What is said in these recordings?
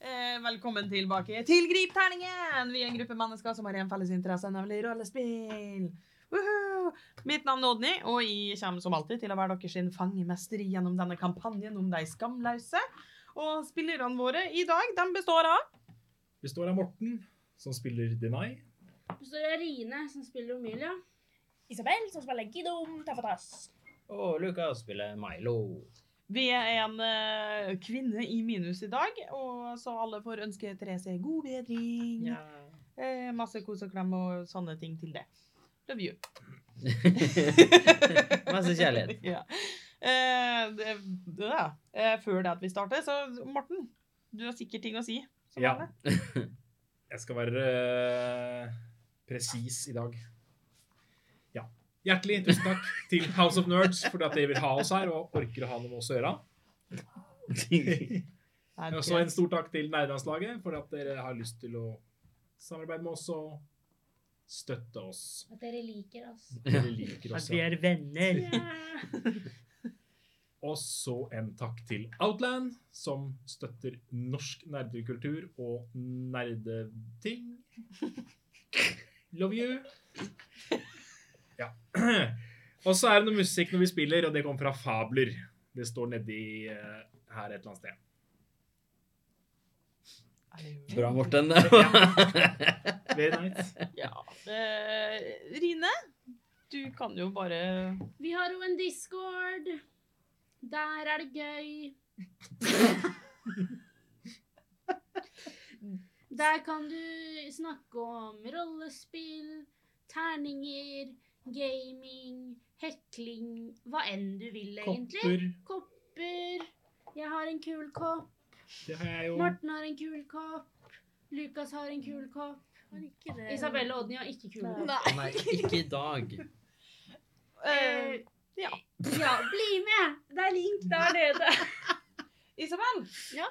Eh, velkommen tilbake til Gripterningen! Vi er en gruppe mennesker som har en felles interesse, nemlig rollespill. Woohoo! Mitt navn er Odny, og jeg kommer som alltid til å være deres sin fangemester gjennom denne kampanjen om de skamløse. Og spillerne våre i dag, de består av Består av Morten, som spiller Denai. består av Rine, som spiller Omelia. Isabel, som spiller Gidom Tafatras. Og Lukas spiller Milo. Vi er en eh, kvinne i minus i dag, og så alle får ønske Therese god bedring. Eh, masse kos og klem og sånne ting til det. Love you. Masse kjærlighet. ja. Eh, det, det da. Eh, før det at vi starter, så Morten, du har sikkert ting å si. som Ja. vanlig. Jeg skal være eh, presis i dag. Ja. Hjertelig tusen takk til House of Nerds for at dere vil ha oss her og orker å ha noe med oss å gjøre. Nei, Og så en stor takk til Nerdelandslaget for at dere har lyst til å samarbeide med oss og støtte oss. At dere liker oss. Dere liker oss. ja. er venner. Og så en takk til Outland, som støtter norsk nerdekultur og nerdeting. Love you. Ja. Og så er det noe musikk når vi spiller, og det kommer fra Fabler. Det står nedi eh, her et eller annet sted. Bra, Morten. Very nice. Ja. Eh, Rine, du kan jo bare eh, Vi har jo en discord. Der er det gøy. Der kan du snakke om rollespill, terninger, gaming, hekling Hva enn du vil, egentlig. Kopper. Kopper. Jeg har en kul kopp. Det har jeg jo. Morten har en kul kopp. Lukas har en kul kopp. Isabel og Odny har ikke kule kopper. Nei. Nei, ikke i dag. eh, ja. ja, bli med! Det er link der nede. Isabel, Ja?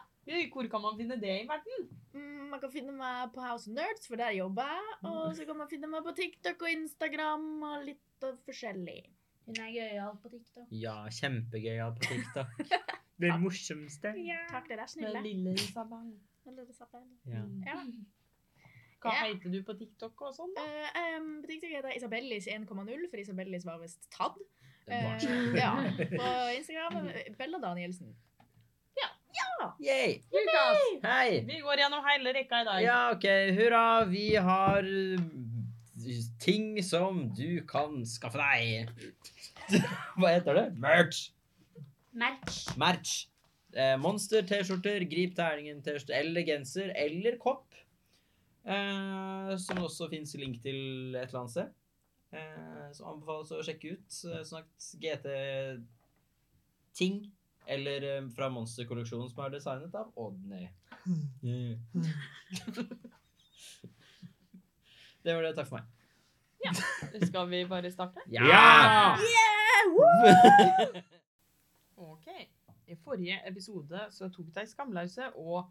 hvor kan man finne det i verden? Mm, Man kan finne meg på House of Nerds, for der jobber jeg. Og så kan man finne meg på TikTok og Instagram og litt av forskjellig. Hun er gøyal på TikTok. Ja, kjempegøyal på TikTok. Det morsomste. Takk, dere er Med snille. lille Isabel. Mm. Eller det satt der. Ja. Ja. Hva Ja. heter du på TikTok og sånn? da? Eh, em, på TikTok heter jeg Isabellis 1,0, for Isabellis var visst tatt. Det var Eh, sånn. ja. På Instagram eh, Bella Danielsen. Yay! Lukas, Hei! vi går gjennom hele rekka i dag. Ja, OK, hurra. Vi har uh, ting som du kan skaffe deg. Hva heter det? Merch. Merch. Merch. Eh, monster, T-skjorter, grip terningen, T-skjorte eller genser eller kopp. Eh, som det også fins link til et eller annet sted. Eh, så anbefales å sjekke ut. Eh, Snakket GT-ting. Eller eh, fra Monster-kolleksjonen som er designet av Odny. det var det. Takk for meg. Skal vi bare starte? Ja! Ok. I forrige episode så tok de skamløse og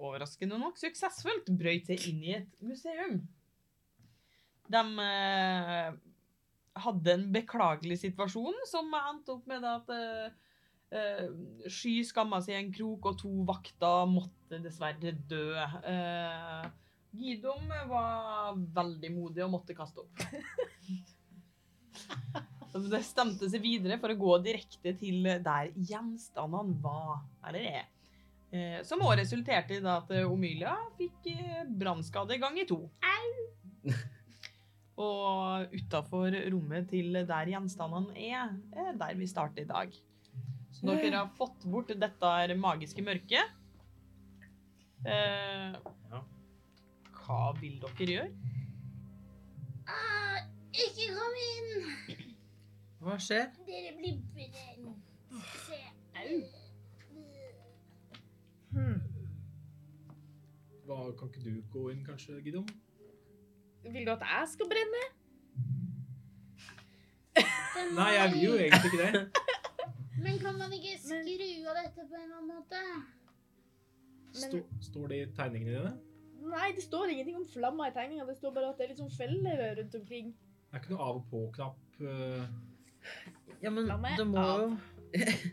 overraskende nok suksessfullt brøyt seg inn i et museum. De eh, hadde en beklagelig situasjon som endte opp med at eh, eh, Sky skamma seg i en krok, og to vakter måtte dessverre dø. Eh, Gidom var veldig modig og måtte kaste opp. Så Det stemte seg videre for å gå direkte til der gjenstandene var, eller er. Eh, Som også resulterte i da at eh, Omelia fikk eh, brannskade ganger to. Og utafor rommet til der gjenstandene er, er der vi starter i dag. Så dere har fått bort dette her magiske mørket. Eh, Ja. Hva vil dere gjøre? Ah, ikke kom inn! Hva skjer? Dere blir brent. Se. Hmm. Hva, kan ikke du gå inn, kanskje, Gidom? Vil du at jeg skal brenne? Nei, jeg vil jo egentlig ikke det. Men kan man ikke Men- skru av dette på en annen måte? Stå, står det i tegningene dine? Nei, det står ingenting om flamma i tegninga. Det står bare at det er litt sånn feller rundt omkring. Det er ikke noe av og på-knapp. eh, Ja, men La meg det må av. jo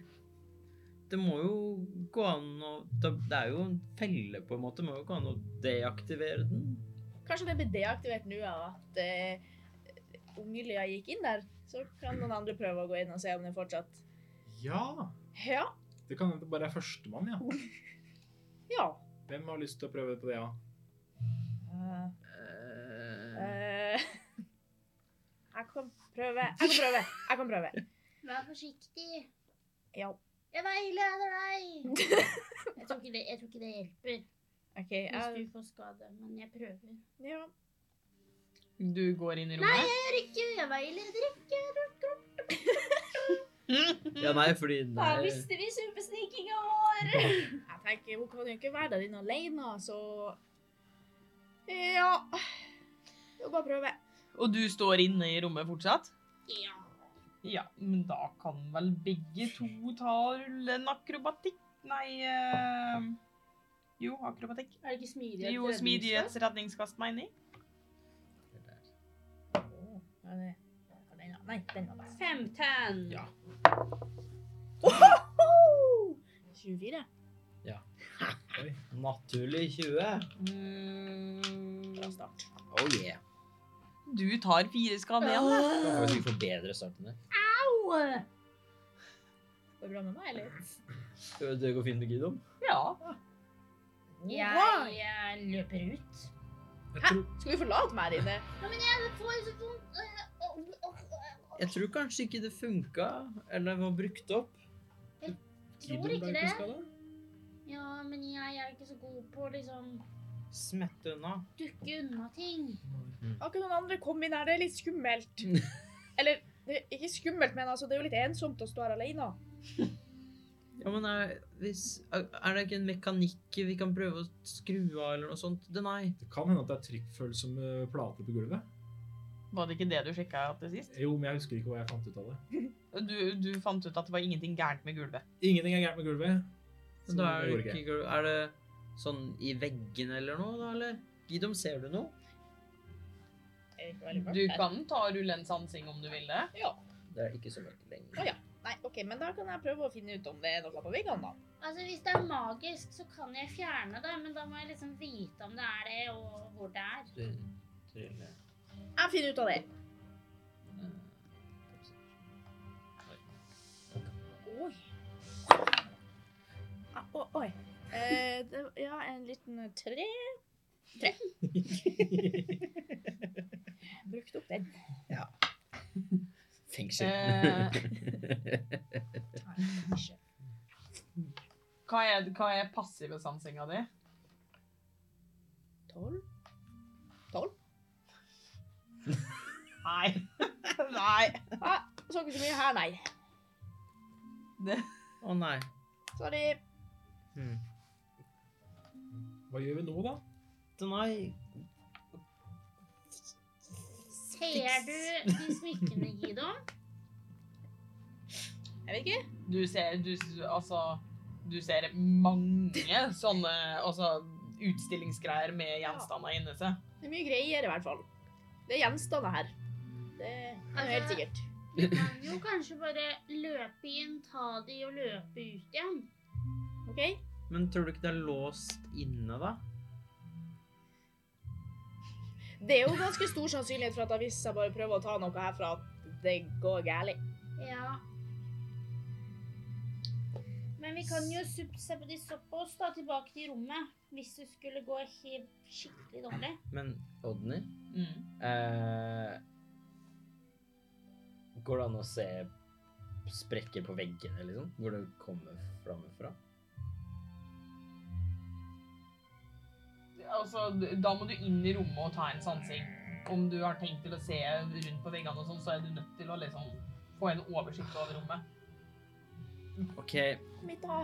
det må jo gå an å Det det er jo en felle, på en måte. Det må jo gå an å deaktivere den. Kanskje det blir deaktivert nå av at eh, Unglia gikk inn der. Så kan noen andre prøve å gå inn og se om den fortsatt Ja, Ja. det kan hende det bare er førstemann, ja. Ja. Hvem har lyst til å prøve på det, ja? Eh, Eh, eh, jeg kan prøve. Jeg kan prøve. Jeg kan prøve. Vær forsiktig. Ja. Jeg veileder deg. Jeg tror ikke det, jeg tror ikke det hjelper OK. hvis Jeg, du får skade, men jeg prøver. ja. Du går inn i Nei, rommet. jeg gjør ikke Jeg veileder ikke. ja, nei, fordi den Da er mister vi supersnikinga vår. jeg tenker hun kan jo ikke være der inne alene, så Ja. Det er bare å prøve. Og du står inne i rommet fortsatt? Ja. Ja, men da kan vel begge to ta og rulle en akrobatikk? Nei eh, Jo, akrobatikk. Er det ikke smidig? Jo, smidighetsredningskast, mener jeg. Ja, det- den- Nei, den var best. Femten. Ja. 24. naturlig 20. Bra Mm, start. Oh yeah. du tar fire skade igjen. da. Da får vi sikkert få bedre start enn det. Au! Går det bra med meg, eller? Skal Det går fint med Gidom. Ja. Jeg, jeg løper ut. Jeg tror, Skal vi forlate meg her inne? Jeg får så vondt. øh, øh, øh, øh. Jeg tror kanskje ikke det funka, eller var brukt opp. Tror Kidon ikke ble det. skada. Ja, men jeg er ikke så god på å liksom Smette unna. dukke unna ting. Har ikke noen andre kommet inn her? Det er litt skummelt. Eller det er ikke skummelt, men altså, det er jo litt ensomt å stå her alene. Ja, men er, hvis, er det ikke en mekanikk vi kan prøve å skru av, eller noe sånt? Det nei. Det kan hende at det er trykkfølsomme plater på gulvet. Var det ikke det du sjekka til sist? Jo, men jeg husker ikke hva jeg fant ut av det. Du, du fant ut at det var ingenting gærent med gulvet. Ingenting er gærent med gulvet. Men Så da det er, går det ikke. ikke, er det sånn i veggene eller noe, da, eller? Gidom, ser du noe? Du kan ta og rulle en sansing om du vil det. Det er ikke så mørkt lenger. Å ja. Nei, ok, men da kan jeg prøve å finne ut om det er noe på veggene, da. Altså, Hvis det er magisk, så kan jeg fjerne det, men da må jeg liksom vite om det er det, og hvor det er. Du- trille. Jeg finner ut av det. Oi. Ah, å- oi. Eh, det, ja, en liten tre. Tre. Brukte opp den. Fengsel. Eh, hva, er, hva er passive sansinga di? Tolv. Nei. Nei. Ah, så ikke så mye her, nei. Det, Å nei. Sorry. Hmm. Hva gjør vi nå, da? Det nei. Ser du de smykkene, Gido? Jeg vet ikke. du ser du, Altså, du ser mange sånne altså, utstillingsgreier med gjenstander inni seg. Det er mye greier i hvert fall. Det er gjenstander her. Det er jo helt sikkert. Du kan jo kanskje bare løpe inn, ta de og løpe ut igjen. Ok? Men tror du ikke det er låst inne, da? Det er jo ganske stor sannsynlighet for at hvis jeg bare prøver å ta noe herfra, at det går gærlig. Ja. Men vi kan jo sup- se på de såpass da, tilbake til rommet, hvis det skulle gå helt skikkelig dårlig. Men Odny Mm. eh, Går det an å se sprekker på veggene, liksom? Hvor det kommer framfra? Altså, da må du inn i rommet og ta en sansing. Om du har tenkt til å se rundt på veggene, og sånn, så er du nødt til å liksom få en oversikt over rommet. OK, Mitt da.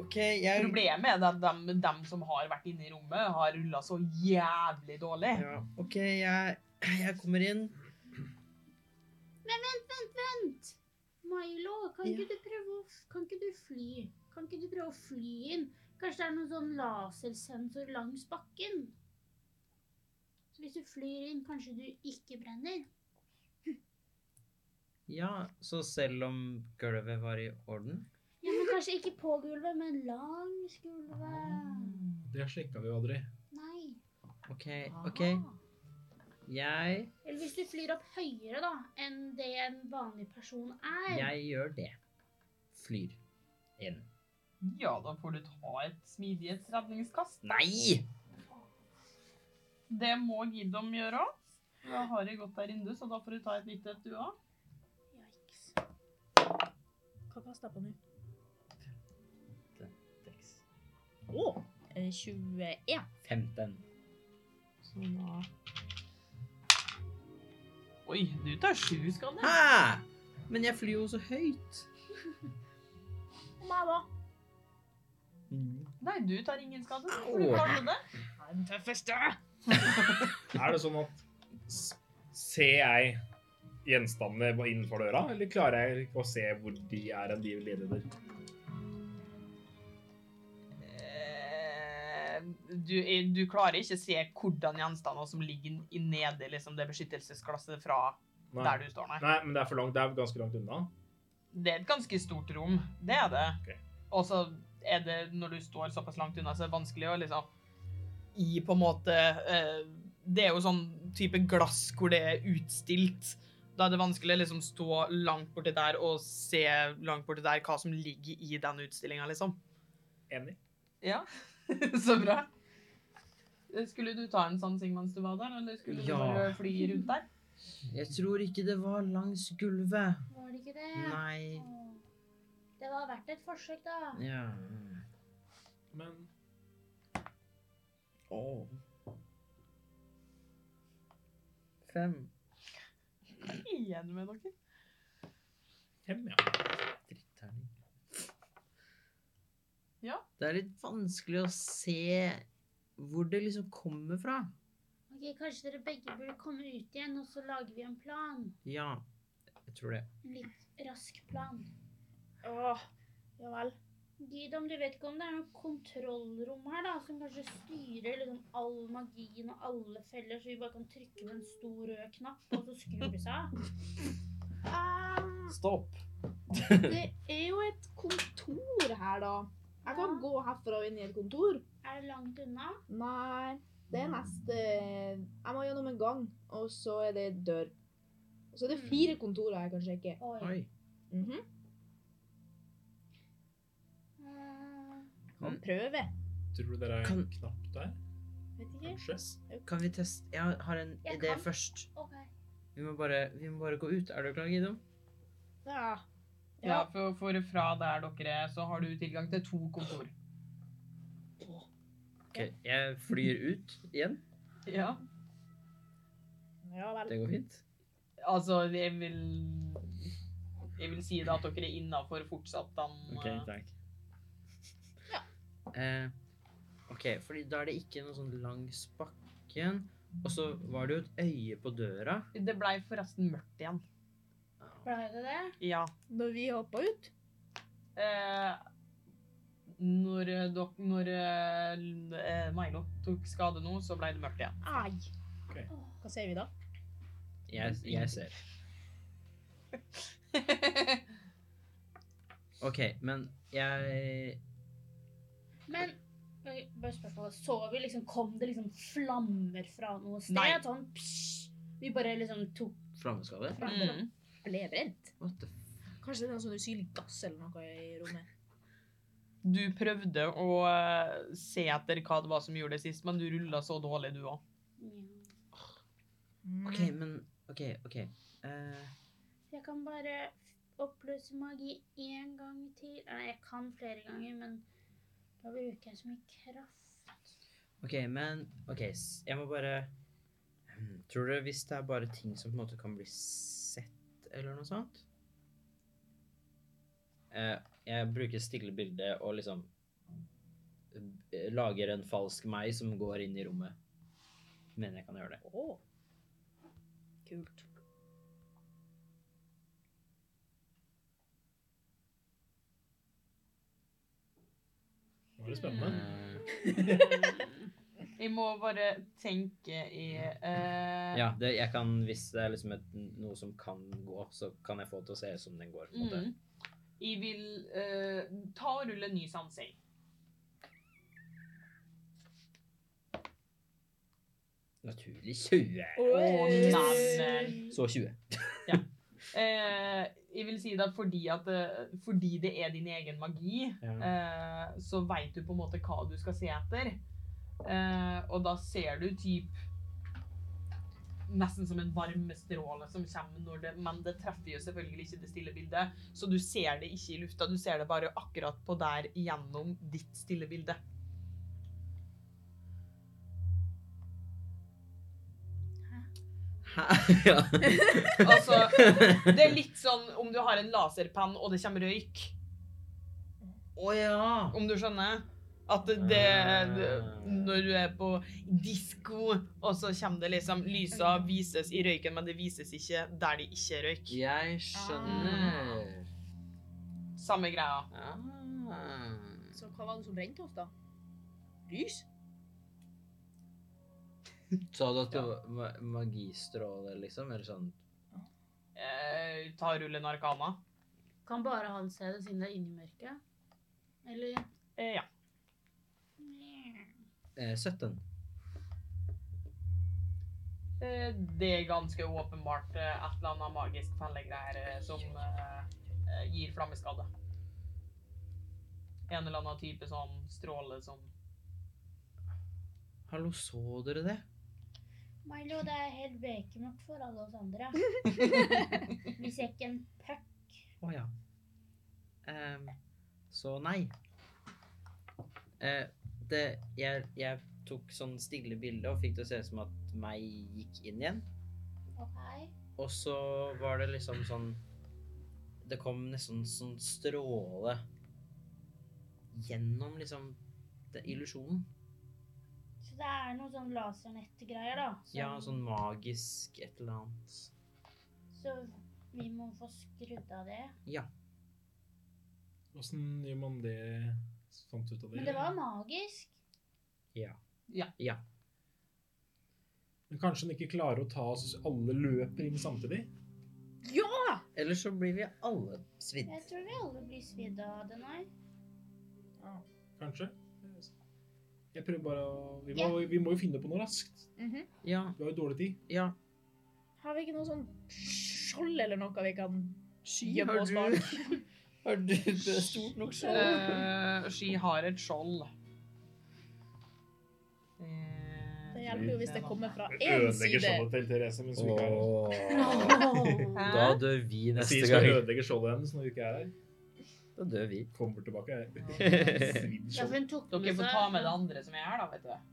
OK, jeg Problemet er at dem, dem som har vært inne i rommet, har rulla så jævlig dårlig. Ja, OK, jeg, jeg kommer inn. Vent! Milo, kan, Ja. ikke du prøve å, kan ikke du fly? Kan ikke du prøve å fly inn? Kanskje det er noen sånn lasersensor langs bakken? Så hvis du flyr inn, kanskje du ikke brenner? Ja, så selv om gulvet var i orden Ja, men Kanskje ikke på gulvet, men langs gulvet. Det sjekka vi jo aldri. Nei. OK, OK. Jeg Eller hvis du flyr opp høyere da, enn det en vanlig person er. Jeg gjør det. Flyr inn. Ja, da får du ta et smidighetsredningskast. Nei! Det må Gidom gjøre òg. Da har jeg gått der inne, så da får du ta et lite et, du òg. Yikes. Hva passer på nå? Å! eh, 21. 15. Så da Oi, du tar sju skader. Hæ? Men jeg flyr jo så høyt. Og meg òg. Nei, du tar ingen skader. For du klarte det. Den tøffeste. Er det sånn at s- Ser jeg gjenstandene på- innenfor døra, eller klarer jeg ikke å se hvor de er enn de leder? Eh, Du, du klarer ikke å se hvordan gjenstander som ligger i nede liksom det beskyttelsesglasset fra Nei. der du står. Nei. Nei, men det er for langt. Det er ganske langt unna. Det er et ganske stort rom. Det er det. Ok. Og så er det, når du står såpass langt unna, så er det vanskelig å liksom I på en måte eh, Det er jo sånn type glass hvor det er utstilt. Da er det vanskelig å liksom stå langt borti der og se langt borti der hva som ligger i den utstillinga, liksom. Enig. Ja. så bra. Skulle du ta en sånn sing mens du var der, eller skulle du Ja. bare fly rundt der? Jeg tror ikke det var langs gulvet. Var det ikke det? Nei. Åh. Det var verdt et forsøk, da. Ja. Men Oh. Fem. Igjen med dere. fem, ja. Dritterning. Ja. Det er litt vanskelig å se hvor det liksom kommer fra. Ok, Kanskje dere begge burde komme ut igjen, og så lager vi en plan. Ja, jeg tror det. En litt rask plan. Åh, ja vel. Gidom, du vet ikke om det er noe kontrollrom her, da, som kanskje styrer liksom all magien og alle feller, så vi bare kan trykke på en stor rød knapp, og så skrur det seg av? Ehm, Stopp. det er jo et kontor her, da. Jeg kan Ja. gå herfra og inn i et kontor. Er det langt unna? Nei, det er neste Jeg må gjennom en gang, og så er det dør. Og så er det fire kontorer jeg kan sjekke. Oi. Oi. Mhm. Eh, Kan prøve. Tror du det er en Kan- knapp der? Vet ikke. Kanskje? Kan vi teste Jeg har en Jeg idé kan. først. OK. Vi må, bare, vi må bare gå ut. Er du klar, Gidom? Ja. Ja, for, for fra der dere er, så har du tilgang til to kontor. Ok, jeg flyr ut igjen. Ja. Ja vel. Det går fint. Altså, jeg vil Jeg vil si da at dere er innafor fortsatt den eh, takk. Eh, ok, fordi da er det ikke noe sånn langs bakken. Og så var det jo et øye på døra. eh, Det blei forresten mørkt igjen. Blei det det? Ja. Når vi hoppa ut Eh, når eh, dok, når eh, l- eh, Milo tok skade nå, så blei det mørkt igjen. Ai. Ok. Hva sier vi da? Jeg, jeg ser. Ok, men jeg Men ok, bare spørsmålet, så vi liksom, kom det liksom flammer fra noe sted? Nei. Sånn, psj, vi bare liksom tok Flammeskade? fram Mm. Ble brent. What the f... Kanskje det er noe sånn usynlig gass eller noe i rommet. Du prøvde å eh, se etter hva det var som gjorde det sist, men du rulla så dårlig, du òg. Ja. Ok, men OK, OK. Eh, Jeg kan bare oppløse magi én gang til. Nei, jeg kan flere ganger, men da bruker jeg så mye kraft. OK, men OK, s- jeg må bare Hmm, Tror dere hvis det er bare ting som på en måte kan bli sett, eller noe sånt? Eh, jeg bruker stille bilde og liksom eh, lager en falsk meg som går inn i rommet. Mener jeg kan gjøre det. Åh. Kult. Nå er det spennende. Eh, Jeg må bare tenke i eh, ja, det, jeg kan, hvis det er liksom et, noe som kan gå, så kan jeg få det til å se ut som den går. På en måte. Mm. Jeg vil eh, ta og rulle en ny sansing. Naturlig 20. Oi. Så 20. Eh, jeg vil si det at fordi, at, eh, fordi det er din egen magi, Ja. eh, så veit du på en måte hva du skal se etter. Eh, og da ser du typ Nesten som en varmestråle som kommer når det Men det treffer jo selvfølgelig ikke det stille bildet, så du ser det ikke i lufta. Du ser det bare akkurat på der gjennom ditt stille bilde. Hæ? Ja. Altså, det er litt sånn om du har en laserpenn og det kommer røyk. Å ja. Om du skjønner? At det, det Når du er på disko, og så kommer det liksom Lysa vises i røyken, men det vises ikke der det ikke er røyk. Jeg skjønner. Samme greia. Ah. Så hva var det som brente oss, da? Lys? Sa du at det var ma- magistråle, liksom? Eller sånn Eh, ta rullen arkana. Kan bare han se det siden det er inni mørket? Eller Eh, ja. eh, 17? Eh, det er ganske åpenbart eh, et eller annet magisk fellegreier eh, som eh, eh, gir flammeskade. En eller annen type sånn stråle som Hallo, så dere det? Milo, det er helt bekemørkt for alle oss andre. Vi ser ikke en puck. Å ja. Ehm, så nei. Eh, det, jeg, jeg tok sånn stille bilde og fikk det å se ut som at meg gikk inn igjen. Okay. Og så var det liksom sånn Det kom nesten sånn stråle gjennom liksom det, illusjonen. Så det er noe sånn lasernettgreier, da. som- Ja, sånn magisk et eller annet. Så vi må få skrudd av det. Åssen gjør man det? Fant ut av det? Men det var magisk. Men kanskje han ikke klarer å ta oss hvis alle løper inn samtidig? Ja! Eller så blir vi alle svidd. Jeg tror vi alle blir svidd av det, nei. Kanskje? Jeg prøver bare å Vi må, vi må jo finne på noe raskt. Ja, Vi har jo dårlig tid. ja. Har vi ikke noe sånn skjold eller noe vi kan skye på Har oss du- bak? Har du det er stort nok Eh, Ski har et skjold. Eh, Det hjelper jo hvis det kommer fra én Ødelegger side. skjoldet til Therese mens hun ikke er her. Åh. Hæ? Da dør vi Jeg neste sier skal gang. ødelegge skjoldet hennes når hun ikke er her. Da dør vi. Kommer tilbake. jeg- Svidd Ja, for skjold. hun tok Dere med får seg- ta med det andre som er her, da, vet du.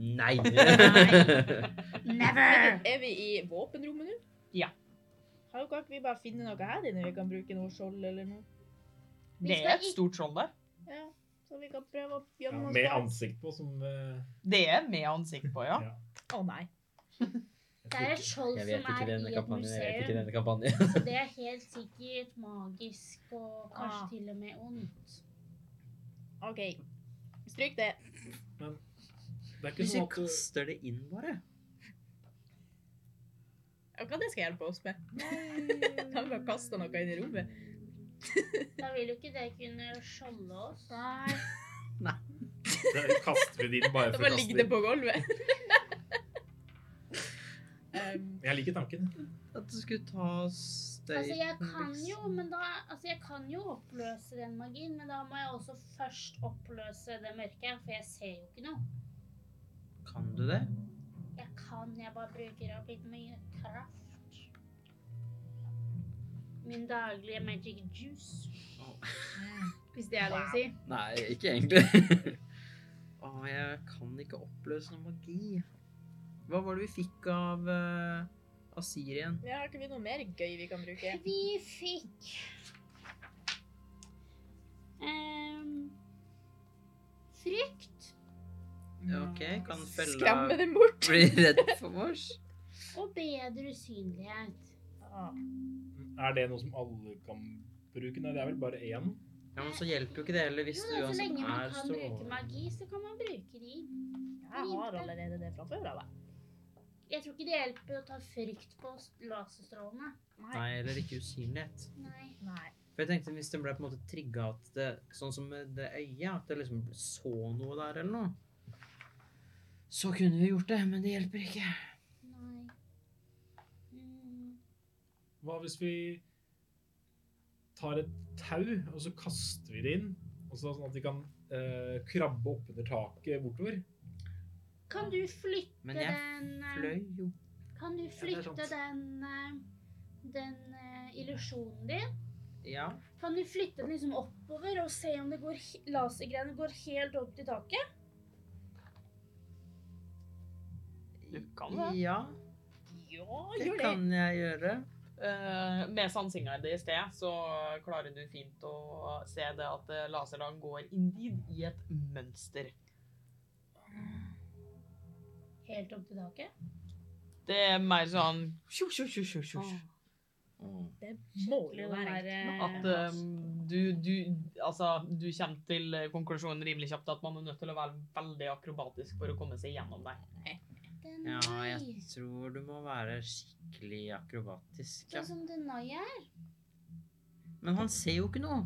Nei. Never! Er vi i våpenrommet nå? Ja. Har jo ikke vi bare finne noe her inne vi kan bruke noe skjold eller noe? Vi Det er skal et stort skjold der. Ja, så vi kan prøve å Ja, gjemme oss med bak. ansikt på som eh, Det er med ansikt på, ja. Ja. Å nei. jeg Det er tror et skjold Jeg som vet ikke er denne i et kampanjen. Jeg vet ikke museum. denne kampanjen. Så det er helt sikkert magisk og kanskje Ah. til og med ondt. OK. Stryk det. ikke- Det er ikke Hvis sånn vi at du- kaster det inn, bare. Ja, Hva det skal hjelpe oss med? Da har vi bare kasta noe inn i rommet. Da vil jo ikke det kunne skjolde oss. Nei. det kaster vi det inn bare Da for å bare kaste ligger det det inn. på gulvet. um, Jeg liker tanken. At det skulle ta liksom. støyten Altså, jeg kan jo, men da, altså, jeg kan jo oppløse den magien, men da må jeg også først oppløse det mørke, for jeg ser jo ikke noe. Kan du det? Jeg kan, jeg bare bruker opp litt mye kraft. Min daglige magic juice. Hvis det er lov å si. Nei, ikke egentlig. Å, jeg kan ikke oppløse noe magi. Hva var det vi fikk av uh, Asir igjen? ja, har ikke vi noe mer gøy vi kan bruke? Vi fikk ehm, Frykt Ja, OK, kan fella Mm. Skremme dem bort. bli redd for oss? og bedre usynlighet. Ja. Er det noe som alle kan bruke? Nei, det er vel bare én. Ja, men så hjelper jo ikke det heller hvis Jo, du da, så uansett lenge man er kan bruke strålende. magi, så kan man bruke de. Jeg har allerede det fra før av. jeg. Jeg tror ikke det hjelper å ta frykt på s- laserstrålene. Nei, eller ikke usynlighet. Nei. Nei. For For jeg tenkte hvis den ble på en måte trigga at det Sånn som med det øyet, at det liksom så noe der eller noe. Så kunne vi gjort det, men det hjelper ikke. Nei. Mm. Hva hvis vi tar et tau, og så kaster vi det inn, og så sånn at de kan eh, krabbe oppunder taket bortover? Kan du flytte Men jeg den eh, Fløy jo. Kan du det er flytte sant. den eh, den eh, illusjonen din? Ja. Kan du flytte den liksom oppover og se om det går he- lasergreiene går helt opp til taket? Du kan det. Ja, Ja, det gjør det. kan jeg gjøre. Eh, med sansinga di i sted, så klarer du fint å se det at eh, laserdagen går indeed i et mønster. Helt opp til taket? Det er mer sånn tjo, tjo, tjo, tjo, tjo. Det må jo være At eh, du, du Altså, du kommer til eh, konklusjonen rimelig kjapt at man er nødt til å være veldig akrobatisk for å komme seg gjennom der. Den Ja, nei. jeg tror du må være skikkelig akrobatisk. Ja. Sånn som den nei er. Men han ser jo ikke noe.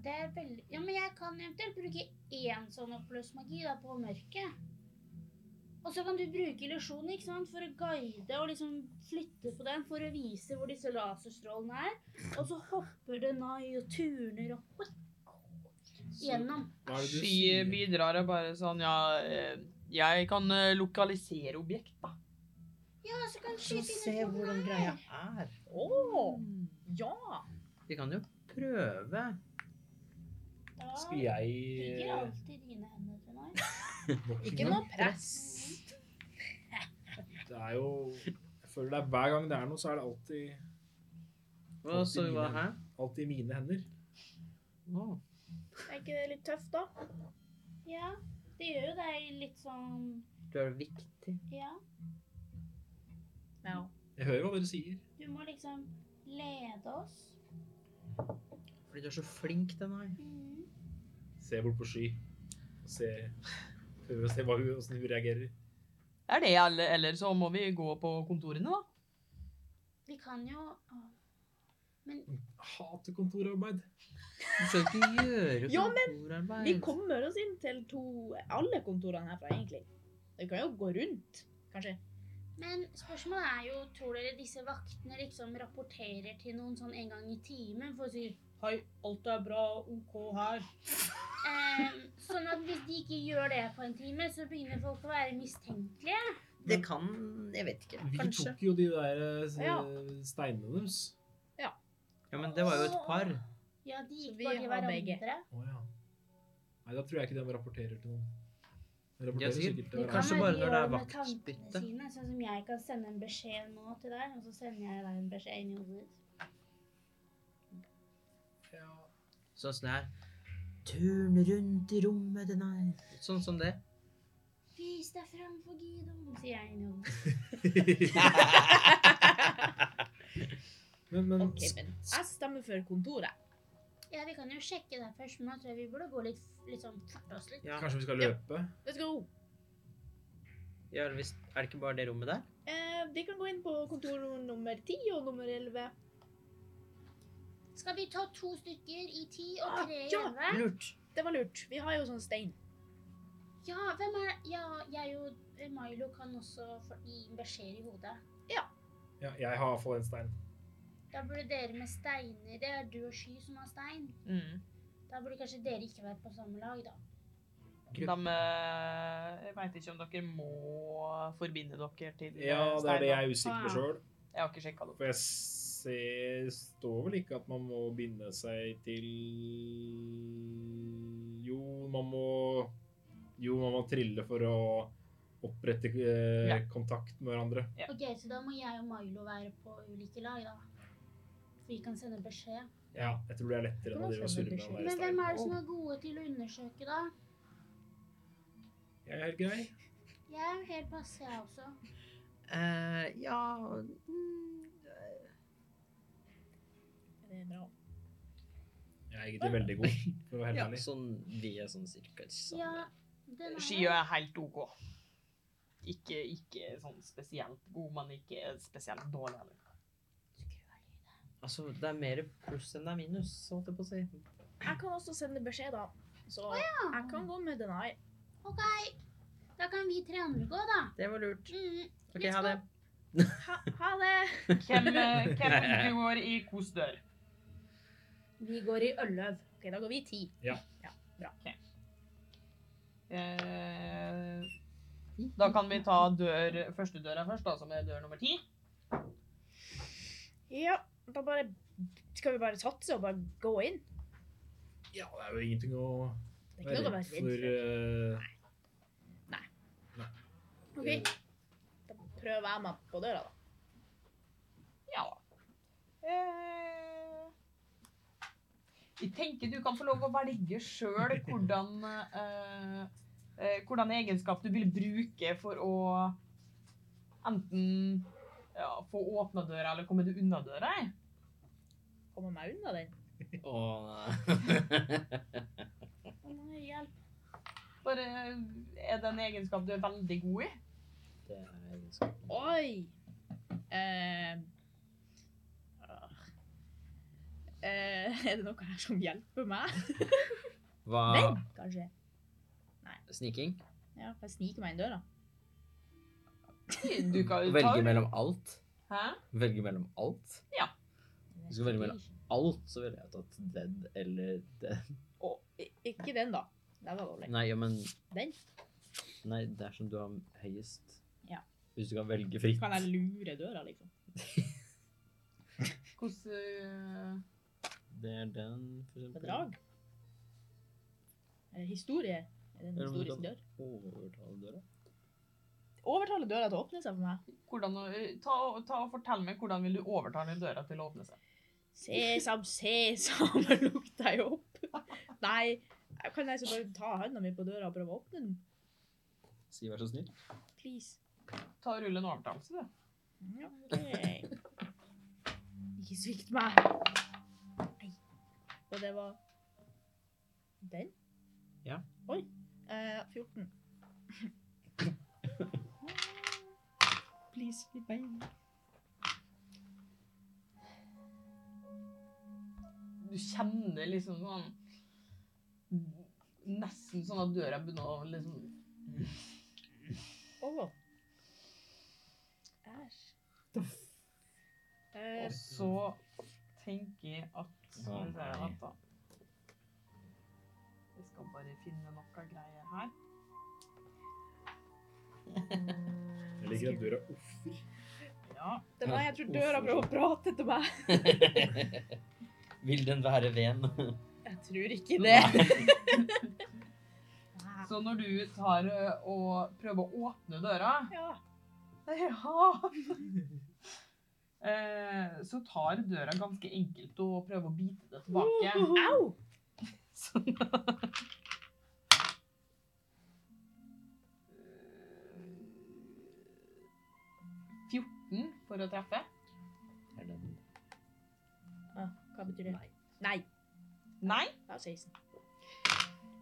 Det er veldig Ja, men jeg kan eventuelt bruke én sånn oppløsmagi da, på mørket. Og så kan du bruke illusjonen ikke sant, for å guide og liksom flytte på den for å vise hvor disse laserstrålene er. Og så hopper det nai og turner opp gjennom. Hva er det du Sky sier? bidrar og bare sånn Ja, eh, jeg kan eh, lokalisere objekt, da. Ja, så kan Så Sky se finne ut hvor hvordan den greia er. er. Å, ja! Vi kan jo prøve. Da Skal jeg ligger eh, alltid i dine hender til meg. Ikke noe press. Det er jo Jeg føler det er hver gang det er noe, så er det alltid, Hva så hva her? alltid i mine hender. Å, Er ikke det litt tøft, da? Ja, det gjør jo deg litt sånn du er viktig. Ja. Ja. Jeg hører hva dere sier. Du må liksom lede oss. Fordi du er så flink til meg. Mhm. Mm. Se bort på Sky. og Se, prøver å se hva hun, hvordan hun reagerer. Det er det, eller, eller så må vi gå på kontorene, da. Vi kan jo Åh. Hater kontorarbeid. Du skal ikke gjøre Ja, kontorarbeid. Vi kommer oss inn til to, alle kontorene herfra, egentlig. Vi kan jo gå rundt, kanskje. Men spørsmålet er jo, tror dere disse vaktene liksom rapporterer til noen sånn en gang i timen for å si Hei, alt er bra, OK her. ehm, Sånn at hvis de ikke gjør det på en time, så begynner folk å være mistenkelige. Det kan Jeg vet ikke. Vi Kanskje. tok jo de der eh, Ja. steinene deres. Ja, men det var jo et par. Ja, de Så gikk vi bare til har begge. hverandre. Å ja. Nei, da tror jeg ikke de rapporterer til noen. De Ja, rapporterer sikkert. sikkert til Det Kanskje kan hverandre. bare være når de det er gjør med vaktbytte. tankene sine, sånn som jeg kan sende en beskjed nå til deg, og så sender jeg deg en beskjed inn i hodet ditt. Ja. Sånn som det her. Turn rundt i rommet, den er Sånn som det. Vis deg fram for Gidon, sier jeg inn i hodet. Men, men Ok, men jeg stemmer for kontoret. Ja, vi kan jo sjekke det først, men nå tror jeg vi burde gå litt, litt sånn forte oss litt. Ja, kanskje vi skal Ja. løpe? Let's go! ja eller hvis, Er det ikke bare det rommet der? Eh, de kan gå inn på kontor nummer 10 og nummer 11. Skal vi ta to stykker i ti og Ah, tre i ja. elleve? Lurt. Det var lurt. Vi har jo sånn stein. Ja, hvem er Ja, jeg og Milo kan også få- gi beskjeder i hodet. Ja, jeg har i hvert fall en stein. Da burde dere med steiner Det er du og Sky som har stein. Mm. Da burde kanskje dere ikke være på samme lag, da. De, eh, jeg veit ikke om dere må forbinde dere til eh, Ja, det steiner. er det jeg er usikker på sjøl. Jeg har ikke sjekka det. For jeg ser, står vel ikke at man må binde seg til Jo, man må Jo, man må trille for å opprette eh, Ja. kontakt med hverandre. Ja. Ok, Så da må jeg og Milo være på ulike lag, da. For vi kan sende beskjed. Ja, jeg tror det er lettere enn å drive og surre med han der Men hvem er det steinen. som er gode til å undersøke, da? Jeg er helt grei. Jeg er jo helt passe, jeg også. Eh, ja mm, Det er bra. Jeg er egentlig veldig god, for å være helt ja, ærlig. sånn, Vi er sånn cirka sammen. Ja, den er Skia er helt OK. Ikke, ikke sånn spesielt god, men ikke spesielt dårlig heller. Altså, det er mer pluss enn det er minus, holdt jeg på å si. Jeg kan også sende beskjed, da. Så jeg kan gå med den her. OK. Da kan vi tre andre gå, da. Det var lurt. Mm. OK, ha det. Ha, ha det! Hvem, eh, hvem går i kos dør? Vi går i Ølløv. Ok, Da går vi i ti. Eh, da kan vi ta dør, første døra først, da, som er dør nummer ti. Ja, da bare Skal vi bare satse og bare gå inn? Ja, det er jo ingenting å Det er være redd ikke noe å være for. redd for. eh, Ok, Da prøver jeg meg på døra, da. Ja. Eh, jeg tenker du kan få lov å velge sjøl hvordan eh, eh, Hvordan egenskap du vil bruke for å enten ja, få åpna døra eller komme deg unna døra. jeg. Kommer meg unna den. Å, nei. Å nei, hjelp. Bare er det en egenskap du er veldig god i. Det er egenskapen. Oi! Eh, Ah. eh, er det noe her som hjelper meg? Hva? Den, kanskje? Sniking? Ja, for jeg sniker meg inn døra. Du kan jo ta- Velge mellom alt? Hæ? Velge mellom alt? Ja. Hvis du velger mellom alt, så ville jeg tatt dead eller dead. Å, i- ikke den, da. Den var dårlig. Nei, ja, men Den? Nei, det er som du har høyest. Ja. Hvis du kan velge fritt. Kan jeg lure døra, liksom? Hvordan eh, Det er den, for eksempel. Bedrag? Eh, historie? Er det en Eller om du historisk kan dør? overtale døra. Overtale døra til å åpne seg for meg. hvordan, eh, ta, og- ta og Fortell meg hvordan vil du overtale døra til å åpne seg. Sesam, sesam, lukk deg opp. Nei, jeg kan jeg så bare ta hånda mi på døra og prøve å åpne den? Si vær så snill. Please. Ta og Rull en overtalelse, du. Ja, ok. Ikke svikt meg. Nei. Og det var den? Ja. Oi. Eh, 14. Please, litt bein. du kjenner liksom sånn Nesten sånn at døra begynner å liksom Å. Æsj. Eh, Og så tenker jeg at Skal vi se Å, nei. vent da. Jeg skal bare finne noe greier her. Jeg liker at døra offer. Ja. det var jeg tror døra prøver å prate til meg. Vil den være ven? Jeg tror ikke det. Så når du tar ø, og prøver å åpne døra Ja. Ja! Eh, Så tar døra ganske enkelt og prøver å bite det tilbake. Au! Sånn. Eh, 14 for å treffe. Er den Ah, hva betyr det? Nei. Nei. Nei. Det var 16.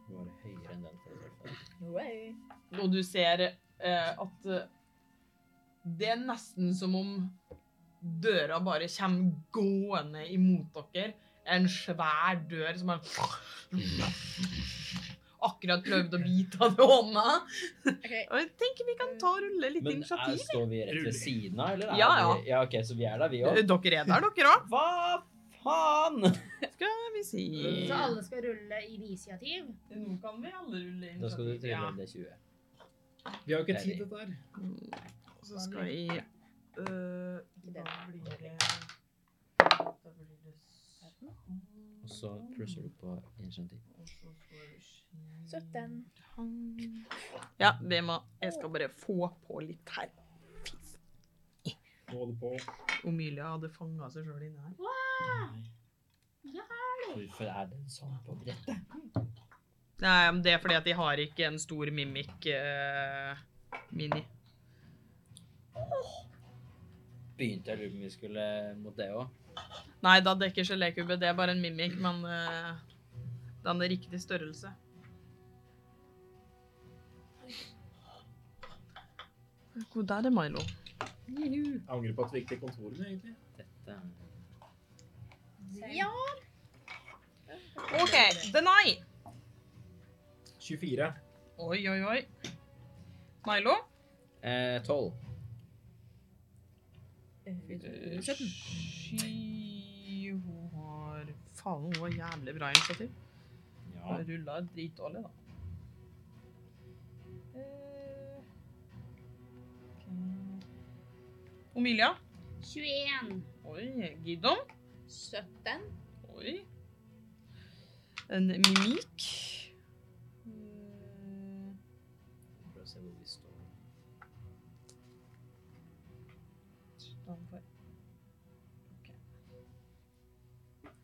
var høyere enn den? for å treffe? Oi. Og du ser eh, at eh, det er nesten som om døra bare kommer gående imot dere. En svær dør som har akkurat prøvd å bite av det hånda. Ok. Og jeg tenker vi kan ta og rulle litt Men er, initiativ. står vi rett ved siden av, eller? Er Ja, ja. Vi, ja, ok, så vi er der, vi òg. Dere er der, dere òg. Hva faen? Skal vi si Så alle skal rulle initiativ? Nå kan vi alle rulle Da skal du initiativ. trille Ja. en D20. Vi har jo Det ikke er tid det. til dette her. Og Så skal jeg øh, Da blir det Da blir det sånn. Og så plusser du på initiativ. Og så får vi skyte 17. han. Ja, det må Jeg skal bare få på litt her. Nå holder på. Omilia hadde fanga seg sjøl inne her. Hvorfor er den sånn på brettet? Nei, men det er fordi at de har ikke en stor mimikk eh, mini. Begynte jeg å lure på om vi skulle mot det òg. Nei, da dekker gelékubbe. Det er bare en mimikk, men eh, den er riktig størrelse. Hvor der er Milo? Jeg angrer på at vi ikke er kontorene, egentlig. Dette er Ja. OK. Deny. 24. Oi, oi, oi. Milo. Eh, 12. Eh, Sky Hun har Faen, hun var jævlig bra initiativ. Ja. Hun rulla dritdårlig, da. Eh, ok. Omilia. 21. Oi. Gidon. 17. Oi. En mimik. Eh, Prøv å se hvor vi står. utenfor.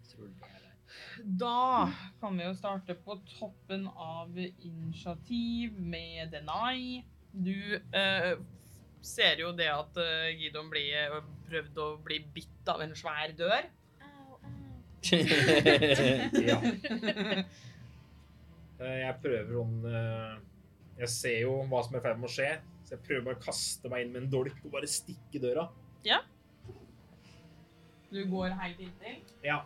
Tror du det er der? Da kan vi jo starte på toppen av initiativ med Denai. Du eh, ser jo det at eh, Gidon blir, prøvde å bli bitt av en svær dør. Au, au. Ja. Eh, Jeg prøver sånn eh, Jeg ser jo hva som er i ferd med å skje, så jeg prøver bare å kaste meg inn med en dolk og bare stikke døra. Du går helt inntil. Ja.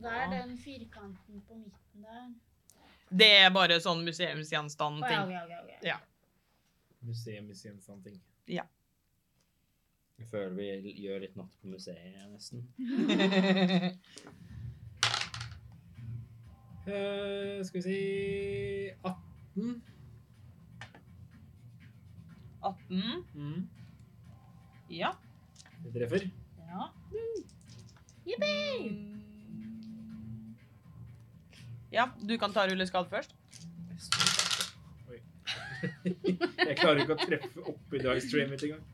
Da er Ja. den firkanten på midten der. Det er bare sånn Å, ja, museumsgjenstand-ting. ja, ja, ja. Museum, museum, sånne ting. Jeg føler vi gjør litt natt på museet, nesten. Eh, skal vi si 18. 18. Mm. Ja. Det treffer. ja. Yippee! Mm. Ja, du kan ta rulleskade først. Jeg klarer ikke å treffe oppi dagstream mitt engang.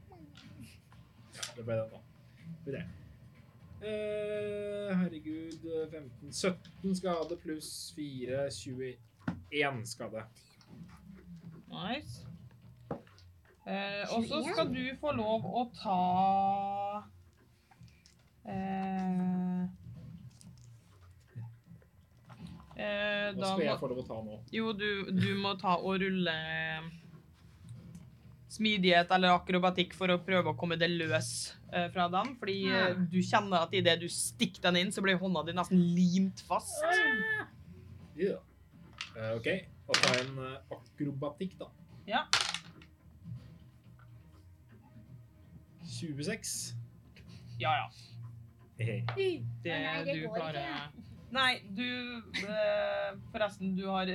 Ja, det ble det, da. Skal vi se. Eh, herregud 15 17 skade pluss 4 21 skade. Nice. Eh, og så skal du få lov å ta eh, eh, Hva Da skal jeg må få lov å ta nå? Jo, du, du må ta og rulle eh, smidighet eller akrobatikk for å prøve å komme det løs eh, fra dem. Fordi eh, du kjenner at idet du stikker den inn, så blir hånda di nesten limt fast. Ja. Eh, OK, da tar jeg en eh, akrobatikk, da. Ja. 26. Ja, ja. Hehe. det, Å nei, det du går klarer ikke. Nei, du eh, Forresten, du har,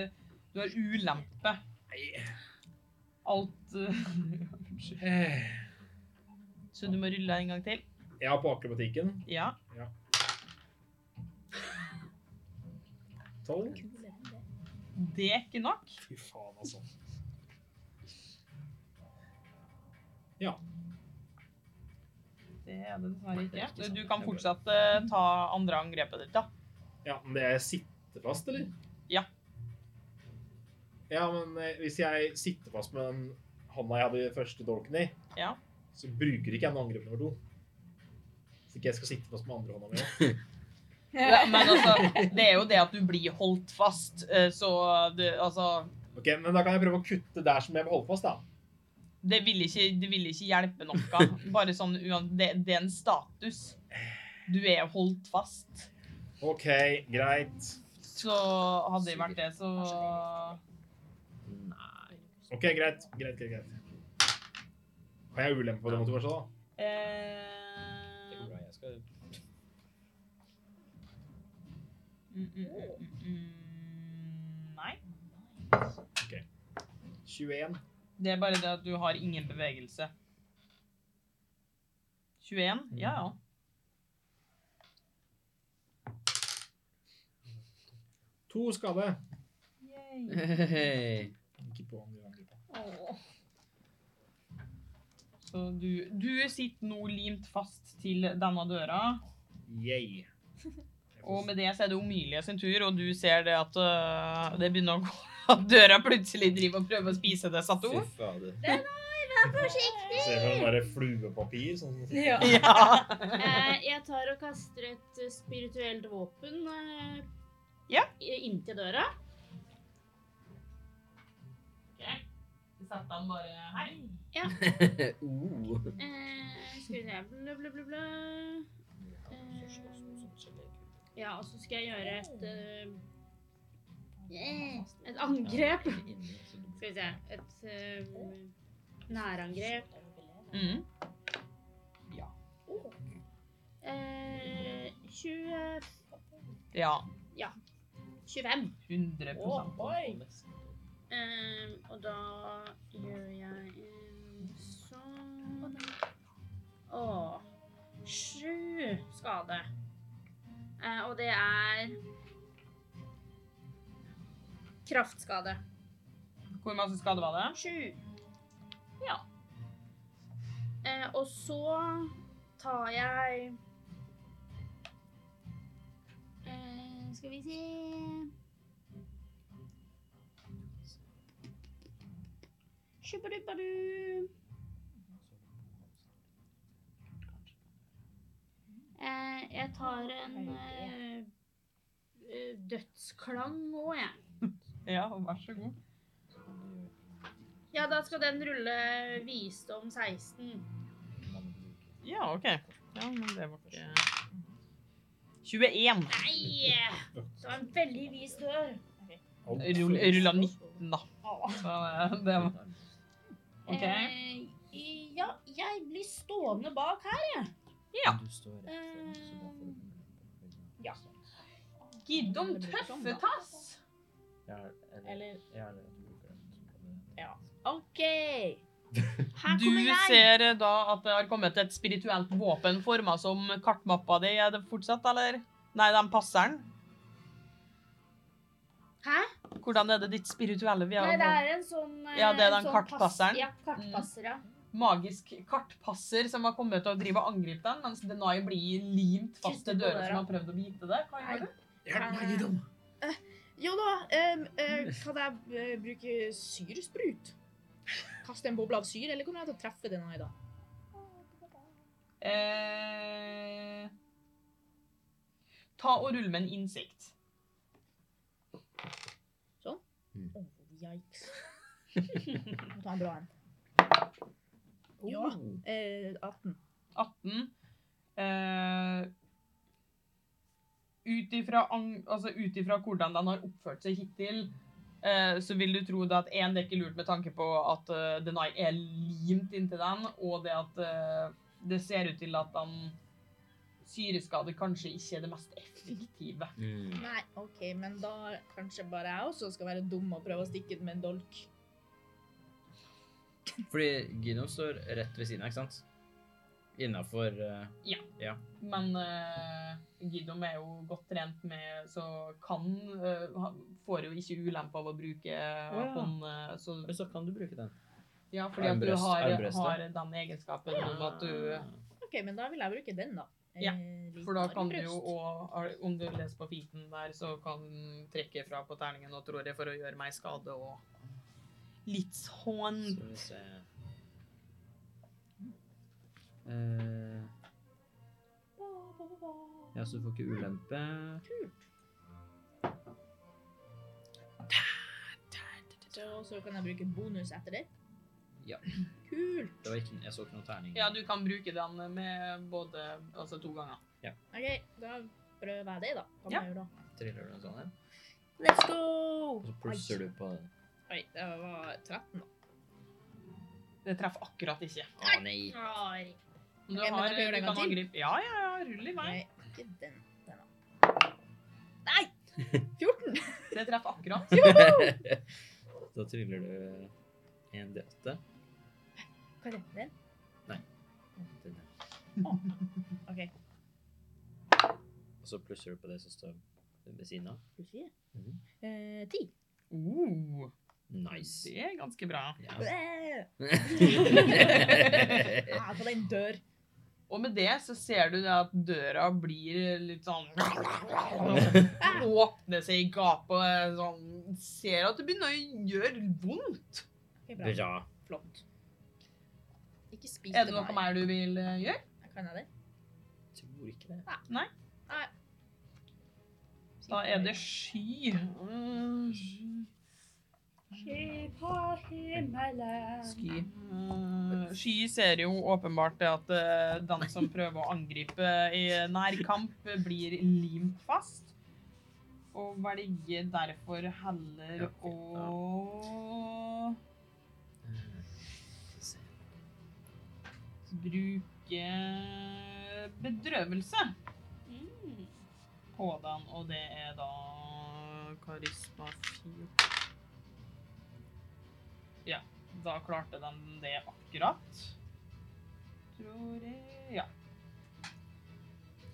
du har ulempe. Nei. Alt eh, Unnskyld. Eh, Så du må rulle en gang til? Ja, på akrobatikken. Ja. 12. Det er ikke nok. Fy faen, altså. Ja. Det er det dessverre ikke. sånn. Du kan fortsatt eh, ta andre angrepet ditt, da. Ja, men det er sitte fast, eller? Ja. Ja, men eh, hvis jeg sitter fast med den hånda jeg hadde i første dolken i, Ja. så bruker ikke jeg noe angrep nummer to. Så ikke jeg skal sitte fast med andre hånda mi. også. Ja, men altså, det er jo det at du blir holdt fast, eh, så det, altså Ok, men da kan jeg prøve å kutte der som jeg vil holde fast, da. det vil, ikke, det vil ikke hjelpe noe. Bare sånn uan- det, det er en status. Du er holdt fast. Ok, greit. Så hadde det vært det, så Nei. Ok, greit. Greit, greit, greit. Har jeg ulempe på det måte også, da? Det eh, går bra, jeg skal... mm, mm, mm, mm, Nei. 21. Det er bare det at du har ingen bevegelse. 21? Ja, ja. To skade. Hei. Ikke på andre angrepet. Så du, du sitter nå limt fast til denne døra, Yay. og med det så er det Omilie sin tur, og du ser det at øh, det begynner å gå at døra plutselig driver og prøver å spise det, satt Fy hun. fader. Vær forsiktig! Ser for meg bare fluepapir. Sånn, sånn, sånn. Ja. Ja. Eh, jeg tar og kaster et eh, spirituelt våpen eh, Ja. i- inntil døra. Så satt han bare her. Uh. Oh. Eh, skal vi se blø, blø, blø, blø. Eh, Ja, og så skal jeg gjøre et eh, Et angrep. Skal vi se Et eh, nærangrep. Mm. Eh, 20 Ja. 25. 100 oi. Ehm, Eh, og da gjør jeg en sånn Å. Sju skade. Eh, og det er Kraftskade. Hvor masse skade var det? Sju. Ja. Eh, og så tar jeg eh, Skal vi se Shubadubbadu. Eh, jeg tar en eh, eh, dødsklang òg, jeg. Ja, vær så god. Ja, da skal den rulle visdom 16. Ja, OK. Ja, men det var ikke 21. Nei! Det var en veldig vis dør. Rull- Rulla 19, da. Så eh, øh, det var OK. Eh, ja, jeg blir stående bak her. Ja. Ja. Giddom tøffetass. Eller OK. Her Du kommer jeg. ser eh, da at det har kommet et spirituelt våpen forma som kartmappa di. Er det fortsatt, eller? Nei, de passer den. Hæ? Hvordan er det ditt spirituelle? Vi Nei, har det jo er en sånn eh, Ja, det er den sånn kartpasseren. Mm. pass- Ja, kartpasser, ja. magisk kartpasser som har kommet til å drive og angripe den, mens Denai blir limt fast til Kysser på døra døra. som har prøvd å bite det. Hva Nei. gjør du? Hjelp meg, Gidom! Jo da, em, eh, kan jeg eh, bruke syresprut? Kaste en boble av syre, eller kommer jeg til å treffe den her i dag? Eh, ta og rull med en innsikt. Oh, yikes. Må ta en bra en. Ja. Eh, 18. 18. Eh, ut ifra ang- altså ut ifra hvordan den har oppført seg hittil, eh, så vil du tro det at én det er ikke lurt med tanke på at eh, Denai er limt inntil den, og det at eh, det ser ut til at den syreskade kanskje ikke er det mest effektive. Mm. Nei, OK, men da kanskje bare jeg også skal være dum og prøve å stikke den med en dolk. Fordi Gino står rett ved siden av, ikke sant? eh, Innafor Men uh, Gidom er jo godt trent med, så kan eh, ha- Får jo ikke ulempe av å bruke ja. hånd, eh, så Så kan du bruke den. Ja, fordi at du Armbrøst- har, armbrøstet. har den egenskapen om at du OK, men da vil jeg bruke den, da. Eh, Ja, liten For da kan du jo armbrøst. òg, om du leser på feeten der, så kan du trekke fra på terningen og tror jeg for å gjøre meg skade og litt sånn. Skal vi se Eh, Ja, så du får ikke ulempe. Så, så kan jeg bruke bonus etter det? Ja. Kult. Det var ikke, jeg så ikke noen terning. Ja, du kan bruke den med både Altså to ganger. OK, da prøver jeg det, da. Kan Ja. jeg gjøre da. Triller du en sånn en, Let's go! og så plusser du på den. Oi, det var 13, da. Det treffer akkurat ikke. Å nei! Rar. Men du Ok, har, men da prøver du jeg en gang kan til. angripe Ja, ja, ja, rull i vei. Nei, ikke den. den da. Nei! 14. Det treffer akkurat. Da triller du en D8. Hva er det? Den? Den der. OK. Og så plusser du på det som står ved siden av. Pluss 4. Mhm. Eh, 10. Uh, Nice. det er ganske bra. Ja. Bæ! ja, Eh, Ah, på den dør. Og med det så ser du det at døra blir litt sånn Åpner seg i gapet og sånn Ser at det begynner å gjøre vondt. Ok, bra. Bra. Flott. Ikke spis Er det meg. noe mer du vil eh, gjøre? Kan jeg det? Tror ikke det. Da er det sky. Mm, Sky. Skip har himmelen. Eh, Sky ser jo åpenbart det at eh, den som prøver å angripe i nærkamp, blir limt fast. Og velger derfor heller Ja, ok, ja. å bruke bedrøvelse Mm. på den, og det er da karisma 4. Ja, da klarte den det akkurat. Tror jeg, ja.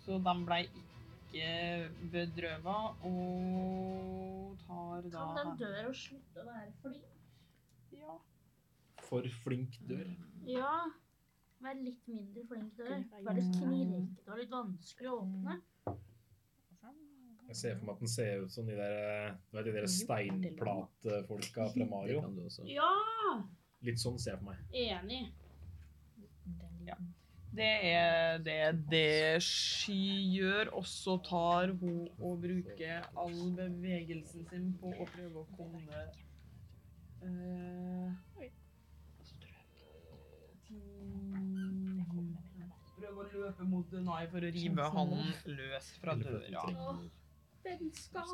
Så den ble ikke bedrøvet, og tar da... Kan den døra slutte å være flink? Ja. For flink dør. Ja. Vær litt mindre flink dør. Vær litt knirkete og litt vanskelig å åpne. Jeg ser for meg at den ser ut som de der, eh, du vet, de der steinplatefolka fra Det Mario. kan du også. Ja! Litt sånn ser jeg for meg. Enig. Det er det det Sky gjør. Og så tar hun og bruker all bevegelsen sin på å prøve å komme eh, Prøve å løpe mot Denai for å rive han løs fra døra. Vennskap.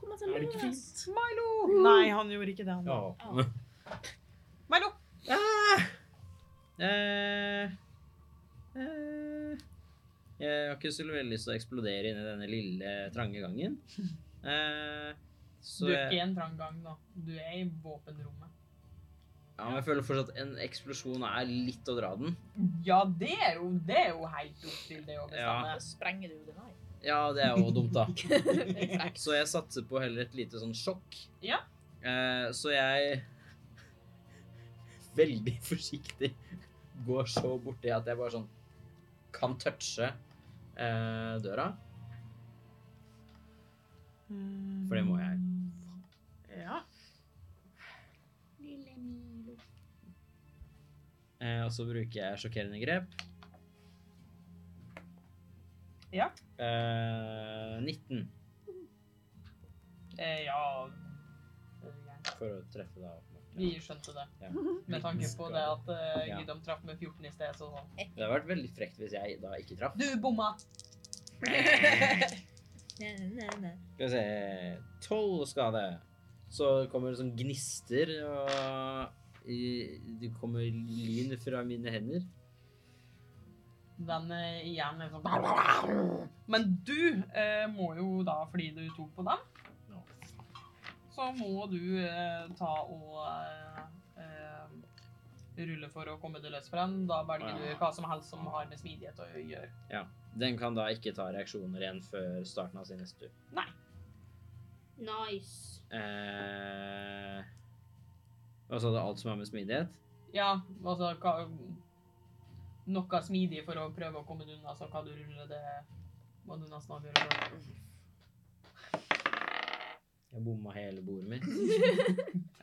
Kom altså, og ta Er det ikke løs. Milo! Oh, Nei, han gjorde ikke det. han. Ja. Milo! Ah! Eh, eh, jeg har ikke så veldig lyst til å eksplodere inni denne lille, trange gangen. Eh, Du er så jeg, ikke i en trang gang, da. Du er i våpenrommet. ja, men jeg føler fortsatt en eksplosjon er litt å dra den. Ja, det er jo, det er jo helt opp til det å bestemme. Ja. Sprenger du den her? Ja, det er jo dumt, da. Exakt. Så jeg satser på heller et lite sånn sjokk. Ja. Eh, så jeg veldig forsiktig går så borti at jeg bare sånn kan touche eh, døra. For det må jeg. Mm. Ja. Lille Milo. Eh, og så bruker jeg sjokkerende grep. Ja. Eh, 19 Eh, ja for å treffe deg. åpenbart. Vi skjønte det. Ja. Med tanke på det at uh, Ja. Gidom traff med 14 i sted, så sånn Det hadde vært veldig frekt hvis jeg da ikke traff. Du bomma! Nei, nei, nei. Skal vi se Tolv skade. Så kommer det sånn gnister, og i- det kommer lyn fra mine hender. Den eh, igjen er sånn Men du eh, må jo da, fordi du tok på den, Ja. så må du eh, ta og eh, eh, rulle for å komme deg løs fra den. Da velger du hva som helst som har med smidighet å gjøre. Den kan da ikke ta reaksjoner igjen før starten av sin neste tur. Nice. Eh, og så er det alt som har med smidighet. Ja, altså hva, Noe smidig for å prøve å komme deg unna, så hva du ruller, det må du nesten avgjøre. selv. Jeg bomma hele bordet mitt.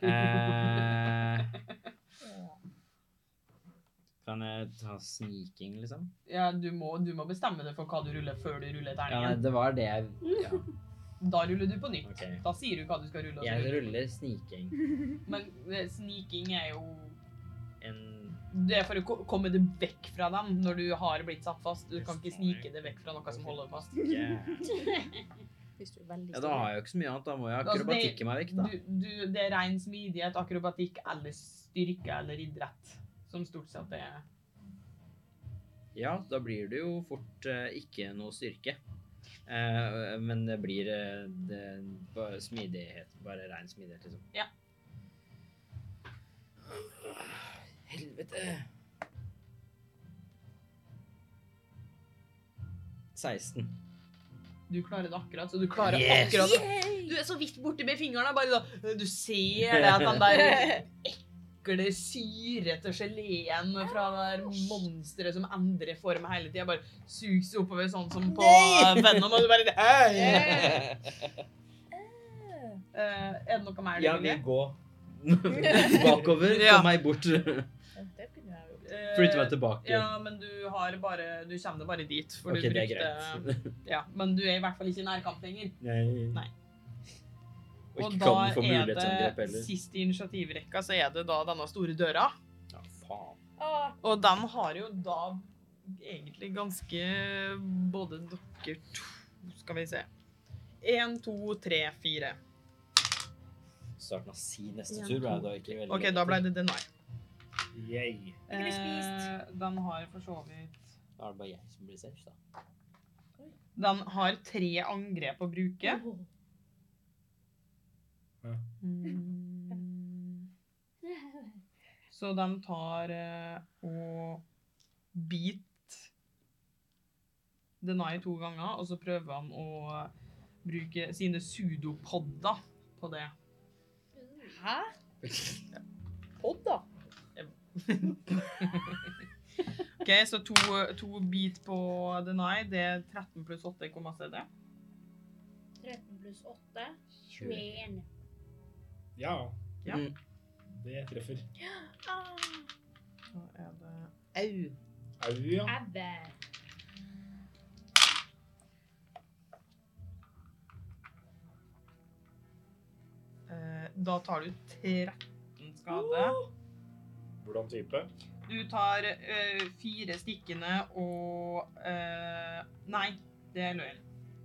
eh, kan jeg ta sniking, liksom? Ja, du må, du må bestemme deg for hva du ruller før du ruller Ja, nei, terningen. det var det jeg ja. Da ruller du på nytt. Ok. Da sier du hva du skal rulle. og så Jeg ruller du. ruller sniking. Men eh, sniking er jo En Det er for å ko- komme deg vekk fra dem når du har blitt satt fast. Du kan ikke snike deg vekk fra noe som holder deg fast. Ja, Hvis du er veldig da har jeg jo ikke så mye annet. Da må jeg Altså, det- akrobatikke meg vekk, da. Du, du, det er ren smidighet, akrobatikk eller styrke eller idrett som stort sett er Ja, da blir det jo fort eh, ikke noe styrke. Eh, men det blir eh, det, bare smidighet. Bare rein smidighet, liksom. Ja. Helvete. 16. Du klarer det akkurat, så du klarer Yes! akkurat Du er så vidt borte med fingrene, bare da «Øh, Du ser det at den der ekle, syrete geleen fra det der monsteret som endrer form hele tida, bare suges oppover sånn som på eh, Venom, og du bare «Ei!» Eh, Er det noe mer du Jeg vil? vil gå bakover. Få Ja. meg bort. Det kunne jeg jo. Eh, Flytte meg tilbake. Ja, men du har bare Du kommer bare dit, for OK, du det er brukte greit. Ja, men du er i hvert fall ikke i nærkamp lenger. Nei. Nei. Og Og ikke da kan få er mulighetsangrep det heller. sist i initiativrekka, så er det da denne store døra. faen. Ah, Åh, Og de har jo da egentlig ganske både dere to Skal vi se. Én, to, tre, fire. Starten av si neste En, tur ble to, da ikke veldig OK, da ble det deny. Yay. Ikke bli spist. Eh, Den har for så vidt Da er det bare jeg som blir safe, da. Den har tre angrep å bruke. Ja. Mm. Så de tar eh, og beat Denai to ganger, og så prøver han å bruke sine sudopodder på det. Hæ? Podd, da? OK, så to, to beat på Denai, det er 13 pluss 8, hvor masse er det? 13 pluss 8. 21. Ja. Ja. Mm. Det treffer. Ah. Så eh, er det Au, ja. Ebbe. eh, Da tar du 13 skade. Hvordan type? Du tar eh, fire stikkende og eh, Nei, det løy jeg.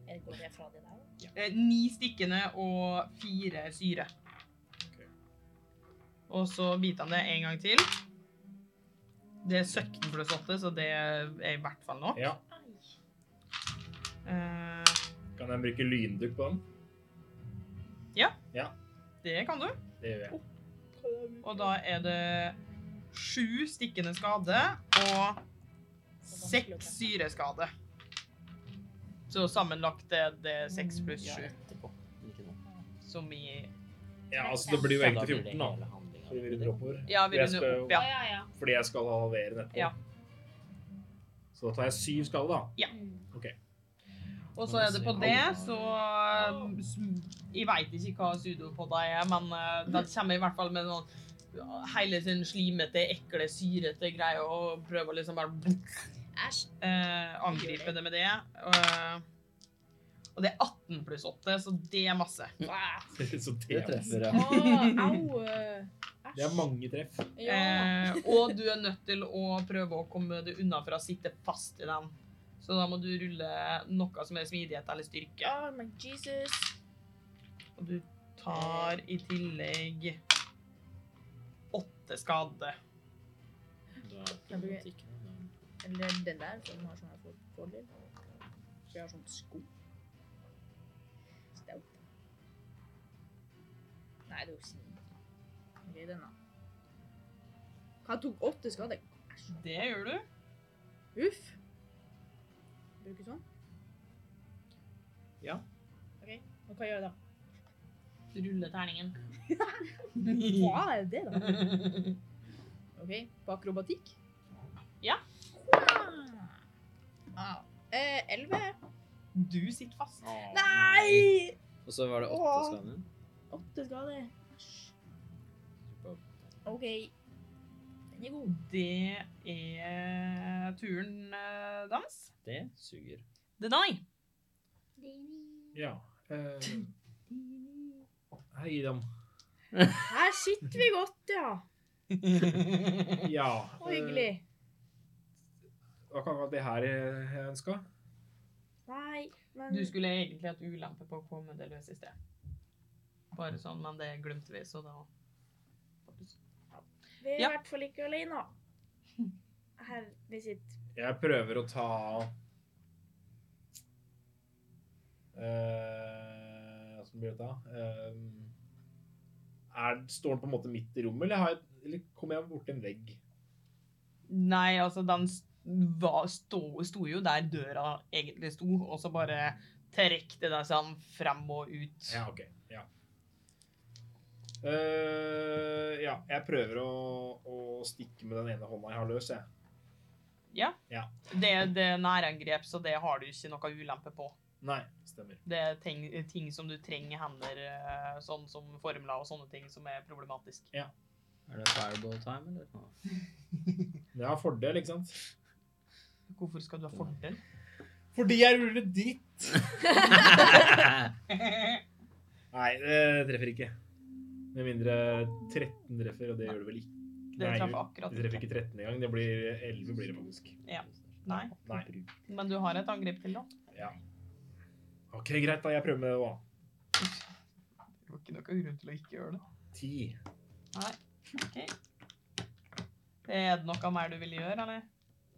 Eh, Går det fra de der? Eh, ni stikkende og fire syre. Ok. Og så biter han det en gang til. Det er 17 pluss 8, så det er i hvert fall nå. Ja. Eh, Kan jeg bruke lyndukk på den? det kan du. Det gjør jeg. Og da er det sju stikkende skade og seks syreskade. Så sammenlagt er det seks pluss Ja, sju, etterpå. men Ikke nå. som i Ja, altså det blir jo Så da egentlig blir det 14, da. hele handlingen. Fordi vi runder oppover. Ja, vi Jeg runder skal- opp, Ja, ja. ja, ja. Fordi jeg skal halvere nettopp. Ja. Så da tar jeg syv skade, da. Mm. Og så er det på det, så eh, s- Jeg veit ikke hva sudopodda er, men eh, den kommer i hvert fall med sånn ja, hele sin slimete, ekle, syrete greie og prøver liksom bare Æsj. eh, angripe det med det. Eh, og det er 18 pluss 8, så det er masse. Ah, Så det, Det er- treffer, ja. Åh, au. eh, det er mange treff. Ja. Eh, og du er nødt til å prøve å komme deg unna for å sitte fast i den. Så da må du rulle noe som er smidighet eller styrke. Ah, Oh my Jesus. Og du tar i tillegg åtte skade. Da er det ikke noe. Eller den der som har sånn her for- fordel. For jeg har sånn sko. Stout. Nei, det er jo sin. Ok, den da. Han tok åtte skader. Det gjør du. Uff. Bruker sånn? Ja. Ok, og hva gjør jeg da? Rulle terningen. Hva er det da? Ok, på akrobatikk? Ja. Ah. Eh, 11. Du sitter fast. Nei! Og så var det Åh. åtte skader. Åtte skader. Æsj. Ok. Den er god. Det er turen eh, dans. Det suger. Det er deg. Ja. eh, Hei, dem. Her sitter vi godt, ja. Ja. Og Eh, hyggelig. Det var ikke akkurat det her jeg ønska. Nei, men Du skulle egentlig hatt ulempe på å komme det løs i sted. Bare sånn, men det glemte vi, så da vi er i Ja. hvert fall ikke alene. Her vi sitter. Jeg prøver å ta eh, Hvordan blir dette? Eh, er, står den på en måte midt i rommet, eller, har jeg, eller kommer jeg borti en vegg? Nei, altså, den s- var, sto, sto jo der døra egentlig sto, og så bare trekte den sånn frem og ut. Ja, OK. Ja. Eh, ja, jeg prøver å, å stikke med den ene hånda jeg har løs, jeg. Det, det er nærangrep, så det har du ikke noe ulempe på. Nei, stemmer. Det er ting, ting som du trenger i hender, eh, sånn som formler og sånne ting som er problematisk. Er det fireball time, eller? Nå. Men jeg har fordel, ikke sant? Hvorfor skal du ha fordel? Fordi jeg ruller dritt. Nei, det treffer ikke. Med mindre 13 treffer, og det gjør det vel ikke. Dere Nei, traff akkurat Vi treffer ikke 13 engang. Det blir 11 blir det faktisk. Nei, Nei. men du har et angrep til, da. OK, greit, da. Jeg prøver med det òg. Det var ikke noen grunn til å ikke gjøre det. 10. Er det noe mer du vil gjøre, eller?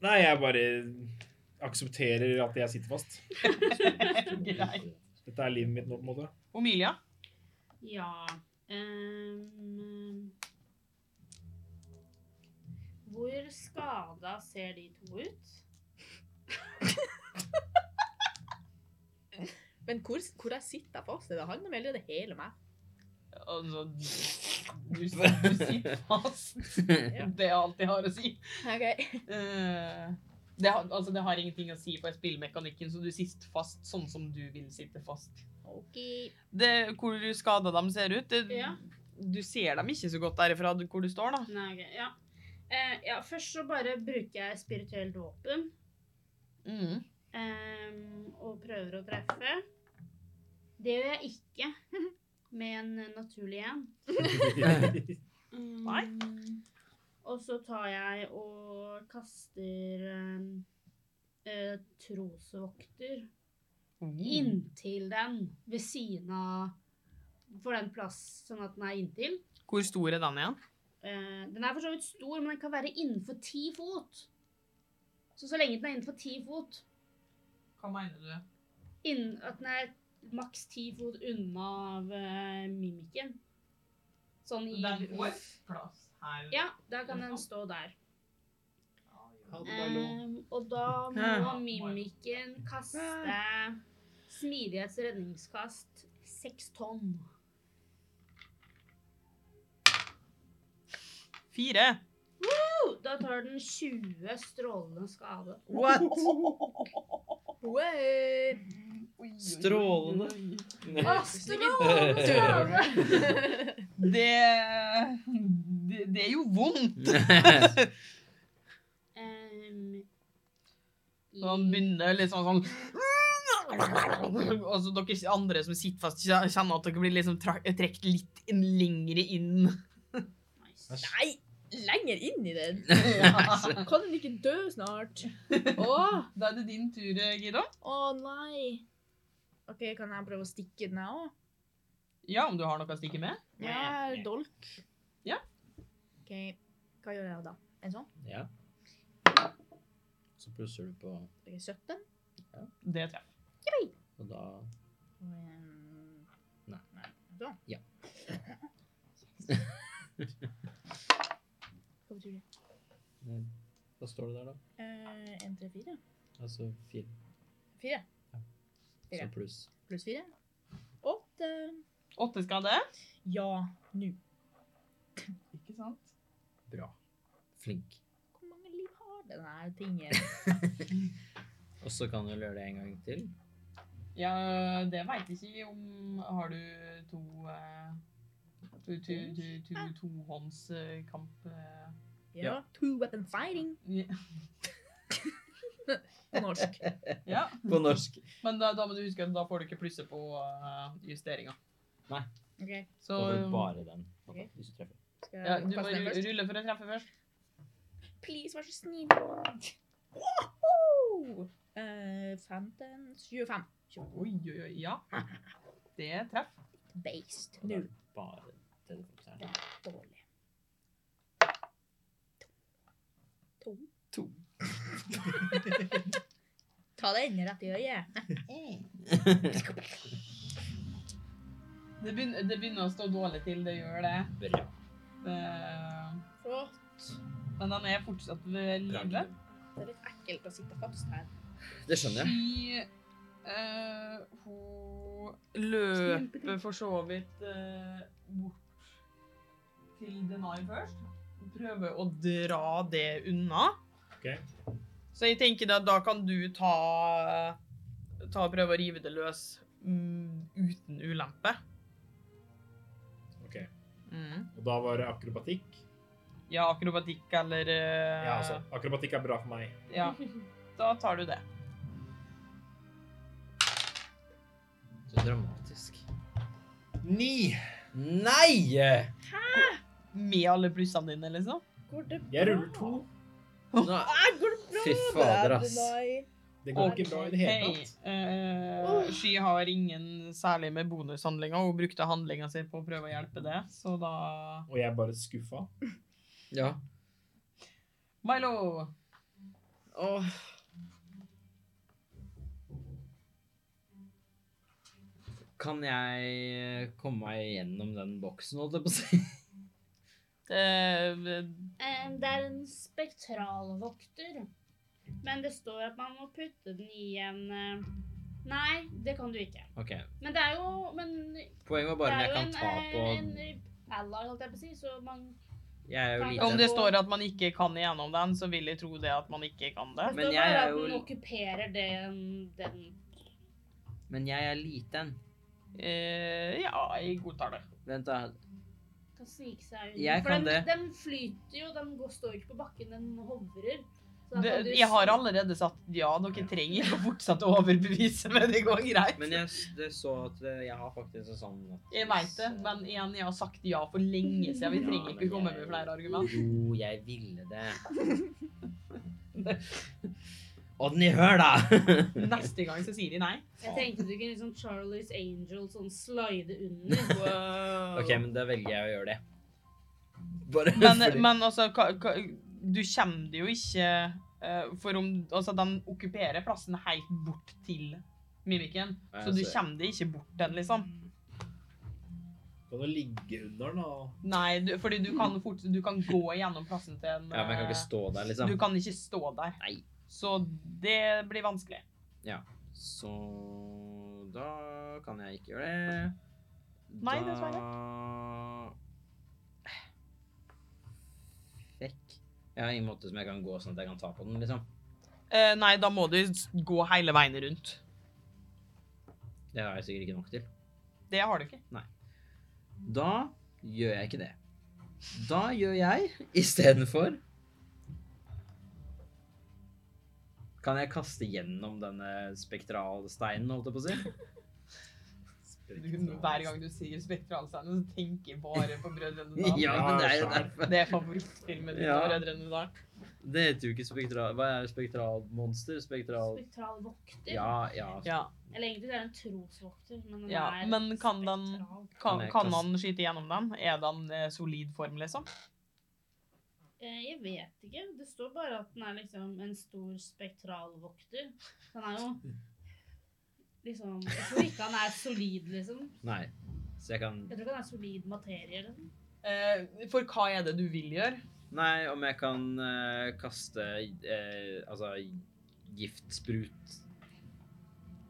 Nei, jeg bare aksepterer at jeg sitter fast. Greit. Dette er livet mitt nå, på en måte. Omilia? Ja ehm, Hvor skada ser de to ut? Men hvor, hvor jeg sitter fast? Er det han som gjelder det hele meg? Altså Du, du sitter fast. Det er alt jeg har å si. Ok. Eh, det, har, altså, det har ingenting å si på spillmekanikken, så du sitter fast sånn som du vil sitte fast. Ok. Det, hvor skada de ser ut det, Ja. Du ser dem ikke så godt derifra du- hvor du står, da. Nei, ok, ja. Eh, ja, først så bare bruker jeg spirituelt våpen Mm. ehm, og prøver å treffe. Det gjør jeg ikke med en naturlig en. Nei. Mm. Og så tar jeg og kaster ehm, eh, trosvokter Mm. inntil den ved siden av For den plass sånn at den er inntil. Hvor stor er den igjen? Eh, den er for så vidt stor, men den kan være innenfor ti fot. Så så lenge den er innenfor ti fot, Hva mener du? innen at den er maks ti fot unna av eh, mimikken Sånn i plass her. Ja, da kan den stå der. Hallo. Eh, og da må Ja. mimikken kaste smidighets redningskast seks tonn. Fire. Oh, Da tar den 20 strålende skade. What? Wait. Strålende. Det, det Det er jo vondt! Ehm, i- Så han begynner liksom sånn Og så dere andre som sitter fast, kjenner at dere blir liksom tra- trukket litt inn, lengre inn. Nice. Nei, lenger inn i den. Da Kan den ikke dø snart? Å, er det din tur, eh, Gido. å nei. Ok, kan jeg prøve å stikke den her også? Ja, om du har noe å stikke med? Ja, jeg er dolk. Ja. Ok, hva gjør jeg da? En sånn? ja. Så plusser du på Ok, 17. Det tror jeg. Og da Og en- Nei. Sånn? Ja. Hva betyr det? Hva står det der, eh, da? Eh, 1, 3, 4. Altså fire. 4. Så Fire. pluss. Pluss 4. 8. Åtte skade. Ja, nå. Ikke sant? Bra. Flink. Hvor mange liv har denne tingen? Og så kan du vel gjøre det en gang til. Ja, det veit ikke om Har du to eh, to- to- to- to- Tohåndskamp eh, Ja. Two weapon fighting. På norsk. Ja. På norsk. Men da, da må du huske at da får du ikke plusse på uh, justeringa. Ok, Så Da får du bare den. Ok. Hvis du treffer. skal ja, jeg du må kaste den ru- først? rulle for å treffe først. Please, vær så snill. Woho! Eh, 15, 25. Oi, oi, oi. Ja. Det er treff. Based. Og da er Nå. det Bare telefonen. Dårlig. To. To. Ta den rett i øyet. Det begynner, det begynner å stå dårlig til. Det gjør det. Bra. det Flott. men han er fortsatt ved live. Bra. Det er litt ekkelt å sitte fast her. Det skjønner jeg. Fy eh, Hun løper for så vidt eh, bort til Denai først. Hun prøver å dra det unna. Ok. Så jeg tenker da, da kan du ta, ta og prøve å rive det løs mm, uten ulempe. Ok. Mm. Og da var det akrobatikk. Ja, akrobatikk eller eh, Ja, altså. Akrobatikk er bra for meg. ja. Da tar du det. Så dramatisk. Ni! Nei! Med alle plussene dine, liksom. Går det Jeg ruller to. Nå, Nei, går det bra? Fy fader, ass. Brandonai? Det går ikke bra i det hele Hei, tatt. eh, Sky har ingen særlig med bonushandlinga. Hun brukte handlinga si på å prøve å hjelpe det, så da Og jeg er bare skuffa. ja. Milo! Åh. Kan jeg eh, komme meg gjennom den boksen, holdt jeg på å si? Eh, Eh, Det er en spektralvokter. Men det står at man må putte den i en eh, Nei, det kan du ikke. Ok, Men det er jo Men poenget var bare om det er jo jeg kan ta på... en, eh, en ally, holdt jeg på å si, så man Jeg er jo Om om lite... det står at man ikke kan igjennom den, så vil jeg tro det at man ikke kan det. Det Men står jeg bare er at jo- den okkuperer den, den Men jeg er liten. Eh, ja, jeg godtar det. Vent da. kan snike seg unna. Jeg For kan den, det. den flyter jo, den går, står ikke på bakken, den hovrer. Så da det. kan du Jeg har snike- allerede sagt ja, dere trenger ikke å fortsette å overbevise, men det går greit. Men jeg s- det så at eh, jeg har faktisk en sånn... Jeg veit det, men igjen, jeg har sagt ja for lenge siden. Vi Ja, trenger men ikke komme jeg- med flere argument. Jo, jeg ville det. Odny, hør da! Neste gang så sier de nei. Jeg tenkte du kunne liksom Charlie's Angel sånn slide under. ok, men da velger jeg å gjøre det. Bare Men, fordi- men altså, hva, hva, du kommer det jo ikke eh, For om Altså, de okkuperer plassen helt bort til mimikken. Nei, Så du altså- kommer det ikke bort den, liksom. Kan du ligge under den og Nei, du, fordi du kan, fort, du kan gå gjennom plassen til en Ja, men jeg kan eh, ikke stå der, liksom. Du kan ikke stå der. Nei. Så det blir vanskelig. Så da kan jeg ikke gjøre det. Nei, dessverre. Da Fikk. Jeg har ingen måte som jeg kan gå sånn at jeg kan ta på den, liksom. Eh, nei, da må du s- gå hele veien rundt. Det har jeg sikkert ikke nok til. Det har du ikke. Da gjør jeg ikke det. Da gjør jeg istedenfor Kan jeg kaste gjennom denne spektralsteinen, holdt jeg på å si? Du, hver gang du sier spektralsteinen, så tenker jeg bare på Brødrene Dal. Ja, men det er jo Ja, derfor. Det er favorittfilmen min. Ja. Brødrene Dal. Det heter jo ikke spektral... Hva er spektralmonster? Spektral... Spektralvokter. Ja, ja. Ja. Eller egentlig det er en trosvokter, men den Ja, er men kan den- spektral. Kan Kan, jeg kan kaste- han skyte gjennom den? Er den eh, solid form, liksom? Eh, Jeg vet ikke. Det står bare at den er liksom en stor spektralvokter. Den er jo liksom Jeg tror ikke han er solid, liksom. Nei. Så jeg kan Jeg tror ikke han er solid materie. Liksom. Eh, for hva er det du vil gjøre? Nei, om jeg kan eh, kaste eh, altså giftsprut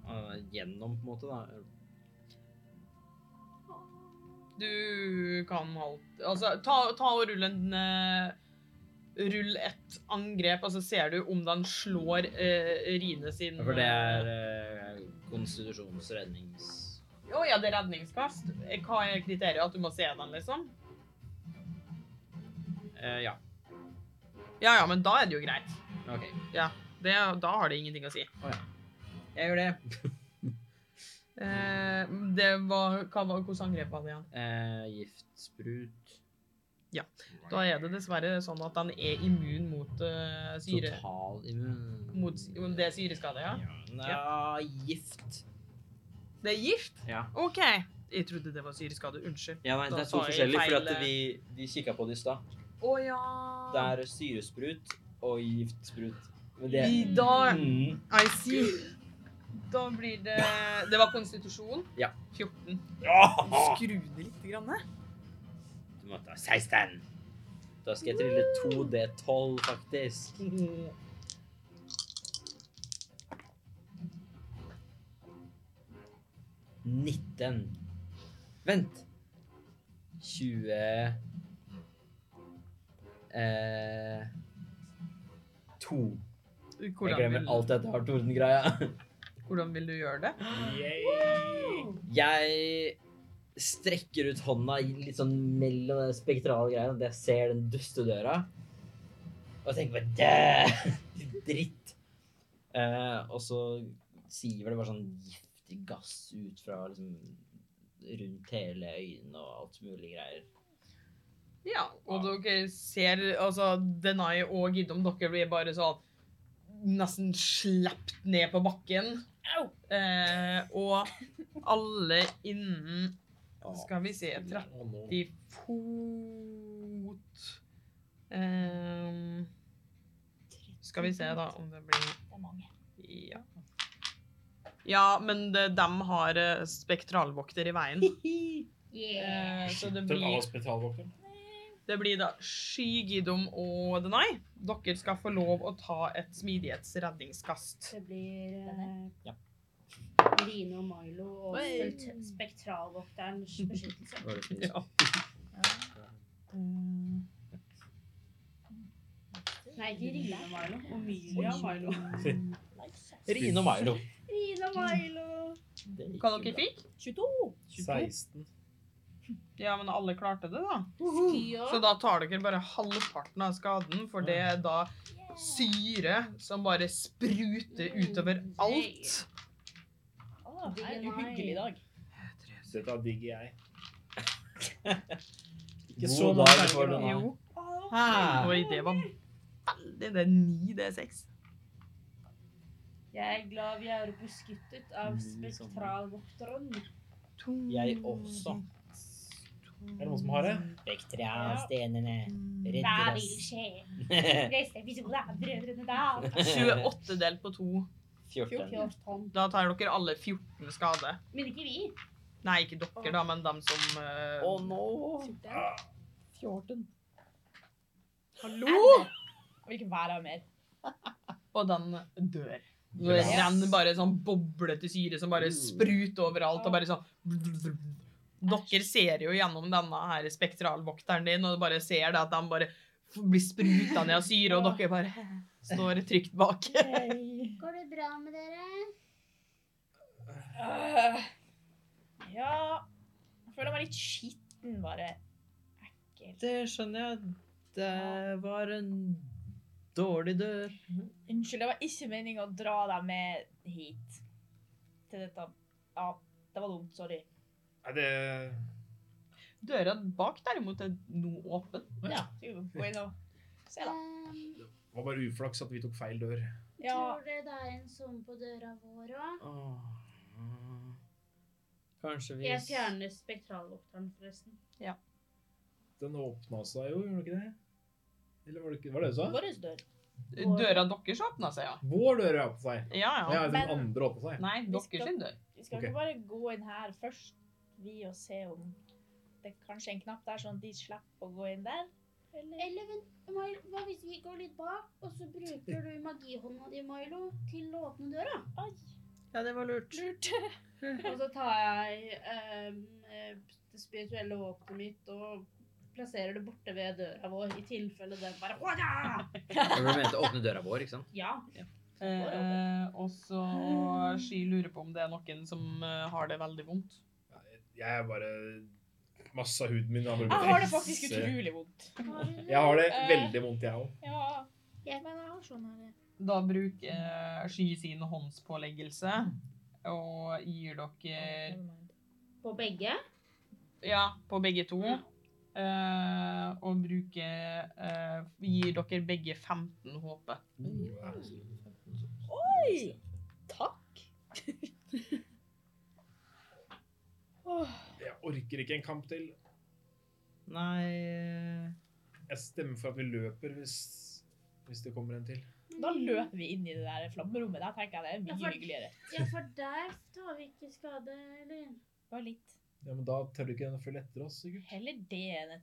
eh, gjennom, på en måte, da. Du kan holdt... Altså, ta, ta og rull en eh, Rull et angrep, og så ser du om den slår eh, Rine sin Ja, For det er eh, konstitusjonsrednings... Å ja, det er redningskast. Eh, Hva er kriteriet? At du må se den, liksom? Eh, ja, Ja ja, men da er det jo greit. ok. Det, da har det ingenting å si. Jeg gjør det. Eh, det var, hva var Hvilket angrep var det igjen? Eh, giftsprut. Da er det dessverre sånn at den er immun mot eh, syre. Totalimmun. Mot, om det er syreskade, ja? Nei, gift. Det er gift? Ja. OK. Jeg trodde det var syreskade. Unnskyld. Ja, nei, Da det er sa to jeg forskjellige, fordi feil, at vi, vi kikket på det i stad. Å ja. Det er syresprut og giftsprut. Men det I dag Mm. I see. Da blir det Det var konstitusjon? Ja. 14. Ja! Skru det lite grann ned. Du må ta 16. Da skal jeg trille 2D12, faktisk. Nitten. Vent. 20 eh, To. Jeg Hvordan glemmer vil, alltid at jeg har tordengreia. hvordan vil du gjøre det? Yay! Jeg strekker ut hånda i- litt sånn mellom den spektrale greia, og jeg ser den duste døra. Og jeg tenker bare Dæ! Dritt! Eh, og så siver det bare sånn giftig gass ut fra liksom rundt hele øynene og alt mulig greier. Ja, og dere ser altså Denai og Gidom, dere blir bare sånn nesten slept ned på bakken. Eh, og alle innen Skal vi se 30 Å, nå. fot Ehm, Skal vi se, da, om det blir Det er mange. Ja. Ja, men de, har eh, spektralvokter i veien. Yeah. Eh, så det Den blir hospitalvokten. Det blir da Sky, Gidom og Denai. Dere skal få lov å ta et smidighetsredningskast. Det blir Denne? eh, Line og Milo og Oi. spekt- Spektralvokterens beskyttelse. Var det fint? Ja. Nei, ikke Rine og Milo. Omilia og Milo. Rine og Milo. Rine og Milo. Det gikk Hva jo dere bra. fikk? 22. 16. Ja, men alle klarte det, da. Mm. Skia. Så da tar dere bare halvparten av skaden, for det er da syre som bare spruter utover alt. Å, det er en Nei. uhyggelig dag. Dette er digg jeg. Ikke God så dag mange for for den, den. Jo. Hæ? Oi, det var veldig Det er ni, det er seks. Jeg er glad vi er beskyttet Mm, av spektralvokteren. To, Jeg også. Er det noen som har det? Spektralstenene Hva redder vil oss. skje? Neste episode er Brødrene Dal. 28 delt på to. 14. 14. Da tar dere alle 14 skade. Men ikke vi. Nei, ikke dere, da, men dem som eh, Å nå! 14. Hallo! Hvilken vær er mer? Og den dør. Det Yes. renner bare sånn boblete syre som bare spruter overalt. og bare sånn... Dere ser jo gjennom denne her spektralvokteren din, og bare ser det at de bare f- blir spruta ned av syre, og dere bare står trygt bak. Går det bra med dere? Øh, ja Jeg føler meg litt skitten, bare. Det skjønner jeg. Det var en dårlig dør. Unnskyld, det var ikke meningen å dra deg med hit. Til dette Ja, det var dumt. Sorry. Er det Døra bak derimot er nå åpen. Ja, skal vi gå inn og se, da. Um, Det var bare uflaks at vi tok feil dør. Ja, Tror dere det er en sånn på døra vår òg? Åh. Kanskje vi Jeg fjerner spektralvokteren, forresten. Den åpna seg jo, gjorde den ikke det? Eller var det ikke Var det du sa? vår dør. Døra deres åpna seg, ja. Vår dør åpna seg. Ja, Ja, ja. den andre åpna seg. Nei, deres sin dør. Vi skal Ok. ikke bare gå inn her først, vi, og se om det er kanskje en knapp der, sånn at de slipper å gå inn der? Eller? Eller vent, Milo, hva hvis vi går litt bak, og så bruker du magihånda di, Milo, til å åpne døra? Ai, Ja, det var lurt. lurt. Og så tar jeg ehm, eh, det spirituelle våpenet mitt og plasserer det borte ved døra vår, i tilfelle den bare Åja! Du mente åpne døra vår, ikke sant? Ja. Eh, og så Sky lurer på om det er noen som eh, har det veldig vondt. Jeg er bare Masse av huden min har bare Jeg har det faktisk Esse. utrolig vondt. Har du Jeg det? har det Eh. veldig vondt, jeg òg. Ja. Jeg Men jeg har sånn her. Da bruker eh, Sky sin håndspåleggelse og gir dere På begge? Ja, på begge to. Eh, og bruker eh, Gir dere begge 15 HP. Mm. Oi! Takk. Åh, Jeg orker ikke en kamp til. Nei Jeg stemmer for at vi løper hvis, hvis det kommer en til. Mm. da løper vi inn i det der flammerommet. Der tenker jeg det Mm. Ja, er for- mye hyggeligere. Ja, for der tar vi ikke skade, eller? Bare litt Ja, men Da tør ikke den å følge etter oss, sikkert. heller det enn et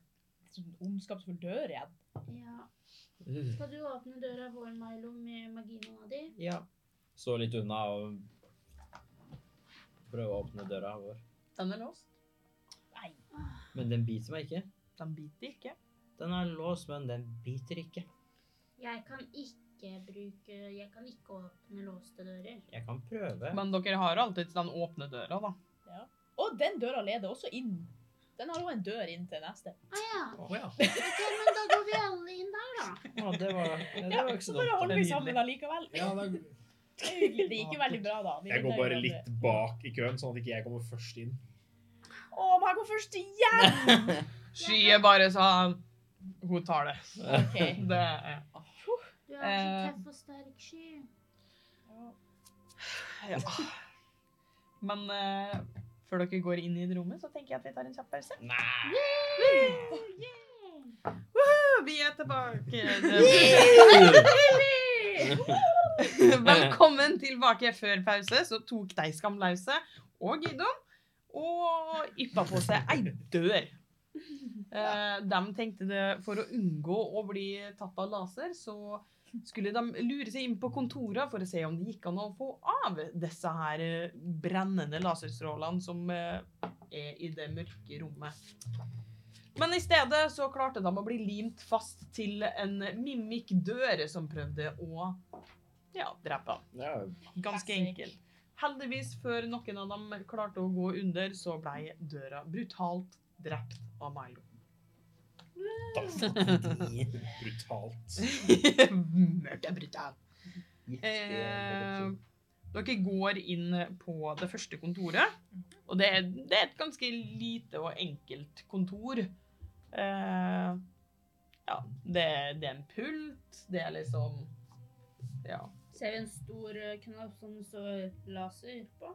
sånn ondskapsfull dør igjen. Ja. eh, Skal du åpne døra vår, Milo, med magihånda di? Ja. Stå litt unna og prøve å åpne døra vår. Den er låst. Men den biter meg ikke. Den biter ikke. Den er låst, men den biter ikke. Jeg kan ikke bruke Jeg kan ikke åpne låste dører. Jeg kan prøve. Men dere har alltid den åpne døra, da. Og den døra leder også inn. Den har også en dør inn til neste. Ah, ja. Å ja. Ok, men da går vi alle inn der, da. Å, det var, ja, det Ja, var ikke så så bare holder vi dumt. sammen allikevel. ja det er... Det er hyggelig. Det gikk jo veldig bra, da. Vi Jeg går redda bare hverandre. litt bak i køen, sånn at ikke jeg kommer først inn. Å, men jeg går først igjen! Sky er bare sånn Hun tar det. Ok. Det er Du er så Eh. tøff og sterk, Sky. Ja. Men eh, før dere går inn i det rommet, så tenker jeg at vi tar en kjapp pause. Nei. Woohoo, Vi er tilbake! Velkommen tilbake før pause. Så tok de skamlause og Gidon og yppa på seg ei dør. Eh, de tenkte det for å unngå å bli tatt av laser, så skulle de lure seg inn på kontorene for å se om det gikk an å få av disse her eh, brennende laserstrålene som eh, er i det mørke rommet. Men i stedet så klarte de å bli limt fast til en mimikk-dør som prøvde å ja, drepe ham. Ja, Ganske Classic. enkelt. Heldigvis, før noen av dem klarte å gå under, så ble døra brutalt drept av Milo. Brutalt. Mørkt er brutalt. Eh, Giftig. dere går inn på det første kontoret, og det er, det er et ganske lite og enkelt kontor. Eh, ja, det, det er en pult, det er liksom Ja. Ser vi en stor eh, knapp som det står laser på?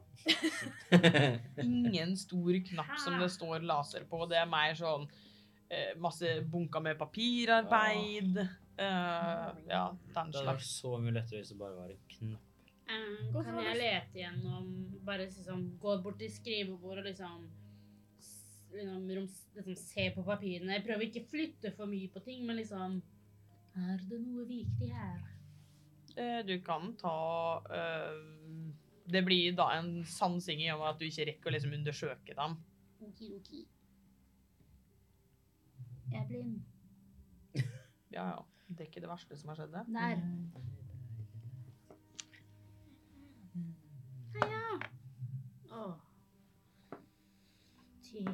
Eh, Ingen stor knapp som det står laser på. Det er mer sånn eh, masse bunker med papirarbeid. Eh, ja, den Det hadde vært slags. så mye lettere hvis det bare var en knapp. Eh, Gå kan for jeg det. lete gjennom Bare liksom gå bort til skrivebordet og liksom s- Liksom, roms- liksom se på papirene. Jeg prøver ikke å flytte for mye på ting, men liksom Er det noe viktig her? Eh, du kan ta eh, Det blir da en sansing i og med at du ikke rekker å liksom undersøke dem. Okidoki. Jeg er blind. Ja, ja. Det er ikke det verste som har skjedd. det. Der. Heia! Mm. Åh. Ti.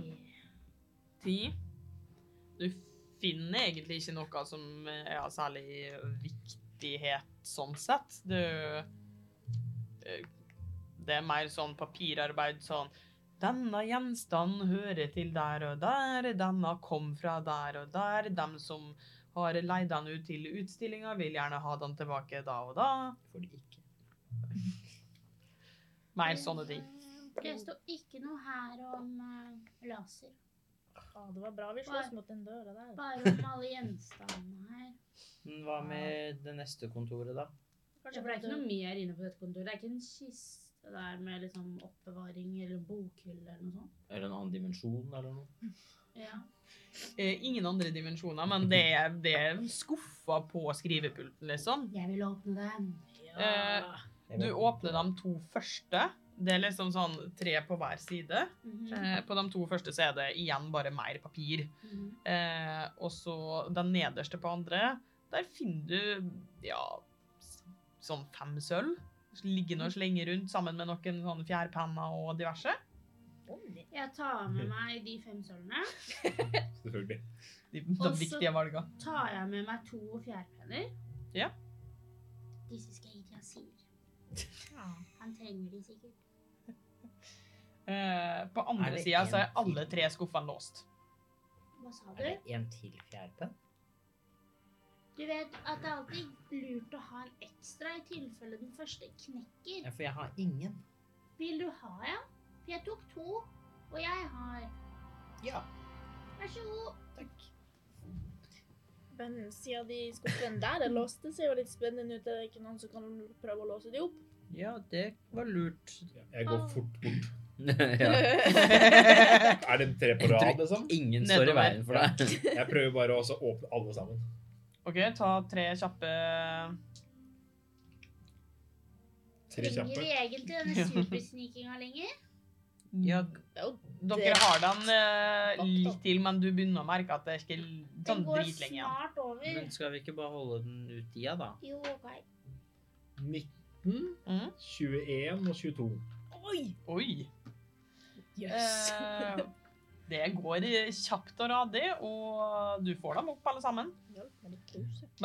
Ti. Du finner egentlig ikke noe som er av særlig viktighet sånn sett. Du eh, Det er mer sånn papirarbeid sånn Denne gjenstanden hører til der og der, denne kom fra der og der, dem som har leid den ut til utstillinga, vil gjerne ha den tilbake da og da. Får de ikke. Mer sånne ting. Det står ikke noe her om eh, laser. Ah, det var bra vi sloss mot den døra der. Bare om alle gjenstandene her. Men Hva med det neste kontoret, da? Kanskje for det er ikke noe mer inne på dette kontoret. Det er ikke en kiste der med liksom oppbevaring eller bokhylle eller noe sånt. Eller en annen dimensjon, eller noe? Ja. Eh, ingen andre dimensjoner, men det er, det er skuffer på skrivepulten, liksom. Jeg vil åpne den. Eh, Du åpner de to første. Det er liksom sånn tre på hver side. Eh, på de to første så er det igjen bare mer papir. Mhm. Eh, og så den nederste på andre, der finner du ja, s- sånn fem sølv. Liggende og slenge rundt sammen med noen sånne fjærpenner og diverse. Jeg tar med meg de fem sølvene. Selvfølgelig. De, de Og så- viktige valgene. tar jeg med meg to fjærpenner. Ja. Disse skal jeg gi til Asir. Han trenger de sikkert. Eh, på andre Er det sida så en er alle tre skuffene låst. Hva sa Er du? det en til fjærpenn? Du vet at det er alltid lurt å ha en ekstra i tilfelle den første knekker. Ja, for jeg har ingen. Vil du ha en? For jeg tok to, og jeg har Ja. Vær så god. Men siden de skuffene der er låste, ser jo litt spennende ut. Er det ikke noen som kan prøve å låse de opp? Ja, det var lurt. Jeg går fort bort. ja. Er det tre på rad, liksom? Ingen står i Nedover. veien for deg. Jeg prøver bare å så åpne alle sammen. OK, ta tre kjappe Tre Trenger kjappe. vi egentlig denne supersnikinga lenger? Ja, dere har den eh, litt til, men du begynner å merke at det er ikke l- Den sånn går dritlenge igjen. snart over. Men skal vi ikke bare holde den ut tida, da? Jo, OK. 19, Mm. 21 og 22. Oi! Eh, det går eh, kjapt og radig, og du får dem opp alle sammen. Eh.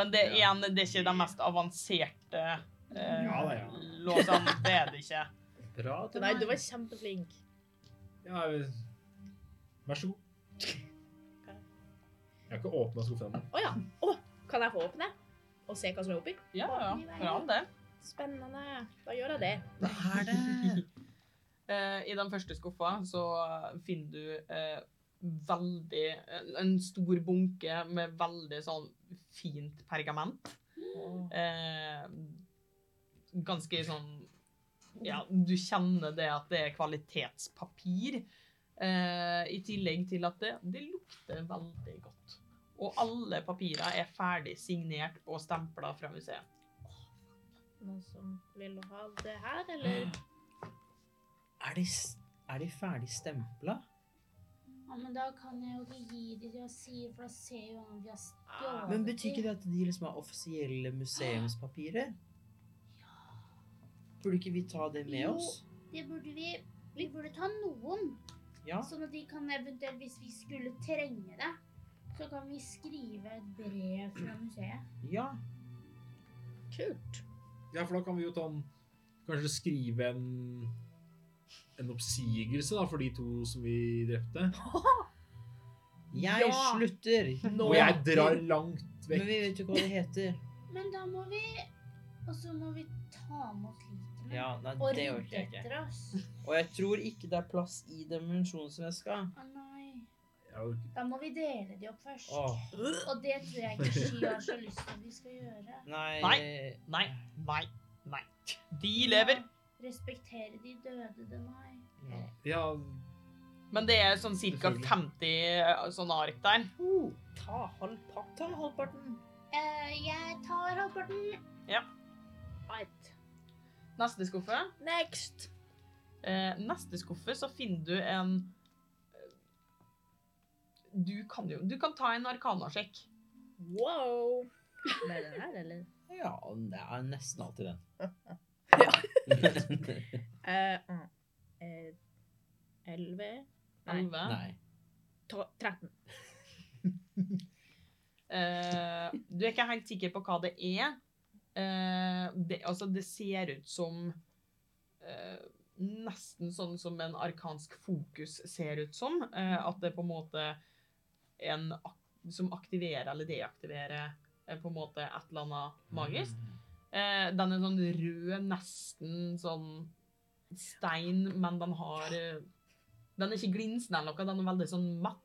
Men det, Ja. igjen, det er ikke de mest avanserte eh, Ja da, ja. låsene. Det er det ikke. Bra. Det Nei, du var kjempeflink. Ja, vær så god. Jeg har ikke åpna skuffen ennå. Å ja. Å, kan jeg få åpne og se hva som er oppi? Ja, ja. Bra, det. Spennende. Da gjør jeg det. Hva er det? Eh, I den første skuffa så finner du eh, veldig en- En stor bunke med veldig sånn fint pergament. Eh, ganske sånn Ja, du kjenner det at det er kvalitetspapir. Eh, I tillegg til at det, det lukter veldig godt. Og alle papirer er ferdig signert og stempla fra museet. Noen som vil ha det her, eller? Er de, s- er de ferdig stempla? Ja, men da kan jeg jo ikke gi de til å si, for da ser jo han at vi har stjålet Ah. Men betyr ikke de. det at de liksom har offisielle museumspapirer? Burde ikke vi ta det med Jo. oss? Det burde vi Vi burde ta noen, Ja. sånn at de kan eventuelt, hvis vi skulle trenge det, så kan vi skrive et brev fra museet. ja. Kult. Ja, for da kan vi jo ta en, kanskje skrive en, en oppsigelse da, for de to som vi drepte. Jeg Ja. slutter! Og jeg drar langt Men vekk. vi vet jo ikke hva det heter. Men da må vi Og så må vi ta med oss likene. Ja, nei, og det rydde orker jeg ikke. etter oss. Og jeg tror ikke det er plass i dimensjonsveska. Å nei. Ja, ok. Da må vi dele de opp først. Åh, Og det tror jeg ikke Sky har så lyst til at vi skal gjøre. nei. Nei. Nei, nei, nei. De lever. Respektere de døde, det nei. Ja. ja, Men det er sånn ca. Selvfølgelig. 50 sånne sånn ark der. Uh, Ta halvparten. Ta halvparten. Eh, jeg tar halvparten. Right. Neste skuffe. Next. Eh, neste skuffe så finner du en eh, Du kan jo Du kan ta en arkanasjekk. Wow. Med den her, eller? ja, det er nesten alltid den. Eh, mm. Eh, 11 Nei. Elleve. nei. to- 13. Eh, du er ikke helt sikker på hva det er. Eh, det, altså, det ser ut som eh, Nesten sånn som en arkansk fokus ser ut som. Eh, at det på en måte er en ak som aktiverer eller deaktiverer eh, på en måte et eller annet magisk. Eh, den er sånn rød, nesten sånn stein, men den har eh, Den er ikke glinsende eller noe, den er veldig sånn matt.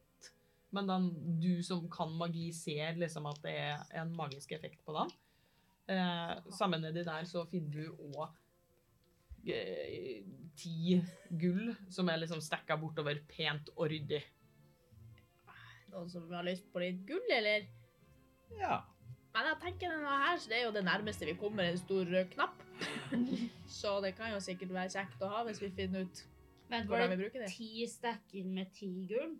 Men den, du som kan magi, ser liksom at det er en magisk effekt på den. Eh, sammen med de der så finner du òg eh, ti gull som er liksom stekka bortover pent og ryddig. Noen som har lyst på litt gull, eller? Ja. Men jeg tenker denne her, så det er jo det nærmeste vi kommer en stor rød knapp. Så det kan jo sikkert være kjekt å ha hvis vi finner ut Vent, var hvordan vi det bruker det. ti stacker med ti gull?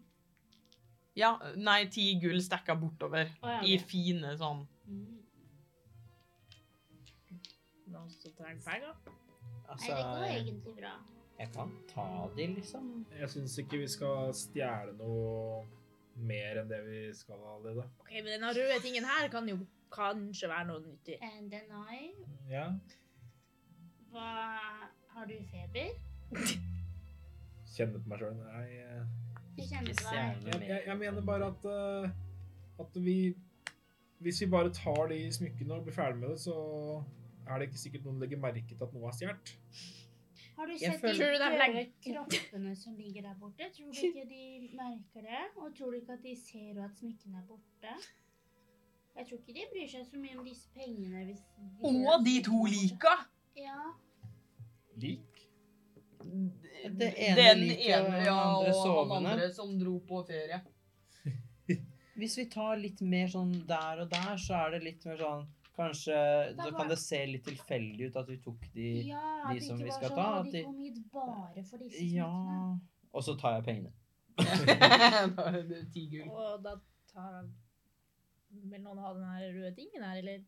Ja, nei, ti gull stekka bortover Å, ja, i ok. fine sånn Mm. Noen som trenger penger. Nei, det går egentlig bra. Altså, jeg kan ta de, liksom. jeg syns ikke vi skal stjele noe mer enn det vi skal allerede. Ok, men denne røde tingen her kan jo kanskje være noe nyttig. And then I Ja. Hva Har du feber? Kjenne på meg sjøl. Nei, eh, Jeg kjenner Ikke på deg. stjerne jeg, jeg, mer. jeg mener bare at, eh, at vi Hvis vi bare tar de smykkene og blir ferdig med det, så er det ikke sikkert noen legger merke til at noe er stjålet. Har du Jeg sett føler- de Tror du det er døde lenge? kroppene som ligger der borte? Tror du ikke de merker det? Og tror du ikke at de ser at smykkene er borte? Jeg tror ikke de bryr seg så mye om disse pengene hvis de Og de to lika! Ja. Lik? Det ene liket og den andre sovende. som dro på ferie. Hvis vi tar litt mer sånn der og der, så er det litt mer sånn Kanskje Da kan det se litt tilfeldig ut at vi tok de ja at de det som ikke vi var skal sånn, ta, «Å, at De de- kom hit bare for disse Ja. smykkene. Og så tar jeg pengene. Da er det ti gull. Og da tar jeg... Vil noen ha den her røde tingen her, eller?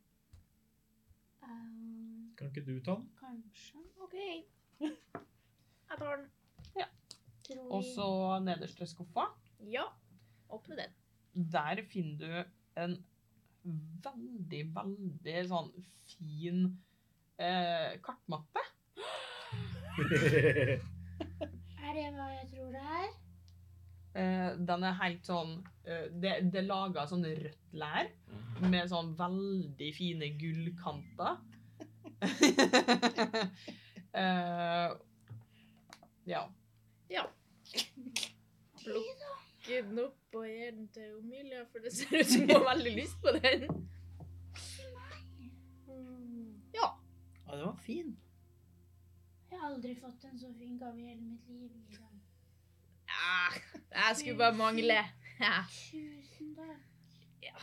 Ehm, Kan ikke du ta den? kanskje. Ok. Jeg tar den. Tror vi- Og så nederste skuffa. Ja. Åpne den. Der finner du en veldig, veldig sånn fin eh, kartmappe. Er det hva jeg tror det er? Eh, den er helt sånn eh, Det, det er laga sånn rødt lær med sånn veldig fine gullkanter. eh, ja. Plukker den opp og gir den til Omilia, for det ser ut som hun har veldig lyst på den. Mm. Å, den var fin. Jeg har aldri fått en så fin gave i hele mitt liv. Ida. Ja, det Ah, skulle bare mangle. Ja. Tusen takk.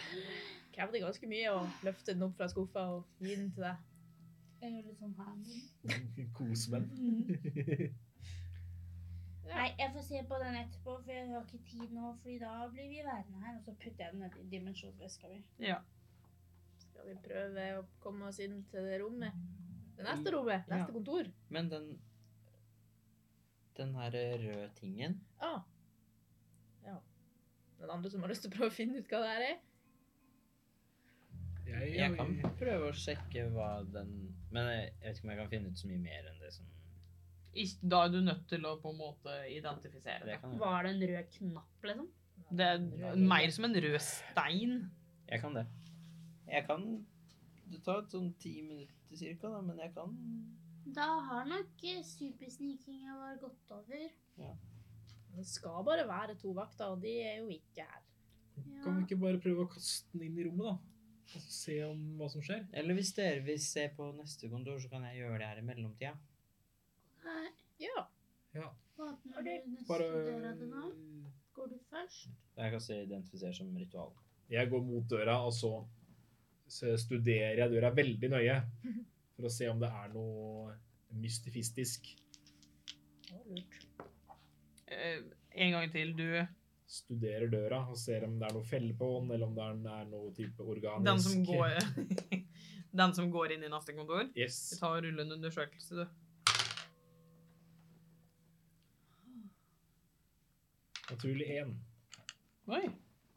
Krevde ganske mye å løfte den opp fra skuffa og gi den til deg. Jeg gjør litt sånn her. Kosmenn. Mm. Nei, jeg får se på den etterpå, for jeg har ikke tid nå. Fordi da blir vi værende her, og så putter jeg den ned i dimensjonsveska mi. Skal vi prøve å komme oss inn til det rommet? Det neste rommet, Mm, Ja. neste kontor. Men den den her røde tingen Ah. Ja. Den andre som har lyst til å prøve å finne ut hva det her er? Jeg, Jeg kan prøve å sjekke hva den Men jeg jeg vet ikke om jeg kan finne ut så mye mer enn det som Ikke- Da er du nødt til å på en måte identifisere det det. kan. jeg. Var det en rød knapp, liksom? Det er mer som en rød stein. Jeg kan det. Jeg kan Det tar et sånn ti minutter cirka, da, men jeg kan Da har nok eh, supersnikinga vår gått over. Det skal bare være to vakter, og de er jo ikke her. kan vi Ja. ikke bare prøve å kaste den inn i rommet, da? Og så se om hva som skjer? Eller hvis dere vil se på neste kontor, så kan jeg gjøre det her i mellomtida. Nei, Ja. åpner du neste Bare døra til nå? Går du først? Jeg kan se identifisere som ritual. Jeg går mot døra, og så så studerer jeg døra veldig nøye for å se om det er noe mystifistisk. Eh, en gang til, du. Studerer døra og ser om det er noe felle på den, eller om det er- er noe type organisk Den som går, den som går inn i neste kontor. Yes. Ta og rulle en undersøkelse, du. Naturlig én. Oi.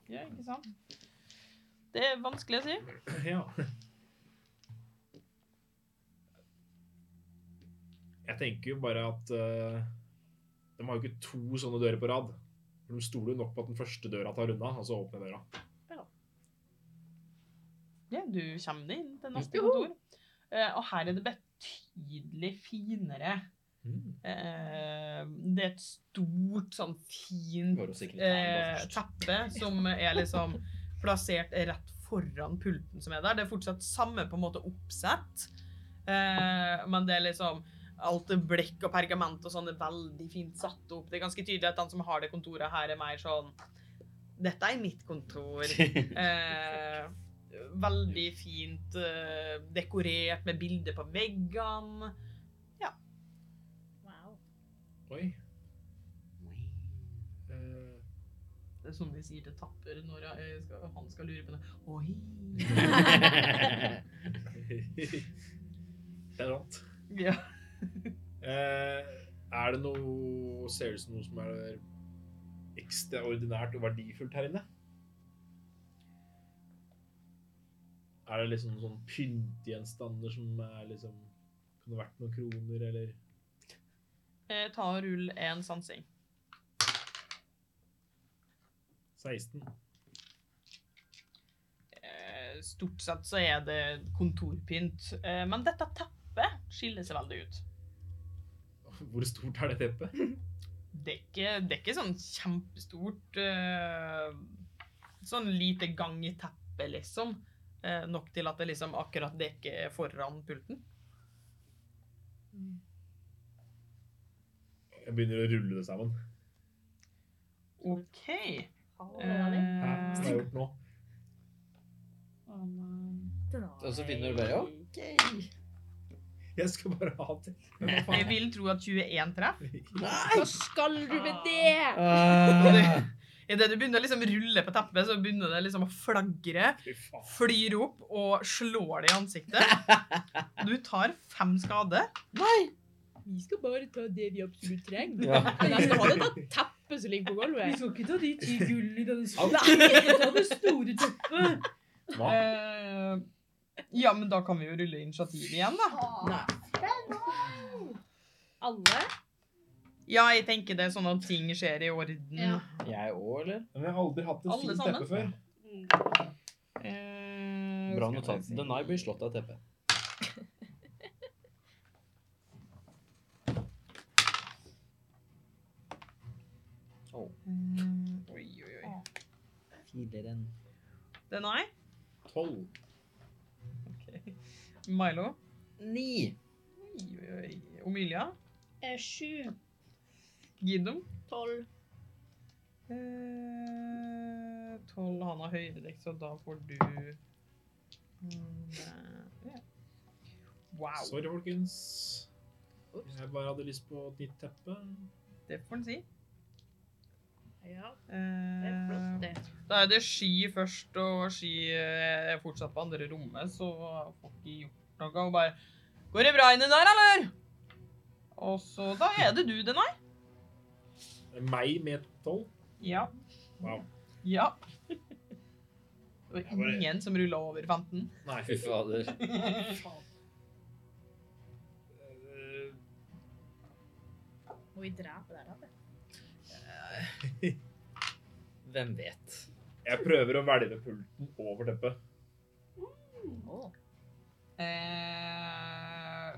Ja, ikke sant? Det er vanskelig å si. Ja. Jeg tenker jo bare at eh, De har jo ikke to sånne dører på rad. For De stoler jo nok på at den første døra tar unna, og så åpner døra. Ja, du kommer deg inn til neste kontor. Eh, og her er det betydelig finere. Eh, det er et stort, sånn fint Går og sekretæren eh, går først. teppe som er liksom plassert rett foran pulten som er der. Det er fortsatt samme på en måte oppsett, eh, men det er liksom alt det blekk og pergament og sånn er veldig fint satt opp. Det er ganske tydelig at den som har det kontoret her er mer sånn, dette er mitt kontor. Eh, veldig fint eh, dekorert med bilder på veggene. Wow. Oi. Eh, Det er sånn de sier til Tapper når jeg skal, han skal lure på det. Oi! det er sant. Ja. Eh, er det noe Ser det ut som noe som er ekstraordinært og verdifullt her inne? Er det liksom sånn pyntegjenstander som er liksom Kunne vært noen kroner, eller Eh, ta og rull en sansing. 16? Eh, stort sett så er det kontorpynt, eh, men dette teppet skiller seg veldig ut. Hvor stort er det teppet? Det er ikke, det er ikke sånn kjempestort eh, Sånn lite gang i teppet, liksom. Eh, nok til at det liksom akkurat dekker foran pulten. Jeg begynner å rulle det sammen. OK. Eh, Hæ? Hva har Eh, jeg gjort nå? Og så finner du bare OK. Jeg skal bare ha det. Men hva jeg faen? vil tro at 21 treffer. Nei! Hva skal du med det? Ah. Idet du begynner å liksom rulle på teppet, så begynner det liksom å flagre. Fy faen. Flyr opp og slår deg i ansiktet. Du tar fem skader. Vi skal bare ta det vi absolutt trenger. Ja. Men jeg skal ha det da teppet som ligger på gulvet. skal ikke ta de ti gullene i denne Au. Ta det store teppet. Hva? Eh, ja, men da kan vi jo rulle initiativ igjen, da. Nei. Alle? Ja, jeg tenker det er sånn at ting skjer i orden. Ja. Jeg òg, eller? Men jeg har aldri hatt et Alle fint sammen? teppe før. Eh, skal Bra jeg bare notat. si. Denai blir slått av teppet. Mm, Oi, oi, oi. Tidligere enn Den er. Tolv. Milo. Ni. Oi, oi, oi. Omilia. Eh, Sju. Gidom. Tolv. Eh, Tolv. Han har høydedekk, så da får du Mm, der, ja. Wow. Sorry, folkens. Ops. Jeg bare hadde lyst på et nytt teppe. Det får en si. Ja, det er flott, Eh, det. da er det sky først, og sky eh, er fortsatt på andre rommet, så får ikke gjort noe. Og bare Går det bra inni der, eller? Og så Da er det du, Denai. Eh, Meg med tolv. Ja. Wow. Ja. Det Jeg var bare- ingen som rulla over 15. Nei, Fy fader. Eh, Må vi drepe der, da? Hvem vet? Jeg prøver å hvelve pulten over teppet. Eh,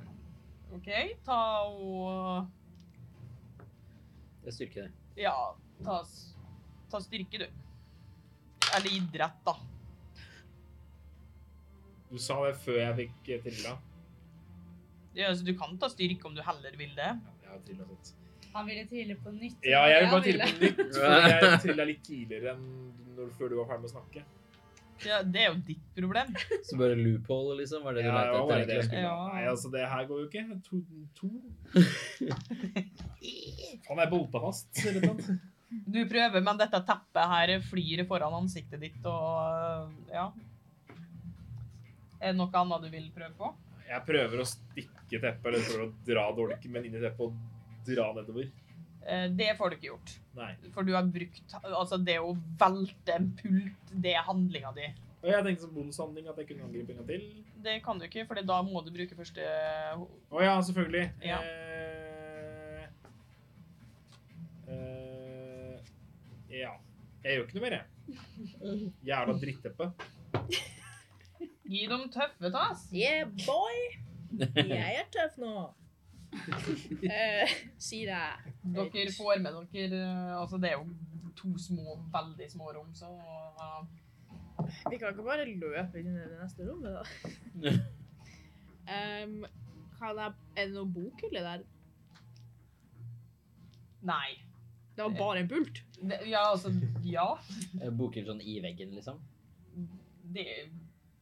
OK, ta og Det er styrke, det. Ja, ta, s- ta styrke, du. Eller idrett, da. Du sa det før jeg fikk eh, trilla. Ja, altså, du kan ta styrke om du heller vil det. Ja, jeg har trillet sånt. Han ville trille på nytt. Ja, jeg vil bare ville. trille på nytt, for jeg trilla litt tidligere enn når, før du var ferdig med å snakke. Ja, det er jo ditt problem. Så bare loophole, liksom? Var det du Ja, det lette var bare etter? egentlig? det. Ja. Nei, altså, det her går jo ikke. To. to. Faen, jeg bolta fast. rett og slett. Du prøver, men dette teppet her flyr foran ansiktet ditt, og ja. Er det noe annet du vil prøve på? Jeg prøver å stikke teppet, eller prøver å dra dolken min inn i teppet og dra nedover. Eh, Det får du ikke gjort. Nei. For du har brukt Altså, det å velte en pult, det er handlinga di. Og jeg tenkte som bonushandling at jeg kunne angripe en gang til. Det kan du ikke, for da må du bruke første Å ja, selvfølgelig. Ja. Eh, eh, ja. Jeg gjør ikke noe mer, jeg. Jævla dritteppe. Gi dem tøffe tas. Yeah, boy! Jeg er tøff nå. Eh, si det. Dere får med dere eh, Altså, det er jo to små, veldig små rom, så eh, Vi kan ikke bare løpe inn i det neste rommet, da. Em, kan jeg, er det noen bokhylle der? Nei. Det var bare en pult. Det, ja, altså Ja. Eh, Boker sånn i veggen, liksom? Det,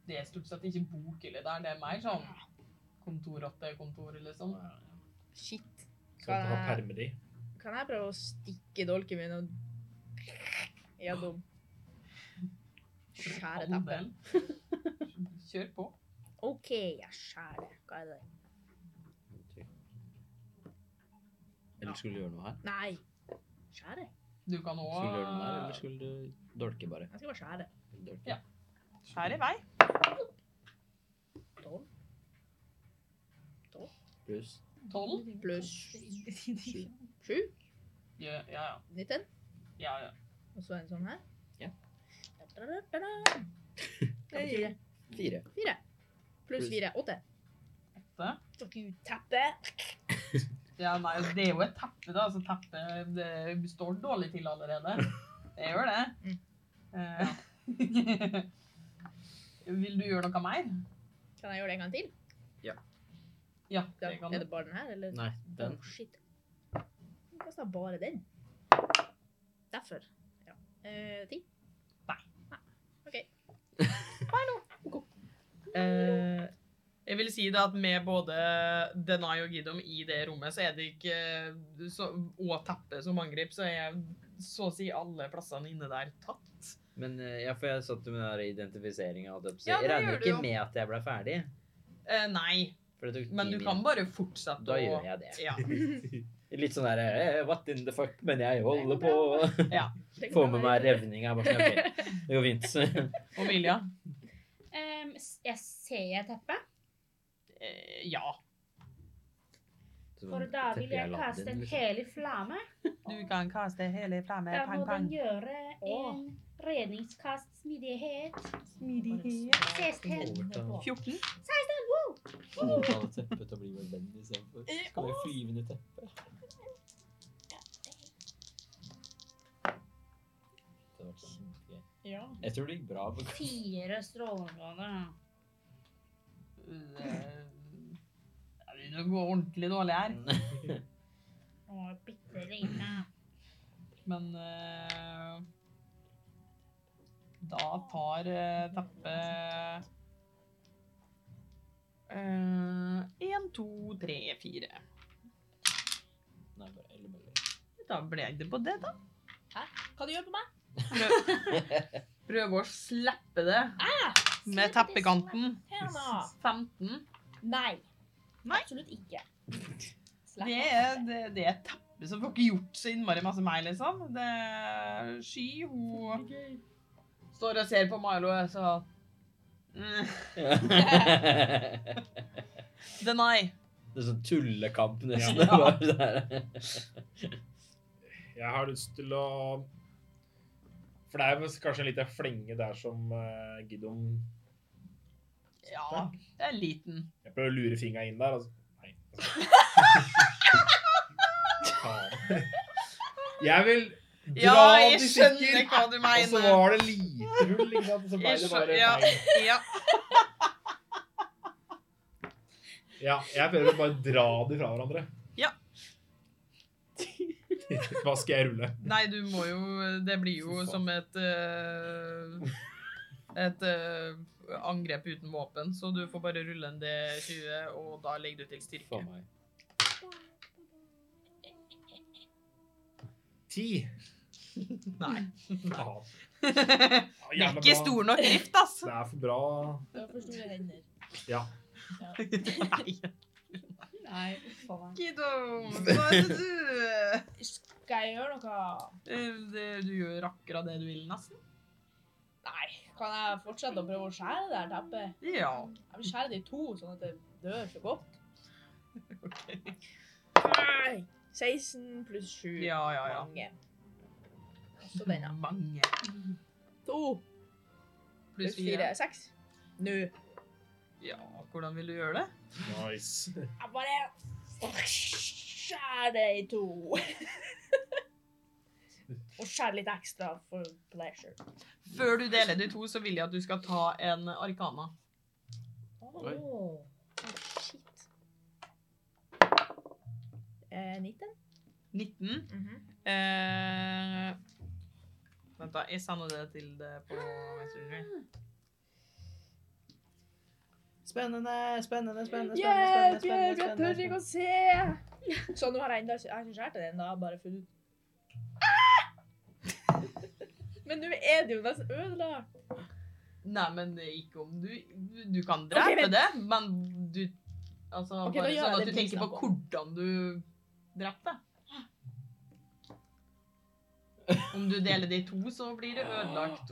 det er stort sett ikke bokhylle der, det er mer sånn kontorrottekontor, liksom. Shit. Skal Kan ikke ha jeg- permer i. Kan jeg prøve å stikke dolken min og gjennom Skjære teppet. Andel. Kjør på. OK, jeg skjærer. Hva er det? Eller skulle du gjøre noe her? Nei. Skjære? Du kan Skulle du gjøre noe der, eller òg skulle du dolke, bare? Jeg skal bare skjære. Dolke. Ja. Skjær i vei. Pluss. Tolv. Pluss sju. Ja, ja. ja. Nitten. ja, ja. Og så en sånn her. Ja. Da-da-da-da-da. Hva Hey. betyr det? Fire. Fire. Pluss Pluss. fire. Åtte. Åtte. Fuck you, teppe. Ja, nei, altså, det er jo et teppe, da. Altså, teppet det står dårlig til allerede. Det gjør det. Eh, Vil du gjøre noe mer? Kan jeg gjøre det en gang til? Ja, Ja, det kan er du. det bare den her, eller? Nei, den. Oh, shit. Hva sa bare den? Derfor. Ja. Eh, ti? Nei. Nei. OK. Eh, jeg vil si det at med både Denai og Gidom i det rommet, så er det ikke eh, så, Og teppet som angrep, så er så å si alle plassene inne der tatt. Men eh, ja, for jeg satt jo med den der identifiseringen av døpsel. Ja, det jeg gjør regner jo du jo. ikke med at jeg ble ferdig. Eh, nei, For det tok men ti du kan min- bare fortsette å- Da gjør jeg det. Ja. Litt sånn der eh, What in the fuck? Men jeg holder på å Det få går med bra. meg revninga. Bare sånn, ok, Det går fint. Omilia? Ehm, s- jeg ser jeg teppet? Eh, ja. Så For da vil jeg kaste liksom. en helig flamme. Du kan kaste hele flammen. Da må Pang, den pang. gjøre Åh. en redningskast smidighet. Smidighet. 16. 14. Overtale teppet til å bli vår venn istedenfor. Skal være flyvende teppe. Det hadde vært kjempegøy. Ja. Jeg tror det gikk bra. på- Fire strålegrader. Det det begynner å gå ordentlig dårlig her. Og bitte lite. Men eh, da tar eh, teppet eh, Én, to, tre, fire. Nei, bare eller bare. Da ble det på det, da. Hva du gjør på meg? Prøve å slippe det med teppekanten. Her nå. 15. Nei. Nei. Absolutt ikke. Slapp Det av. er, Eh, det, det er teppet som får ikke gjort så innmari masse meg, liksom. Det er Sky, hun står og ser på Milo, så mm. Deny. Det er sånn tullekamp nesten. Ja. bare sånn der. Jeg har lyst til å For det er vel kanskje en liten flenge der som uh, Gideon Ja, det er liten. Jeg prøver å lure fingra inn der, altså. Nei. Faen. altså. Jeg vil dra Ja, jeg de skjønner sikker, hva du og så mener. var det lite hull, ikke sant? og Så ble Jeg det bare skjø- ja. feil. Ja. Ja, jeg prøver å bare dra de fra hverandre. Ja. Hva skal jeg rulle? Nei, du må jo Det blir jo som et eh, Et eh, angrep uten våpen, så du får bare rulle en D20, og da legger du til styrke. For meg. Ti. Nei. Faen. Ja, Det er jævla ikke bra. stor nok altså. rift, ass. Det er for bra. Du har for store hender. Nei. Nei, uff a meg. Kiddo, hva er det du Skal jeg gjøre noe? Eh, det, Du gjør akkurat det du vil, nesten. Nei. Kan jeg fortsette å prøve å skjære det her teppet? Ja. Jeg vil skjære det i to, sånn at det dør så godt. ok. Nei. 16 pluss 7. Ja, ja, ja. Mange. Også den, ja. Mange. To Pluss fire. Seks. Nå. Ja, hvordan vil du gjøre det? Nice. Jeg bare skjærer det i to. Og skjærer litt ekstra for pleasure. Før du deler det i to, så vil jeg at du skal ta en arkana. Oi. Shit. Eh, 19? 19. eh, vent, da. Jeg sender det til det på Messenger. Spennende, spennende, spennende. Yeah, spennende, spennende, jeg spennende, tør ikke å se! Så nå har jeg enda jeg har ikke skjært den ennå, jeg har bare funnet ut. Ah! Men nå er det jo nesten ødelagt. Nei, men det er ikke om du du- Du kan drepe vent. det, men du Altså, Ok, da bare gjør jeg sånn at det du tenker på prislappen. hvordan du drepte. Om du deler det i to, så blir det ødelagt.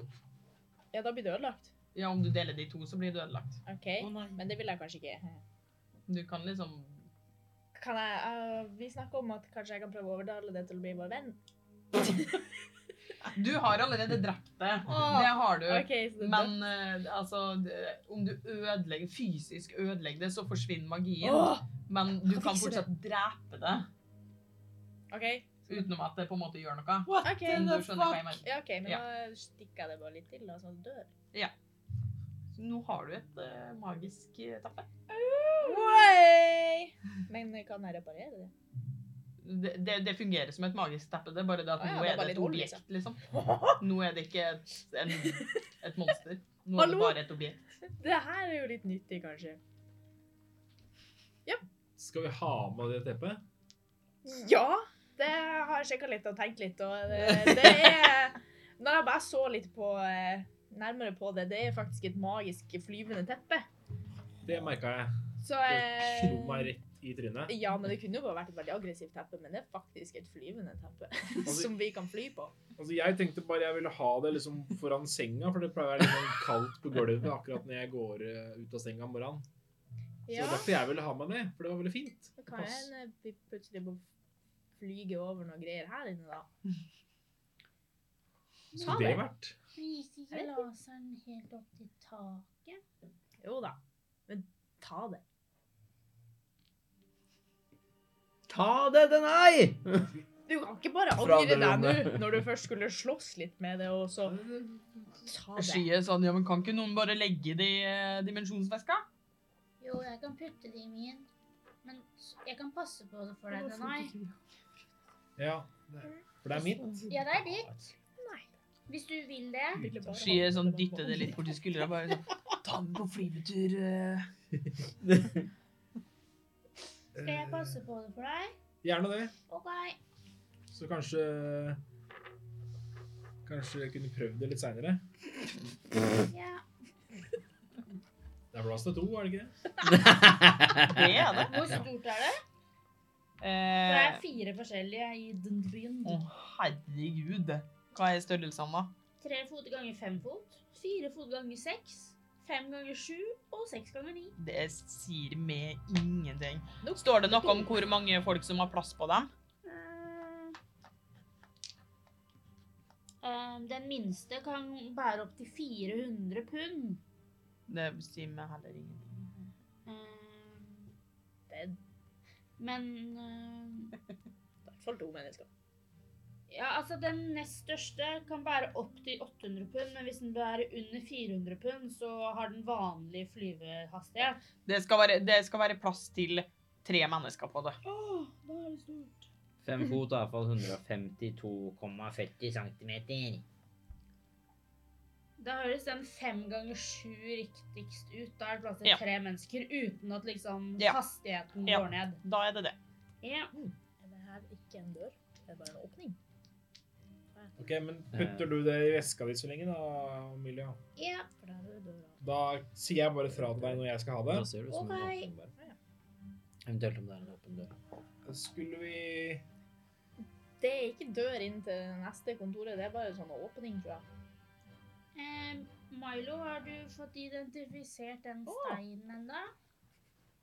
Ja, da blir det ødelagt. Ja, om du deler det i to, så blir det ødelagt. Ok, men det vil jeg kanskje ikke. Du kan liksom Kan jeg, eh, vi snakker om at kanskje jeg kan prøve å overdale det til å bli vår venn. Du har allerede drept det. Det har du. Ok, så det er Men eh, altså det- Om du ødelegger, fysisk ødelegger det, så forsvinner dødt. magien. Åh! Men du kan fikser det. fortsatt drepe det Ok, utenom at det på en måte gjør noe. ok. Om du skjønner hva jeg mener. Ja, ok, men Ja. da stikker jeg det bare litt til, da, sånn at det dør. Så Nå har du et eh, magisk eh, teppe. Men kan jeg reparere det? Det, det, det fungerer som et magisk teppe, det er bare det at Å ja, nå det er var Ah, det et litt hold, objekt, liksom. Nå er det ikke et, en, et monster. Nå er Hallo? det bare et objekt. Det her er jo litt nyttig, kanskje. Skal vi ha med det teppet? Ja, det har jeg sjekka litt og tenkt litt, og det, det er Når jeg bare så litt på eh, nærmere på det, det er faktisk et magisk flyvende teppe. Det merka jeg. Så Det eh, slo meg rett i trynet. Ja, men det kunne jo bare vært et veldig aggressivt teppe, men det er faktisk et flyvende teppe som vi kan fly på. Altså, jeg tenkte bare jeg ville ha det liksom foran senga, for det pleier å være litt sånn kaldt på gulvet akkurat når jeg går eh, ut av senga om morgenen. Så det Ja, var derfor jeg ville ha meg med, for det var veldig fint. da kan jeg en, eh, vi plutselig må flyge over noen greier her inne, da. Så det vært. Men gikk Sånn. ikke laseren helt opp til taket? Jo da. Men ta det. Ta det, den ei! Du kan ikke bare Fra angre andre deg rommet. nå, når du først skulle slåss litt med det, og så ta det. Skyet sånn, ja, men kan ikke noen bare legge det i eh, dimensjonsveska? Jo, jeg kan putte det i min. Men s- jeg kan passe på det for deg, Danai. Ja, det- for det er mitt. Ja, det er ditt. Hvis du vil det. Skyet sånn dytter det litt borti skuldra, bare sånn, ta den på flyvetur. eh. Skal jeg passe på det for deg? Gjerne det. OK. Så kanskje Kanskje jeg kunne prøvd det litt seinere. Ja. Det er plass til to, er det ikke det? Det er det. Hvor stort er det? Det Eh, er fire forskjellige i den byen. Å, herregud. Hva er størrelsen da? Tre fot ganger fem fot. Fire fot ganger seks. Fem ganger sju. Og seks ganger ni. Det sier meg ingenting. Står det noe om hvor mange folk som har plass på dem? Eh, Ehm, den minste kan bære opptil 400 pund. Det sier meg heller ingenting. Ehm, Det er i men ehm, hvert fall to mennesker. Ja, altså den nest største kan bære opptil 800 pund, men hvis den bærer under 400 pund, så har den vanlig flyvehastighet. Det skal være, det skal være plass til tre mennesker på det. Fem fot er iallfall 152,40 cm. Da høres den fem ganger sju riktigst ut. Da er det plass til Ja. tre mennesker uten at liksom Ja. hastigheten Ja. går ned. Da er det det. Ja. Er det her ikke en dør? Er det bare en åpning? Ok, Men putter du det i veska di så lenge, da, Emilia? ja. For der er det døra. Da sier jeg bare fra til deg når jeg skal ha det. Da ser du som en Ok. åpen dør. Eventuelt om det er en åpen dør. Skulle vi Det er ikke dør inn til neste kontoret, det er bare en sånn åpning, tror jeg. Ehm, Milo, har du fått identifisert den Å. steinen ennå?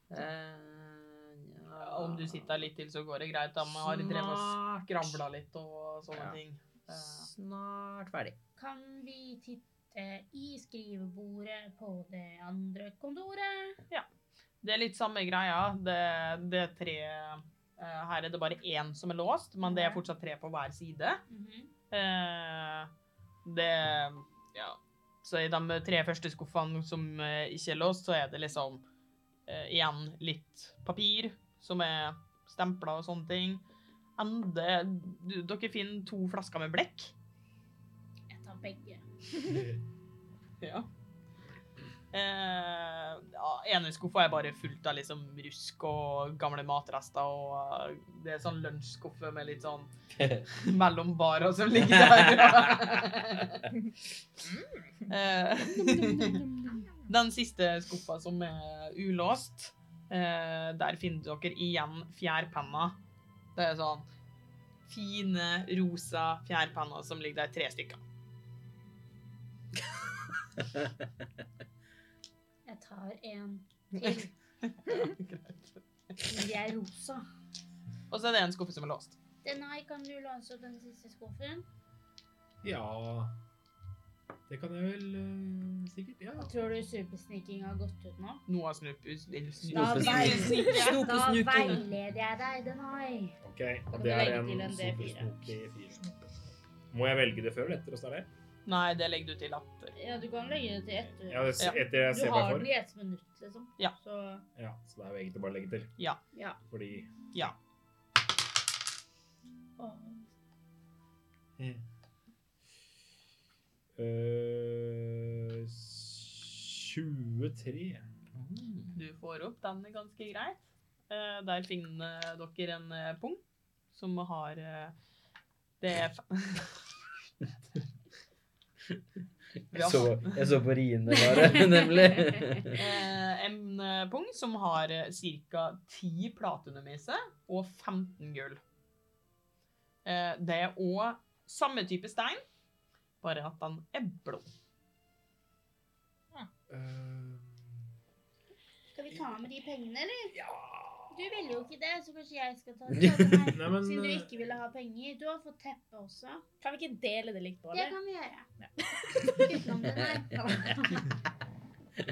Eh, Om du sitter litt til, så går det greit. Da vi har drevet og skravla litt og sånne Ja. ting. Eh, Snart ferdig. Kan vi titte i skrivebordet på det andre kontoret? Det er litt samme greia. Det, det er tre eh, Her er det bare én som er låst, men det er fortsatt tre på hver side. Mhm. Eh, det Ja. Så i de tre første skuffene som eh, ikke er låst, så er det liksom eh, igjen litt papir som er stempla og sånne ting. Ende du, Dere finner to flasker med blekk. Jeg tar begge. Ja. Eh, ja, ene skuffa er bare fullt av liksom rusk og gamle matrester, og eh, det er sånn lunsjskuffe med litt sånn mellom barer som ligger der. eh, den siste skuffa som er ulåst, eh, der finner dere igjen fjærpenna. Det er sånn fine, rosa fjærpenner som ligger der, tre stykker. Jeg tar en til. Men de er rosa. Og så er det en skuffe som er låst. Denai, kan du låse opp den siste skuffen? Ja Det kan jeg vel eh, sikkert. Ja. Tror du supersniking har gått ut nå? Noe av snupus... eller Da, snupus- vei- Snupesniking. da veileder jeg deg, Denai. OK. Kan Det du er legge en til en D4? supersnok D4. Må jeg velge det før eller etter? Åssen er det? Nei, det legger du til etter. Ja, du kan legge det til etter. Ja, det- Ja. etter jeg Du ser hva har jeg den får. i ett minutt, liksom. Ja. Så Ja, så det er jo egentlig bare å legge til. Ja. Ja. Fordi Ja. Eh, 23. Du får opp den er ganske greit. Eh, der finner dere en eh, pung som har eh, Det er fe- Jeg så, jeg så på riene bare, nemlig. eh, en eh, pung som har eh, ca. 10 platinum i seg og 15 gull. Eh, det er òg samme type stein, bare at den er blå. Eh, skal vi vi ta med de pengene, eller? Ja. Du ville jo ikke det, så kanskje jeg skal ta ta den her. Nei, men Siden du eh, ikke ville ha penger. Du har fått teppe også. Kan vi ikke dele det likt på, Det eller? kan vi gjøre. Utenom den her. det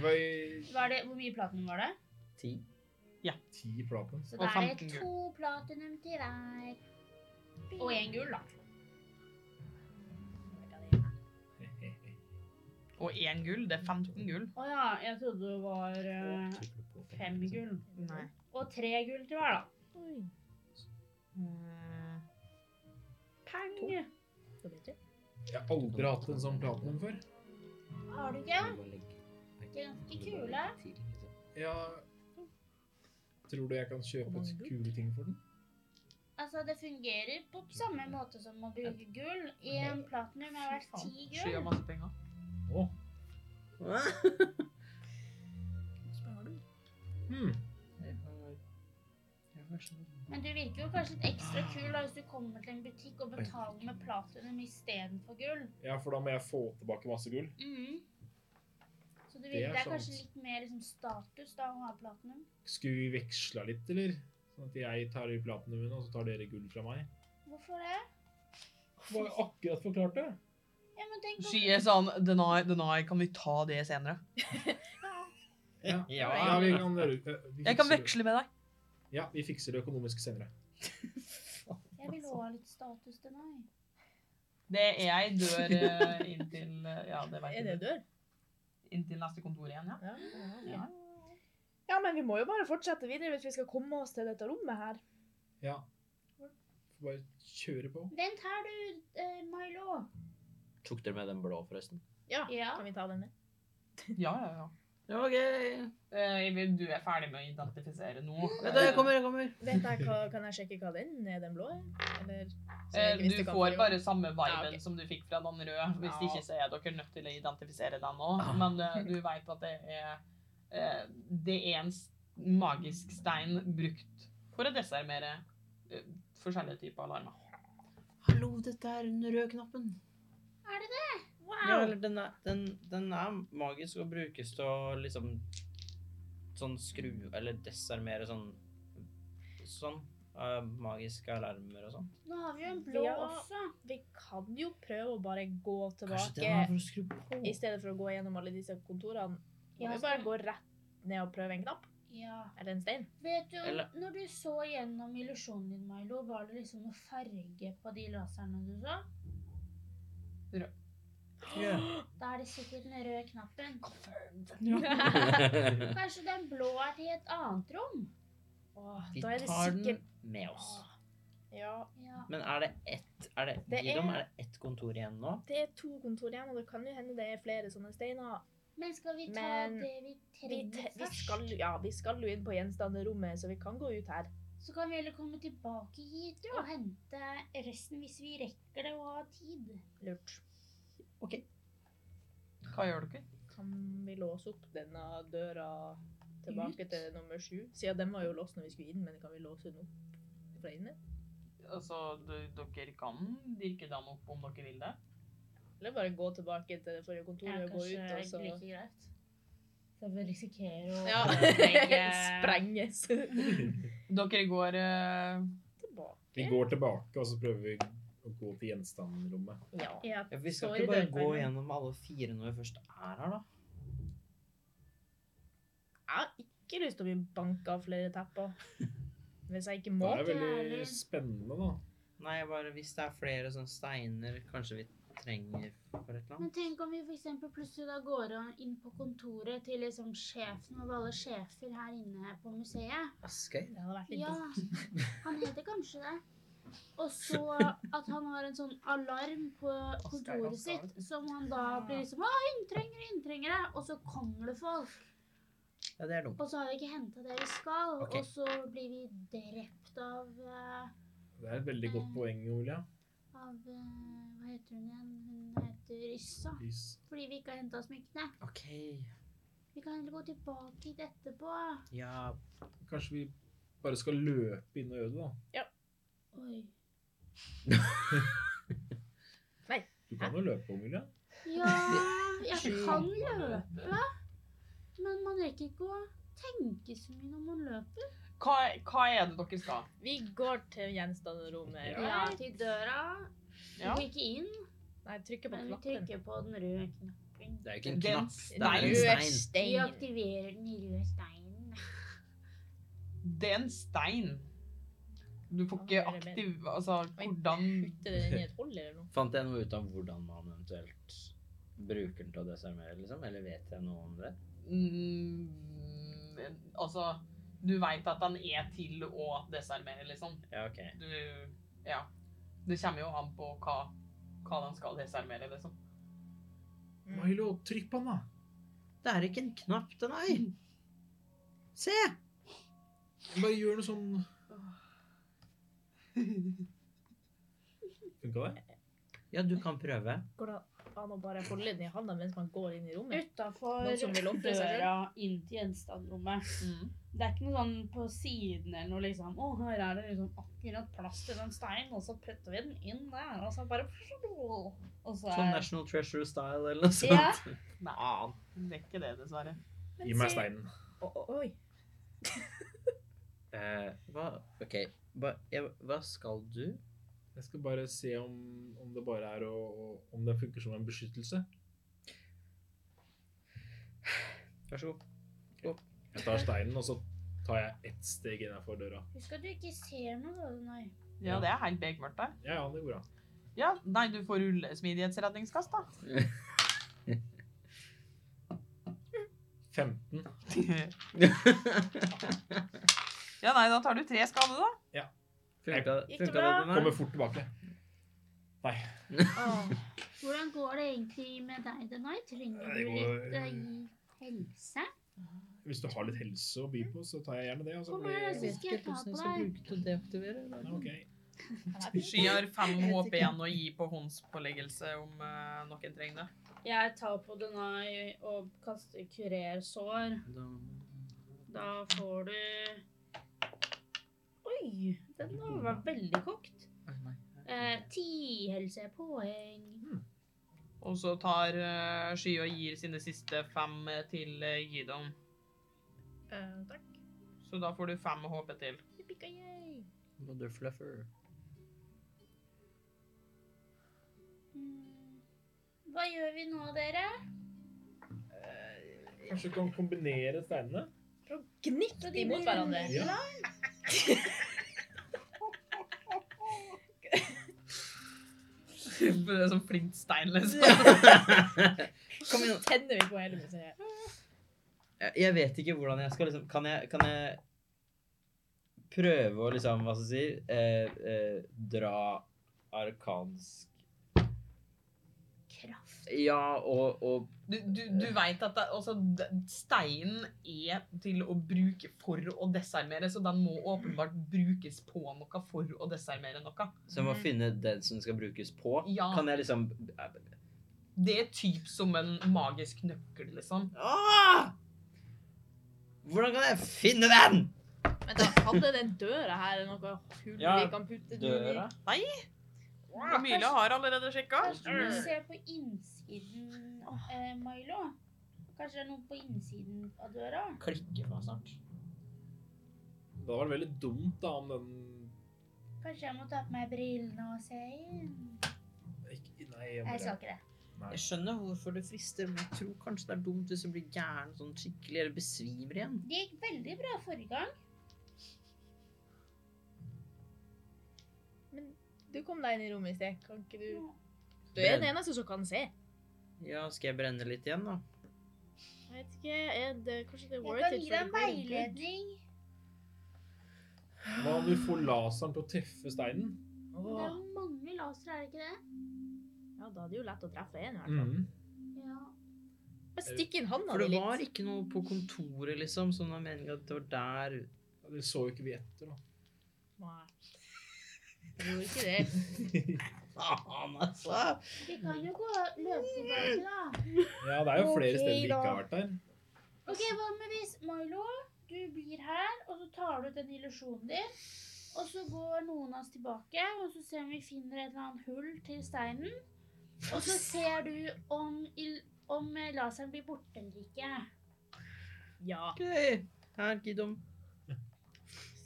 var i Var det, hvor mye platinum var det? Ti. ti platen. Så Og da er 15 det to platinum til hver. Og én gull, da. Og én gull. Det er 15 gull. Å ja, jeg trodde det var eh, fem gull. Nei. Og tre gull til hver, da. Eh, Peng! Jeg har aldri hatt en sånn platinum før. Har du ikke? De er ganske kule. Ja Tror du jeg kan kjøpe et kule ting for den? Altså, det fungerer på samme måte som å bruke gull. En platinum er verdt ti Sky av gull. masse penger. Å. Hmm. Men du virker jo kanskje litt ekstra kul da, hvis du kommer til en butikk og betaler med platinum istedenfor gull. Ja, for da må jeg få tilbake masse gull. Mhm. Så du Det virker, er det er kanskje sant. litt mer liksom, status da, å ha platinum. Skulle vi veksla litt, eller? Sånn at jeg tar i platinumen, og så tar dere gull fra meg? Hvorfor det? Det var jo akkurat forklart det. Ja, men tenk om- Sky er sånn Deny, deny, kan vi ta det senere? Ja, Ja. vi kan gjøre eh, vi Jeg kan fikser det. veksle med deg. Ja, vi fikser det økonomisk senere. Jeg vil også ha litt status til meg. Det er jeg dør eh, inntil eh, Ja, det vet Er jeg. det dør? Inntil neste kontor igjen, ja. Ja. ja. ja, men vi må jo bare fortsette videre hvis vi skal komme oss til dette rommet her. Ja. Får bare kjøre på. Vent her, du, eh, Milo. Tok dere med den blå, forresten? Ja. Kan vi ta den med? Ja, ja, ja. OK. Eh, Eivind, du er ferdig med å identifisere nå. Vent, jeg kommer, jeg kommer. Vet jeg hva, kan jeg sjekke hva den er, den blå? er? Eller, så jeg Eh, ikke visste Du hva får for- bare samme viben Ja, ok. som du fikk fra den røde. Hvis Ja. ikke så er dere nødt til å identifisere den òg. Ah. Men eh, du veit at det er eh, Det er en s- magisk stein brukt for å desarmere eh, forskjellige typer alarmer. Hallo, dette er den røde knappen. Er det det? Wow. Ja, eller den er, den, den er magisk og brukes til å liksom sånn skru Eller desarmere sånn Sånn. eh, magiske alarmer og sånn. Nå har vi jo en blå Ja. også. Vi kan jo prøve å bare gå Kanskje den er tilbake, for å skru på? i stedet for å gå gjennom alle disse kontorene. Ja, Kan vi bare gå rett ned og prøve en knapp? Ja. Eller en stein? Vet du, Eller- når du så gjennom illusjonen din, Milo, var det liksom noe farge på de laserne du så? Ja. Da er det sikkert den røde knappen. Vi Kanskje den blå er til et annet rom? Åh, da er det tar den sikkert... med oss. Ja, Ja. Men er det ett er det, Det i dem er- er det ett kontor igjen nå? det er to kontor igjen, og det kan jo hende det er flere sånne steiner. Men skal vi ta Men det vi Vi, trenger te- vi, først? skal, ja, vi skal jo inn på gjenstanderommet, så vi kan gå ut her. Så kan vi heller komme tilbake hit og hente resten hvis vi rekker det og har tid. Lurt. Hva gjør dere? Kan vi låse opp denne døra tilbake til nummer sju? Siden den var jo låst når vi skulle inn, men kan vi låse den opp fra inne? Altså, d- dere kan dirke den opp om dere vil det. Eller bare gå tilbake til det forrige kontoret og gå ut, og så greit. altså. Så vi risikerer å ja. ødelegge- Sprenges Dere går eh, Vi tilbake. går tilbake, og så prøver vi å gå til gjenstandrommet. Ja. Ja, vi skal står i ikke bare gå dørkarmen. gjennom alle fire når vi først er her, da. Jeg har ikke lyst til å bli banka av flere tepper. Hvis jeg ikke Det må. er veldig er- spennende, da. Nei, bare hvis det er flere sånne steiner kanskje vi trenger for et eller Men annet. tenk om vi for eksempel plutselig da går an- inn på kontoret til liksom sjefen av alle sjefer her inne på museet. Mm. Askøy? Det hadde vært litt Ja, dumt. han heter kanskje det. Og så at han har en sånn alarm på kontoret sitt, som han da blir liksom Å, inntrengere, inntrengere! Og så kommer det folk. Ja, det er dumt. Og så har vi ikke henta det vi skal, Ok. og så blir vi drept av eh, Det er et veldig Mm. godt poeng, Julia. Av eh, Hva heter hun igjen? Hun heter Yssa. Is. Fordi vi ikke har henta smykkene. OK. Vi kan heller gå tilbake hit etterpå. Ja, Kanskje vi bare skal løpe inn og gjøre det, da. Oi. Du kan jo løpe, Julia. Ja, jeg kan løpe. Men man rekker ikke å tenke så mye når man løper. Hva, hva er det dere skal? Vi går til eh. gjenstanderommet. Ja. Ja, til døra. Ja. Går ikke inn, Nei, trykker på men vi knappen. trykker på den røde knappen. Det er jo ikke en Den- knapp, det Nei, er en rød stein. Vi Stein. aktiverer den røde steinen. Det er en stein. Du får ikke Ah, det er aktiv... Altså, hvordan Putter den inn i et hold, eller noe? Fant jeg noe ut av hvordan man eventuelt bruker den til å desarmere, liksom? Eller vet jeg noe om det? mm, Altså, du veit at den er til å desarmere, liksom. Ja, ok. Du Ja. Det kommer jo an på hva, hva den skal desarmere, liksom. Mm. Milo, trykk på den, da. Det er ikke en knapp til meg! Se! Bare gjør noe sånn Funka det? Ja, du kan prøve. Går det an å bare holde den i handa mens man går inn i rommet? Utafor Noen som vil ofre seg selv? Mm. døra inn til gjenstandrommet. Det er ikke noe sånn på siden eller noe liksom Å, her er det liksom akkurat plass til den steinen, og så putter vi den inn der, og så bare Og så Sånn er National Treasure-style eller noe sånt. Ja. Nei, det er ikke det, dessverre. Gi meg steinen. Å, å, Oi. Eh, hva, ok, hva, jeg, hva skal du? Jeg skal bare se om, om det bare er å, å- om det funker som en beskyttelse. Vær så god. Jeg tar steinen, og så tar jeg ett steg innenfor døra. Husk at du ikke ser noe, da, Dunai. Ja, det er helt bekmørkt der. Ja, ja, det går bra. Ja, nei, du får rulle smidighetsredningskast, da. 15. Ja, nei, da tar du tre skade, da. Funka, Gikk det funka det bra? til meg? Kommer fort tilbake. Ah. Hvordan går det egentlig med deg, Denai? Trenger Det du går- litt eh, helse? Hvis du har litt helse å by på, så tar jeg gjerne det. Og så Kom blir her, det... så skal jeg ta på deg. bruke til å deaktivere. Ja, ok. Sky har fem HP igjen å gi på håndspåleggelse om eh, noen trenger det. Jeg tar på Denai og kaster kurer sår. Da får du Oi! Den var veldig kokt. Eh, Ti helsepoeng. Og så tar eh, Sky og gir sine siste fem eh, til eh, Gidon. Eh, takk. Så da får du fem HP til. Yippee-ki-yay. Motherfluffer. Mm. Hva gjør vi nå, dere? Kanskje du kan kombinere steinene? Gnikk de mot hverandre. Ja. det er sånn flint stein, liksom. Kom igjen. Tenner vi på hele museet. Jeg- Jeg vet ikke hvordan jeg skal liksom Kan jeg, kan jeg prøve å liksom, hva skal jeg si, eh, eh, dra arkansk Kraft. Ja, og, og Du, du, du veit at det, altså, d- steinen er til å bruke for å desarmere, så den må åpenbart brukes på noe for å desarmere noe. Så jeg Mm. må finne den som skal brukes på? Ja. Kan jeg liksom Det er typ som en magisk nøkkel, liksom. Åh! Hvordan kan jeg finne den? Men da hadde den døra her noe hull Ja, vi kan putte den i. Camilla har allerede sjekka. Kanskje du ser på innsiden, eh, Milo? Kanskje det er noe på innsiden av døra? Klikker meg snart. Det hadde vært veldig dumt da om den Kanskje jeg må ta på meg brillene og se inn? Ikke- Nei, jeg må Jeg sa ikke det. Jeg skjønner hvorfor det frister, men jeg tror kanskje det er dumt hvis du blir gæren sånn skikkelig eller besvimer igjen. Det gikk veldig bra forrige gang. Du kom deg inn i rommet i sted. Kan ikke du Du Brenn. er den eneste som kan se. Ja, skal jeg brenne litt igjen, da? Jeg vet ikke, er det, kanskje det er Jeg worth kan it gi for deg en the greater good? veiledning. Hva om vi får laseren til å treffe steinen? Det er jo mange lasere, er det ikke det? Ja, da er det jo lett å treffe en i hvert fall. Mm. Ja. Bare stikk inn handa For di det litt. var ikke noe på kontoret, liksom, som var meningen at det var der Ja, det så jo ikke vi etter, da. Nei. Jeg gjorde ikke det. Faen, altså! Vi kan jo gå løpe tilbake, da. Ja, det er jo flere Ok, steder vi da. ikke har vært der. Ok, Hva med hvis Milo, du blir her, og så tar du ut den illusjonen din? Og så går noen av oss tilbake, og så ser vi om vi finner et eller annet hull til steinen. Og så ser du om, il- om eh, laseren blir borte eller ikke. Ja. Okay. Her, Gidom.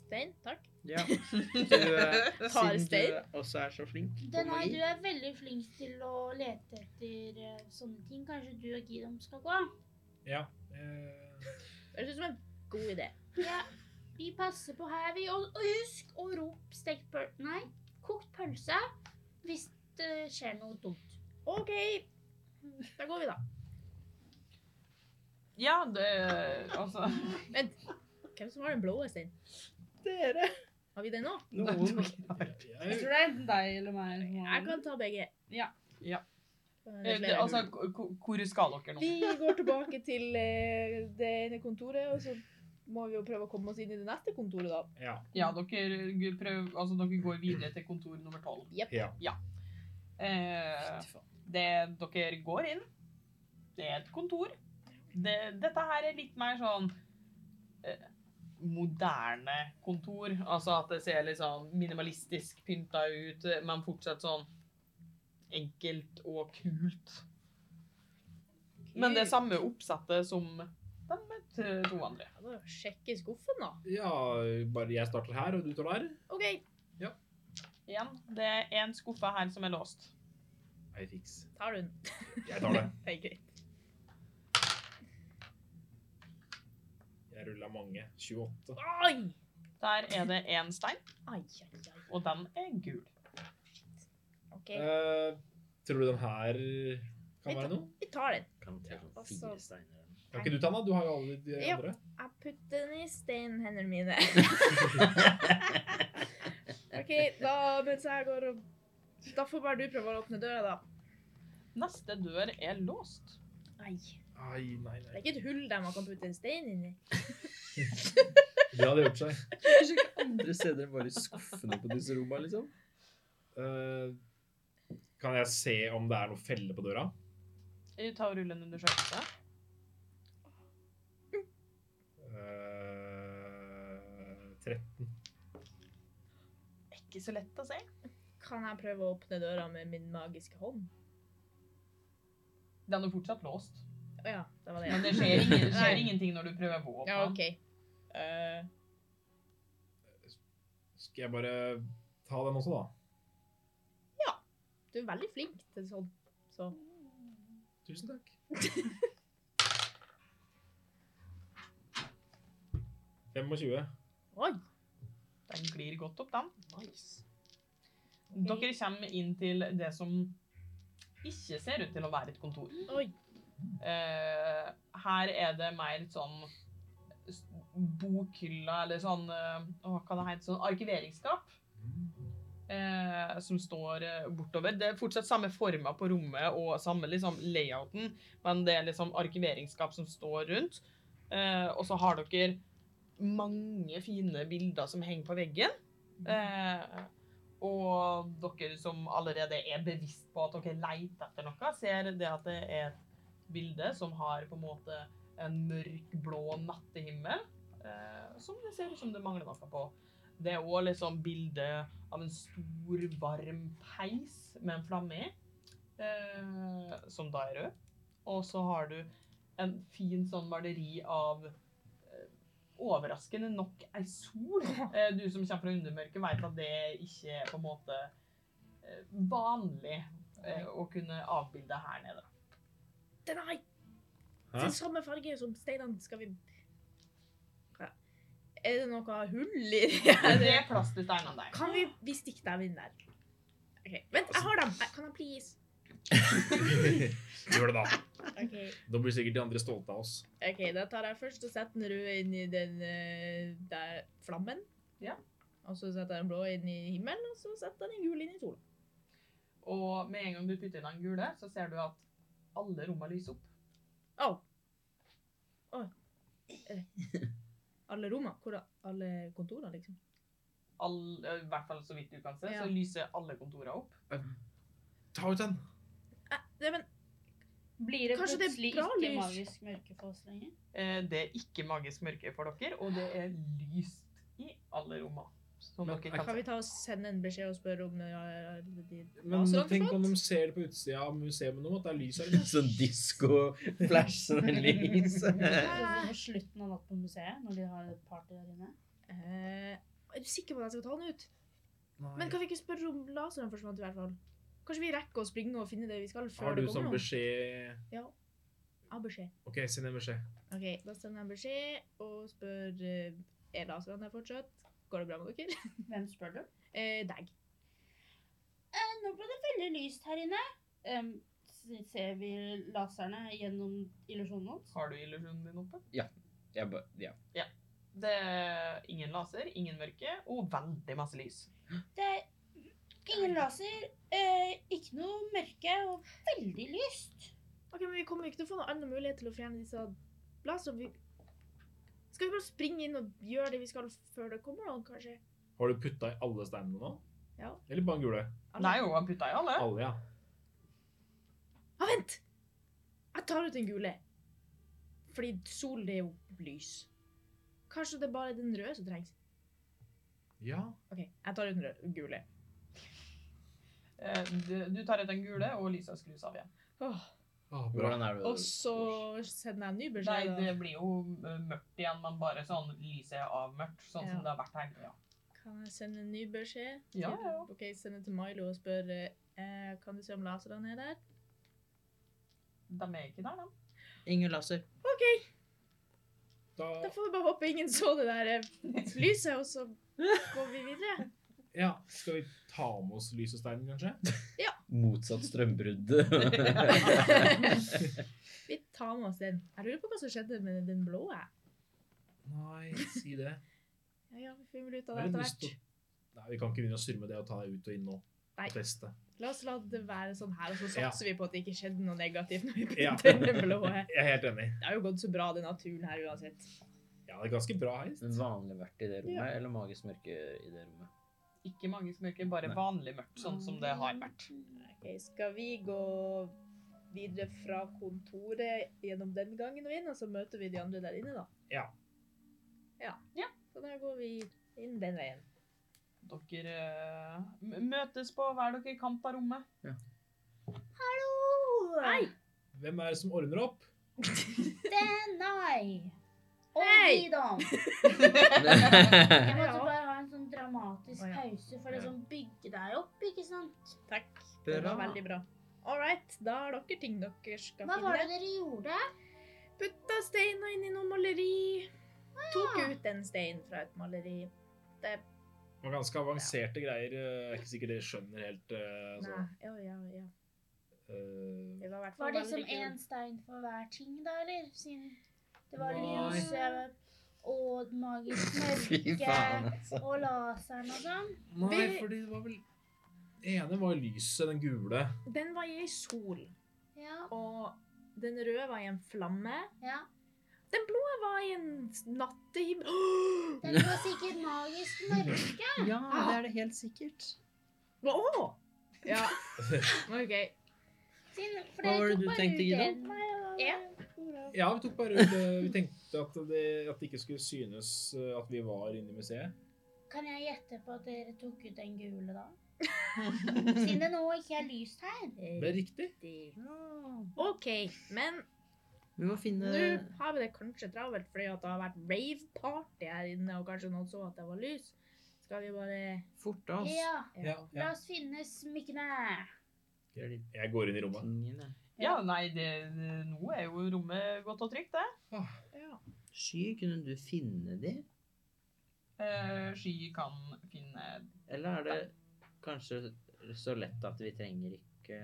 Stein, takk. Ja. Du, eh, Tar siden stein. du også er så flink på Den her, du magi. er veldig flink til å lete etter eh, sånne ting. Kanskje du og Gidom skal gå? Ja. eh, Det høres ut som en god idé. Ja, vi passer på her, vi. Og, og husk å rope stekt pøl... Nei, kokt pølse hvis det skjer noe dumt. OK, da går vi, da. Ja, det Altså Hvem som har den blå steinen? Dere. Har vi den nå? Noen. Jeg jeg, tror det er deg eller meg. Jeg kan ta begge. Ja. Ja. Det eh, er det, flere Altså, hull. k- k- hvor skal dere nå? Vi går tilbake til eh, det ene kontoret, og så må vi jo prøve å komme oss inn i det neste kontoret, da. ja. Ja, dere, g- prøv, altså, dere går videre til kontor nummer tolv. Jepp. Ja. Eh, det, dere går inn. Det er et kontor. Det, dette her er litt mer sånn eh, moderne kontor. Altså at det ser litt sånn minimalistisk pynta ut, eh, men fortsatt sånn enkelt og kult. Men det er samme oppsettet som de t- to andre. Jeg må jo sjekke skuffen, da. ja, bare jeg starter her, og du tar der. OK. Igjen, det er en skuffe her som er låst. Nei, fiks. Tar du den? Jeg tar det. Det er greit. Jeg ruller mange. 28. Oi! Der er det én stein, Ai, ai, ai. og den er gul. OK, Eh, tror du den her kan være noe? vi tar den. Kan ta sånn Altså- fire steiner. Kan ikke du ta den? da? Du har jo alle de Ja. andre. Jeg putter den i steinhendene mine. OK, da mens jeg går og Da får bare du prøve å åpne døra, da. Neste dør er låst. Ai. Ai, nei, Det er nei. ikke et hull der man kan putte en stein inn i. Det hadde gjort seg. Andre steder enn bare i skuffene på disse rommene, liksom. Eh, kan jeg se om det er noe felle på døra? Ta og rull en undersøkelse. Eh, 13. Ikke så lett å se. Kan jeg prøve å åpne døra med min magiske hånd? Den er fortsatt låst. Å ja, det var det. Men det skjer, ingen, det skjer ingenting når du prøver å åpne Ja, den. OK. Eh, Skal jeg bare ta den også, da? du er veldig flink til sånn. Så Tusen takk. Fem og tjue. Oi! Den glir godt opp, den. Dere kommer inn til det som ikke ser ut til å være et kontor. Oi. Eh, her er det mer sånn s- bokhylla, eller sånn eh, Hva kan det hete? Sånn arkiveringsskap. Eh, som står eh, bortover. Det er fortsatt samme forma på rommet og samme liksom, layouten, men det er liksom arkiveringsskap som står rundt. Eh, og så har dere mange fine bilder som henger på veggen. Eh, og dere som allerede er bevisst på at dere leter etter noe, ser det at det er et bilde som har på en måte en mørkblå nattehimmel, eh, som det ser ut som det mangler noe på. Det er òg liksom bilde av en stor, varm peis med en flamme i, eh, som da er rød. Og så har du en fin sånn maleri av eh, overraskende nok ei sol. Eh, du som kommer fra undermørket, veit at det ikke er på en måte eh, vanlig eh, å kunne avbilde her nede. Den har Hæ? den samme farge som steinene. Skal vi Hva? Er det noe hull i Men det? Det er plass til steinene der. Kan vi, vi stikke dem inn der? Ok, Vent, jeg har dem! Kan jeg please? Gjør det, da. OK, Da blir sikkert de andre stolte av oss. Ok, da tar jeg først og setter den røde inn i den eh, der flammen. Ja. Og så setter jeg den blå inn i himmelen, og så setter jeg den gule inn i sola. Og med en gang du putter inn den gule, så ser du at alle rommene lyser opp. Au! Oi. Eh, Alle rommene? Hvor da? Alle kontorene, liksom? All, eh, I hvert fall så vidt du kan se, Ja. så lyser alle kontorene opp. Ta ut den! Eh, det, men Blir det Kanskje det er plutselig bra ikke lys? magisk mørke for oss lenger? Eh, Det er ikke magisk mørke for dere, og det er lyst i alle rommene. Som Men dere jeg- kan Kan se. vi ta og sende en beskjed og spørre om ja, ja, de Men laser hadde tenk fått? om de ser det på utsida av museet nå, at det er lys her. inne. Sånn disko-flash som er lys. Sånn På slutten av natt på museet, når de har et party der inne. Eh, er du sikker på at jeg skal ta den ut? Men kan vi ikke spørre om laseren forsvant i hvert fall? Kanskje vi rekker å springe og finne det vi skal før Har du det sånn kommer noen? beskjed Jeg har beskjed. OK, send en beskjed. Ok, da sender jeg beskjed og spør eh, er laseren der fortsatt. Går det bra med dere? Hvem spør du? Eh, deg. Eh, nå ble det veldig lyst her inne. Em, s- ser vi laserne gjennom illusjonen hans? Har du illusjonen din oppe? Jeg ba, ja. Det er ingen laser, ingen mørke og veldig masse lys. Det er ingen laser, eh, ikke noe mørke og veldig lyst. Ok, men vi kommer jo ikke til å få noen annen mulighet til å fjerne disse laserne. Vi... Skal vi bare springe inn og gjøre det vi skal før det kommer noen, kanskje? Har du putta i alle steinene nå? Ja. Eller bare den gule? Alle. Nei, hun har putta i alle. Alle, ja. Ah, vent! Jeg tar ut den gule. Fordi solen er jo lys. Kanskje det er bare den røde som trengs. Ja. Ok, jeg tar ut den rød- gule. Eh, Du, du tar ut den gule, og lysa skrus av igjen. Å, ah, bra. Hvordan er det? Og så sender jeg en ny Nei, beskjed. da. det blir jo eh, mørkt igjen, men bare sånn lyset er avmørkt, sånn Ja. som det har vært her. Ja. Kan jeg sende en ny beskjed? Ja, Til- ja. Ok, send den til Milo og spør eh, Kan du se om laserne er der? De er ikke der, de. Ingen laser. OK, Da, da får vi bare håpe ingen så det der eh, lyset, og så går vi videre. ja, skal vi ta med oss lys og stein, kanskje? Motsatt strømbrudd. Vi tar med oss den. Jeg lurer på hva som skjedde med den blå. jeg. Nei, si det. Ja, ja, vi finner vel ut av det Jeg har etter lyst hvert. til å- Nei, vi kan ikke begynne å surre med det og ta det ut og inn nå. Nei. Og teste. La oss la det være sånn her, og så Ja. satser vi på at det ikke skjedde noe negativt når vi Ja. begynte med den blå. Jeg er helt enig. Det har jo gått så bra, den naturen her uansett. Ja, det er ganske bra heist. En vanlig vert i det rommet, eller magisk mørke i det rommet? Ikke mange mørke, bare Nei. vanlig mørkt, sånn som det har vært. Ok, Eh, skal vi gå videre fra kontoret gjennom den gangen og inn, og så møter vi de andre der inne, da? Ja. Ja. Ja. Så da går vi inn den veien. Dere eh, m- møtes på hver dere kant av rommet. Hei! Hvem er det som ordner opp? Nei. Og Hei! de, da. Jeg måtte Ja. bare ha en sånn dramatisk Å, ja. pause for å liksom bygge deg opp, ikke sant? Takk. Det var veldig bra. All right, da har dere ting dere skal Hva var det finne. dere gjorde? Putta steiner inn i noe maleri. Ah! Tok ut en stein fra et maleri. Det var ganske avanserte greier. eh, Jeg er ikke sikkert dere skjønner helt. eh, Nei, altså. ja, ja, ja. Eh, Det var i hvert Var fall det veldig som kul. én stein for hver ting, da, eller? Siden det var Nei. lyset og magisk Fy mørke faen, altså. og laseren og sånn. Nei, fordi det var vel... Det ene var lyset, den gule. Den var i ei sol, Ja, og den røde var i en flamme. ja. Den blå var i en nattehimmel. Den var sikkert magisk mørke. Ja, det er det helt sikkert. Hva å? Ja. OK. Siden, for Hva dere var det tok du bare ut tenkte, Ida? en. Nei, Ja. Ja, vi tok bare ut eh, Vi tenkte at det, at det ikke skulle synes eh, at vi var inne i museet. Kan jeg gjette på at dere tok ut den gule, da? Siden det nå ikke er lyst her. Det er riktig. OK, men Vi må finne nå har vi det kanskje travelt fordi at det har vært rave-party her inne, og kanskje noen så at det var lys. Skal vi bare forte oss Ja, Ja, la oss finne smykkene. Jeg går inn i rommet. tingene. Ja, nei, det, det, nå er jo rommet godt og trygt, det. Sky, kunne du finne de? Eh, sky kan finne Eller er det kanskje så lett at vi trenger ikke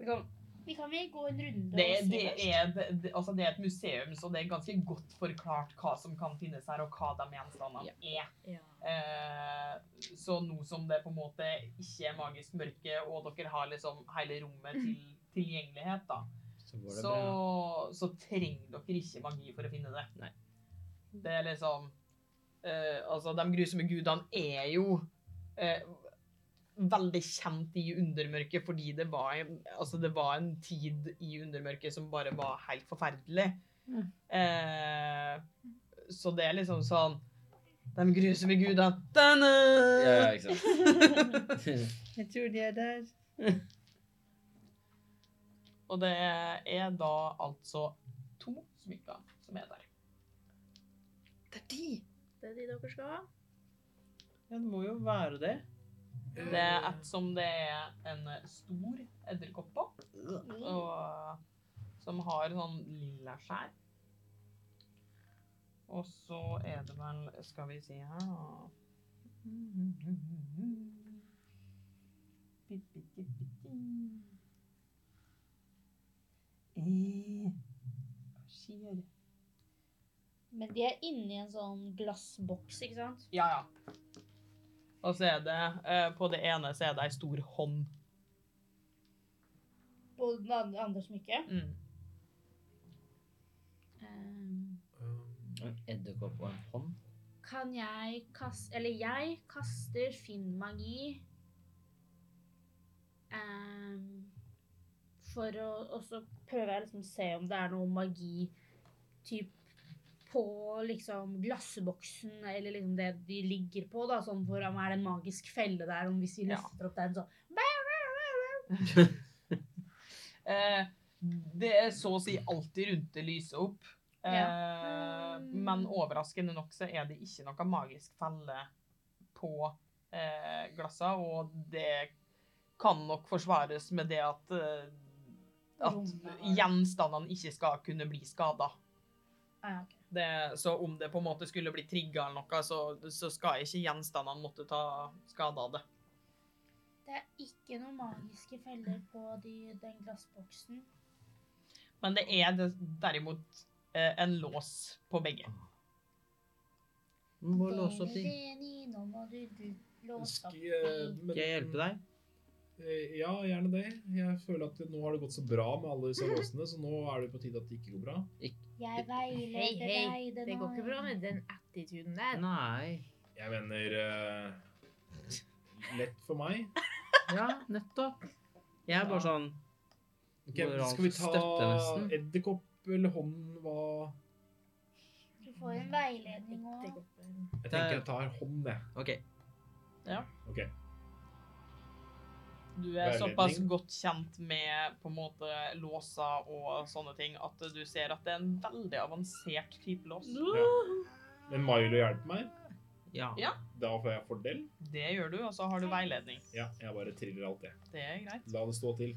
Vi kan Vi kan vel gå en runde det, og det, se først. er, det, det- altså det er et museum, så det er ganske godt forklart hva som kan finnes her, og hva de gjenstandene er. Ja. Eh, så nå som det på en måte ikke er magisk mørke, og dere har liksom hele rommet til tilgjengelighet, da, Så går det så, bra. så trenger dere ikke magi for å finne det. Nei. Det er liksom eh, Altså, de grusomme gudene er jo eh, veldig kjent i undermørket fordi det var, en, altså det var en tid i undermørket som bare var Mm. helt forferdelig. Eh, så det er liksom sånn De grusomme guda. Da-na! Ja, ikke sant. Jeg tror de er der. Og det er da altså to smykker som er der. Det er de! Det er de dere skal ha. Ja, det må jo være det. Det er et som det er en stor edderkopp på, Mm. og som har sånn lilla skjær. Og så er det vel Skal vi se her Eh, Hva skjer? Men de er inni en sånn glassboks, ikke sant? Ja, ja. Og så er det eh, På det ene så er det ei stor hånd. På den andre, andre smykket. Mm. Ehm, En edderkopp og en hånd. kan jeg kaste Eller jeg kaster Finn magi ehm, For å Og så prøver jeg liksom å se om det er noe magi typ på liksom glassboksen eller liksom det de ligger på. da, Sånn for om er det en magisk felle der, om hvis vi Ja. løfter opp den, så Eh, det er så å si alltid rundt det lyser opp. Eh, Men overraskende nok så er det ikke noe magisk felle på eh, glassa, og det kan nok forsvares med det at, eh, Rommet at har- gjenstandene ikke skal kunne bli skada. Ah, ja, ok. Det, så om det på en måte skulle bli trigga eller noe, så, så skal ikke gjenstandene måtte ta skade av det. Det er ikke noen magiske feller på de, den glassboksen. Men det er det, derimot eh, en lås på begge. Du må låse opp ting. Leni, nå må du du- låse Skal opp ting. Skal jeg hjelpe deg? Eh, Ja, gjerne det. Jeg føler at det, nå har det gått så bra med alle disse låsene, så nå er det på tide at det ikke går bra. Jeg veileder Hei, hei, deg. den Det går ikke bra har- med den attituden der. Nei. Jeg mener eh, lett for meg. Ja, nettopp. Jeg er bare sånn Ok, Går an skal vi å ta støtte nesten. edderkopp eller hånd? Hva Du får en veiledning òg. Jeg tenker jeg tar hånd, jeg. OK. Ok. Du er Veiledning. såpass godt kjent med på en måte låser og sånne ting at du ser at det er en veldig avansert type lås. Men Milo hjelper meg. Ja. Ja. Da får jeg fordel. Det gjør du, og så har du veiledning. Ja, jeg bare triller alt, jeg. Det er greit. La det stå til.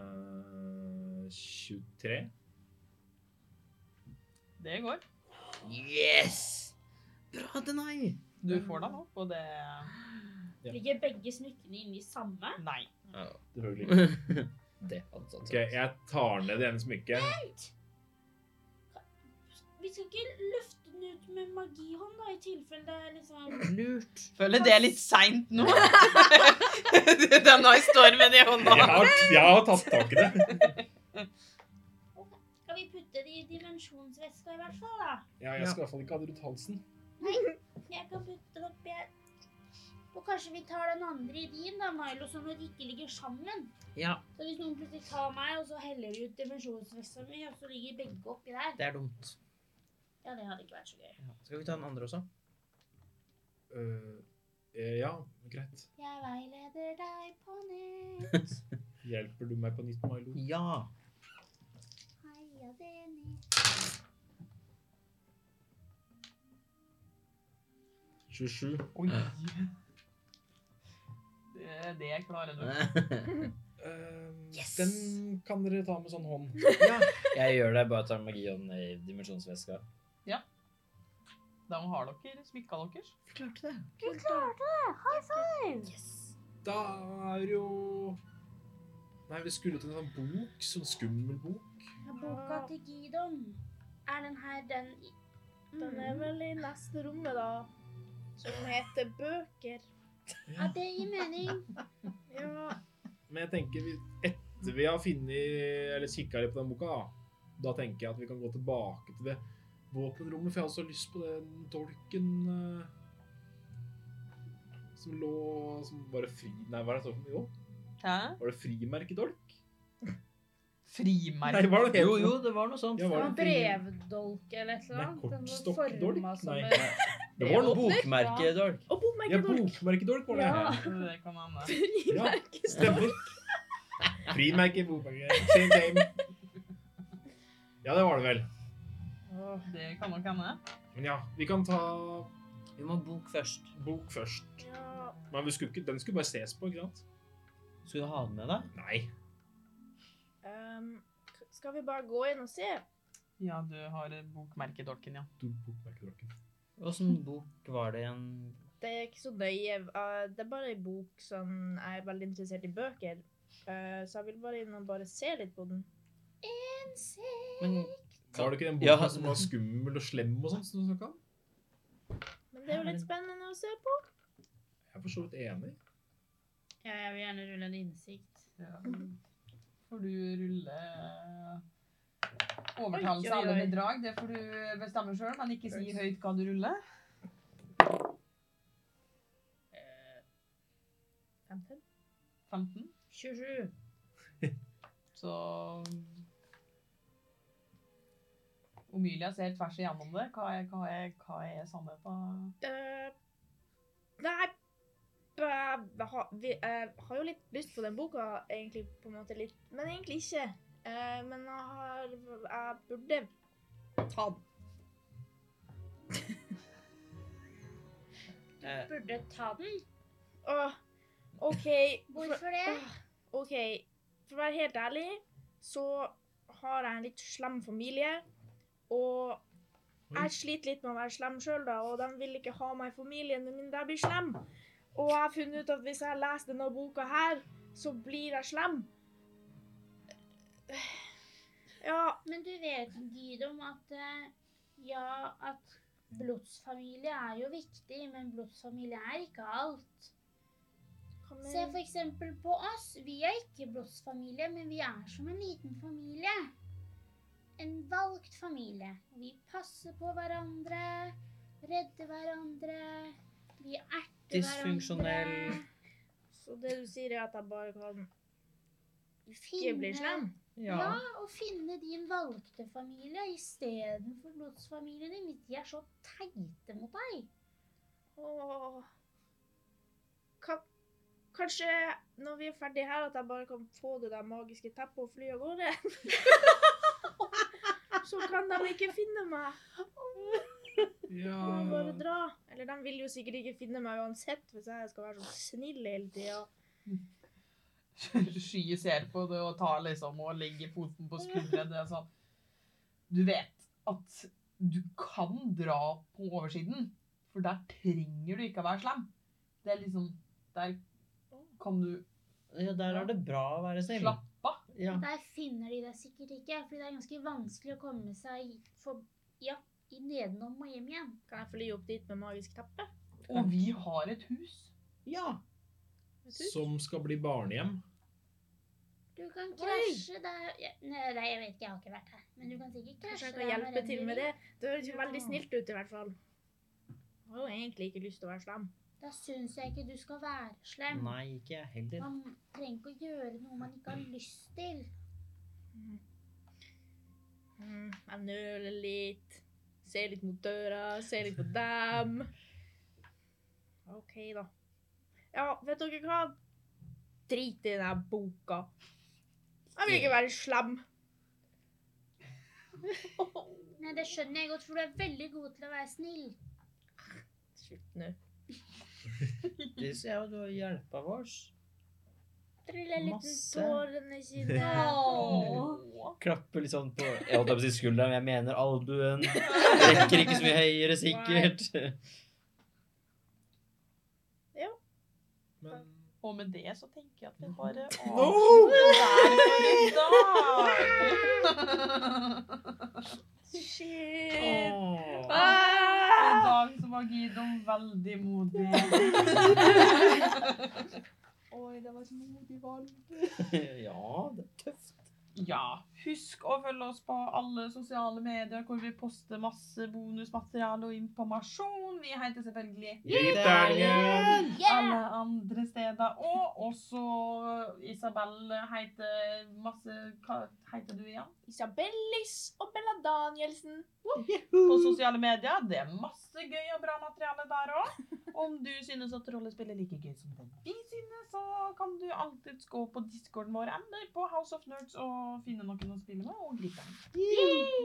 Eh, 23. Det går. Yes! Bra, Denai. Du får den opp, og det Ligger begge smykkene inne i samme? Nei. Selvfølgelig. det hadde satt Ok, jeg tar ned det ene smykket. Vi skal ikke løfte den ut med magihånd, da, i tilfelle det er liksom Lurt. Føler det er litt seint nå. den har står med det i Jeg hånda. har, jeg har tatt tak i det. Skal vi putte det i dimensjonsveska i hvert fall, da? Ja, jeg skal i hvert fall ikke ha det rundt halsen. Jeg kan putte det opp, jeg. Og kanskje vi tar den andre i din, da, Milo, sånn at de ikke ligger sammen. Ja, Så hvis noen plutselig tar meg, og så heller de ut dimensjonsveska mi, og så ligger begge oppi der det er dumt. Ja, det hadde ikke vært så gøy. Ja. Skal vi ta den andre også? Eh, eh, ja, greit. Jeg veileder deg på nett. Hjelper du meg på nytt, Milo? Ja. Heia Deni. 27. Oi. Det, det klarer du. Eh, Den kan dere ta med sånn hånd. ja. Jeg gjør det. Bare tar magien i dimensjonsveska. De har dere smykka deres. Vi klarte det. Du klarte det! High five! Da er jo Nei, vi skulle til en sånn bok. Sånn skummel bok. Boka til Gidon. Er den her den i- Den er mm. vel i neste rommet, da. Som heter bøker. Ja, det gir mening. Ja. Men jeg tenker vi, etter vi har funnet Eller kikka litt på den boka, da, da tenker jeg at vi kan gå tilbake til det våpenrommet, for jeg har også lyst på den dolken eh, som lå Som bare fri... Nei, hva er det sånn? Jo, Hæ? var det frimerkedolk? Frimerke. Nei, hva er det Jo, jo, det var noe sånt. Ja, Det var var det fri- brevdolk eller et eller Nei, annet. Den var kortstokkdolk? formet som Nei. en- Det var noe Bokmerkedolk. Og Ja, bokmerkedolk. bokmerkedolk var det. Ja. Det kan altså. hende. Ja, stemmer. Frimerke, bokmerke, same game. Ja, det var det vel. Det kan nok hende. Men ja, vi kan ta Vi må ha bok først. bok først. Men vi skulle ikke, den skulle bare ses på, ikke sant? Skulle du ha den med deg? Nei. Ehm, skal vi bare gå inn og se? Ja, du har bokmerkedolken, ja. Du bokmerkedolken. Åssen bok var det igjen? Det er ikke så nøye. eh, det er bare ei bok som jeg er veldig interessert i bøker. Eh, så jeg vil bare inn og bare se litt på den. Men Var det ikke den boka Ja. som var skummel og slem og sånt som du snakket om? Men det er jo litt spennende å se på. Jeg er for så vidt enig. Ja, jeg vil gjerne rulle en innsikt. Får du rulle overtalelse Oi, oi, eller oi. bedrag? Det får du bestemme sjøl, men ikke si høyt hva du ruller. 15. 27. Så Omilia ser tvers igjennom det. Hva er, hva er, hva er sannheten? Eh, nei eh, jeg har, vi, jeg har jo litt lyst på den boka, egentlig på en måte litt, men egentlig ikke. Eh, men jeg, har, jeg burde ta den. eh, Burde ta den. Åh, OK. Hvorfor det? OK, for å være helt ærlig, så har jeg en litt slem familie. Og jeg sliter litt med å være slem sjøl, da, og de vil ikke ha meg i familien min da jeg blir slem. Og jeg har funnet ut at hvis jeg leser denne boka her, så blir jeg slem. Ja, Men du vet, Gidom, at eh, ja, at blodsfamilie er jo viktig, men blodsfamilie er ikke alt. hva Se mener for eksempel på oss. Vi er ikke blodsfamilie, men vi er som en liten familie. En valgt familie. Vi passer på hverandre, redder hverandre, vi erter Dysfunksjonell. hverandre. Så det du sier, er at jeg bare kan ikke Finne, bli slem? Ja. og finne din valgte familie istedenfor blodsfamilien din. De er så teite mot deg. Åh. Kan, kanskje når vi er ferdige her, at jeg bare kan få det der magiske teppet og fly av gårde? Så kan de ikke finne meg. Ja. Jeg må bare dra. Eller de vil jo sikkert ikke finne meg uansett, hvis jeg skal være så snill hele tida. Sky ser på det og tar liksom og legger foten på skulderen. Det er sånn Du vet at du kan dra på oversiden, for der trenger du ikke å være slem. Det er liksom Der kan du ja, der er det bra å være snill. slappe av. Ja. Der finner de deg sikkert ikke, fordi det er ganske vanskelig å komme seg for, ja, i nedenom og hjem igjen. Kan jeg fly opp dit med magisk teppe? Og vi har et hus. ja. Som skal bli barnehjem. Du kan krasje der ja, Nei, nei, jeg vet ikke, jeg har ikke vært her. Men du kan sikkert Kanskje krasje jeg kan hjelpe til med det? Det høres jo veldig Ja. snilt ut, i hvert fall. Jeg har jo egentlig ikke lyst til å være slem. Da syns jeg ikke du skal være slem. Nei, ikke jeg heller. Man trenger ikke å gjøre noe man ikke har lyst til. Mm, jeg nøler litt. Ser litt mot døra, ser litt på dem. OK, da. Ja, vet dere hva? Drit i den boka. Jeg vil ikke være slem. Nei, det skjønner jeg godt, for du er veldig god til å være snill. Slutt nå. Det ser jeg jo, du har hjelpa vår. Triller litt Masse. tårene sine. Klapper litt sånn på Jeg holdt på å si skulderen, men jeg mener albuen. Rekker ikke så mye høyere, sikkert. Men Og med det så tenker jeg at vi bare No! avslutter der for i dag. Shit. Åh. I dag så var Gidon veldig modig. Ja, det er tøft. Ja, Husk å følge oss på alle sosiale medier hvor vi poster masse bonusmateriale og informasjon. Vi heter selvfølgelig Grip terningen! alle andre steder. Og også Isabel heter masse Hva heter du igjen? Isabel Liss og Bella Danielsen. På sosiale medier. Det er masse gøy og bra materiale der òg. Om du synes at rollespill er like gøy som det vi synes, så kan du alltids gå på discorden vår eller på House of Nerds og finne noen å spille med og gripe den.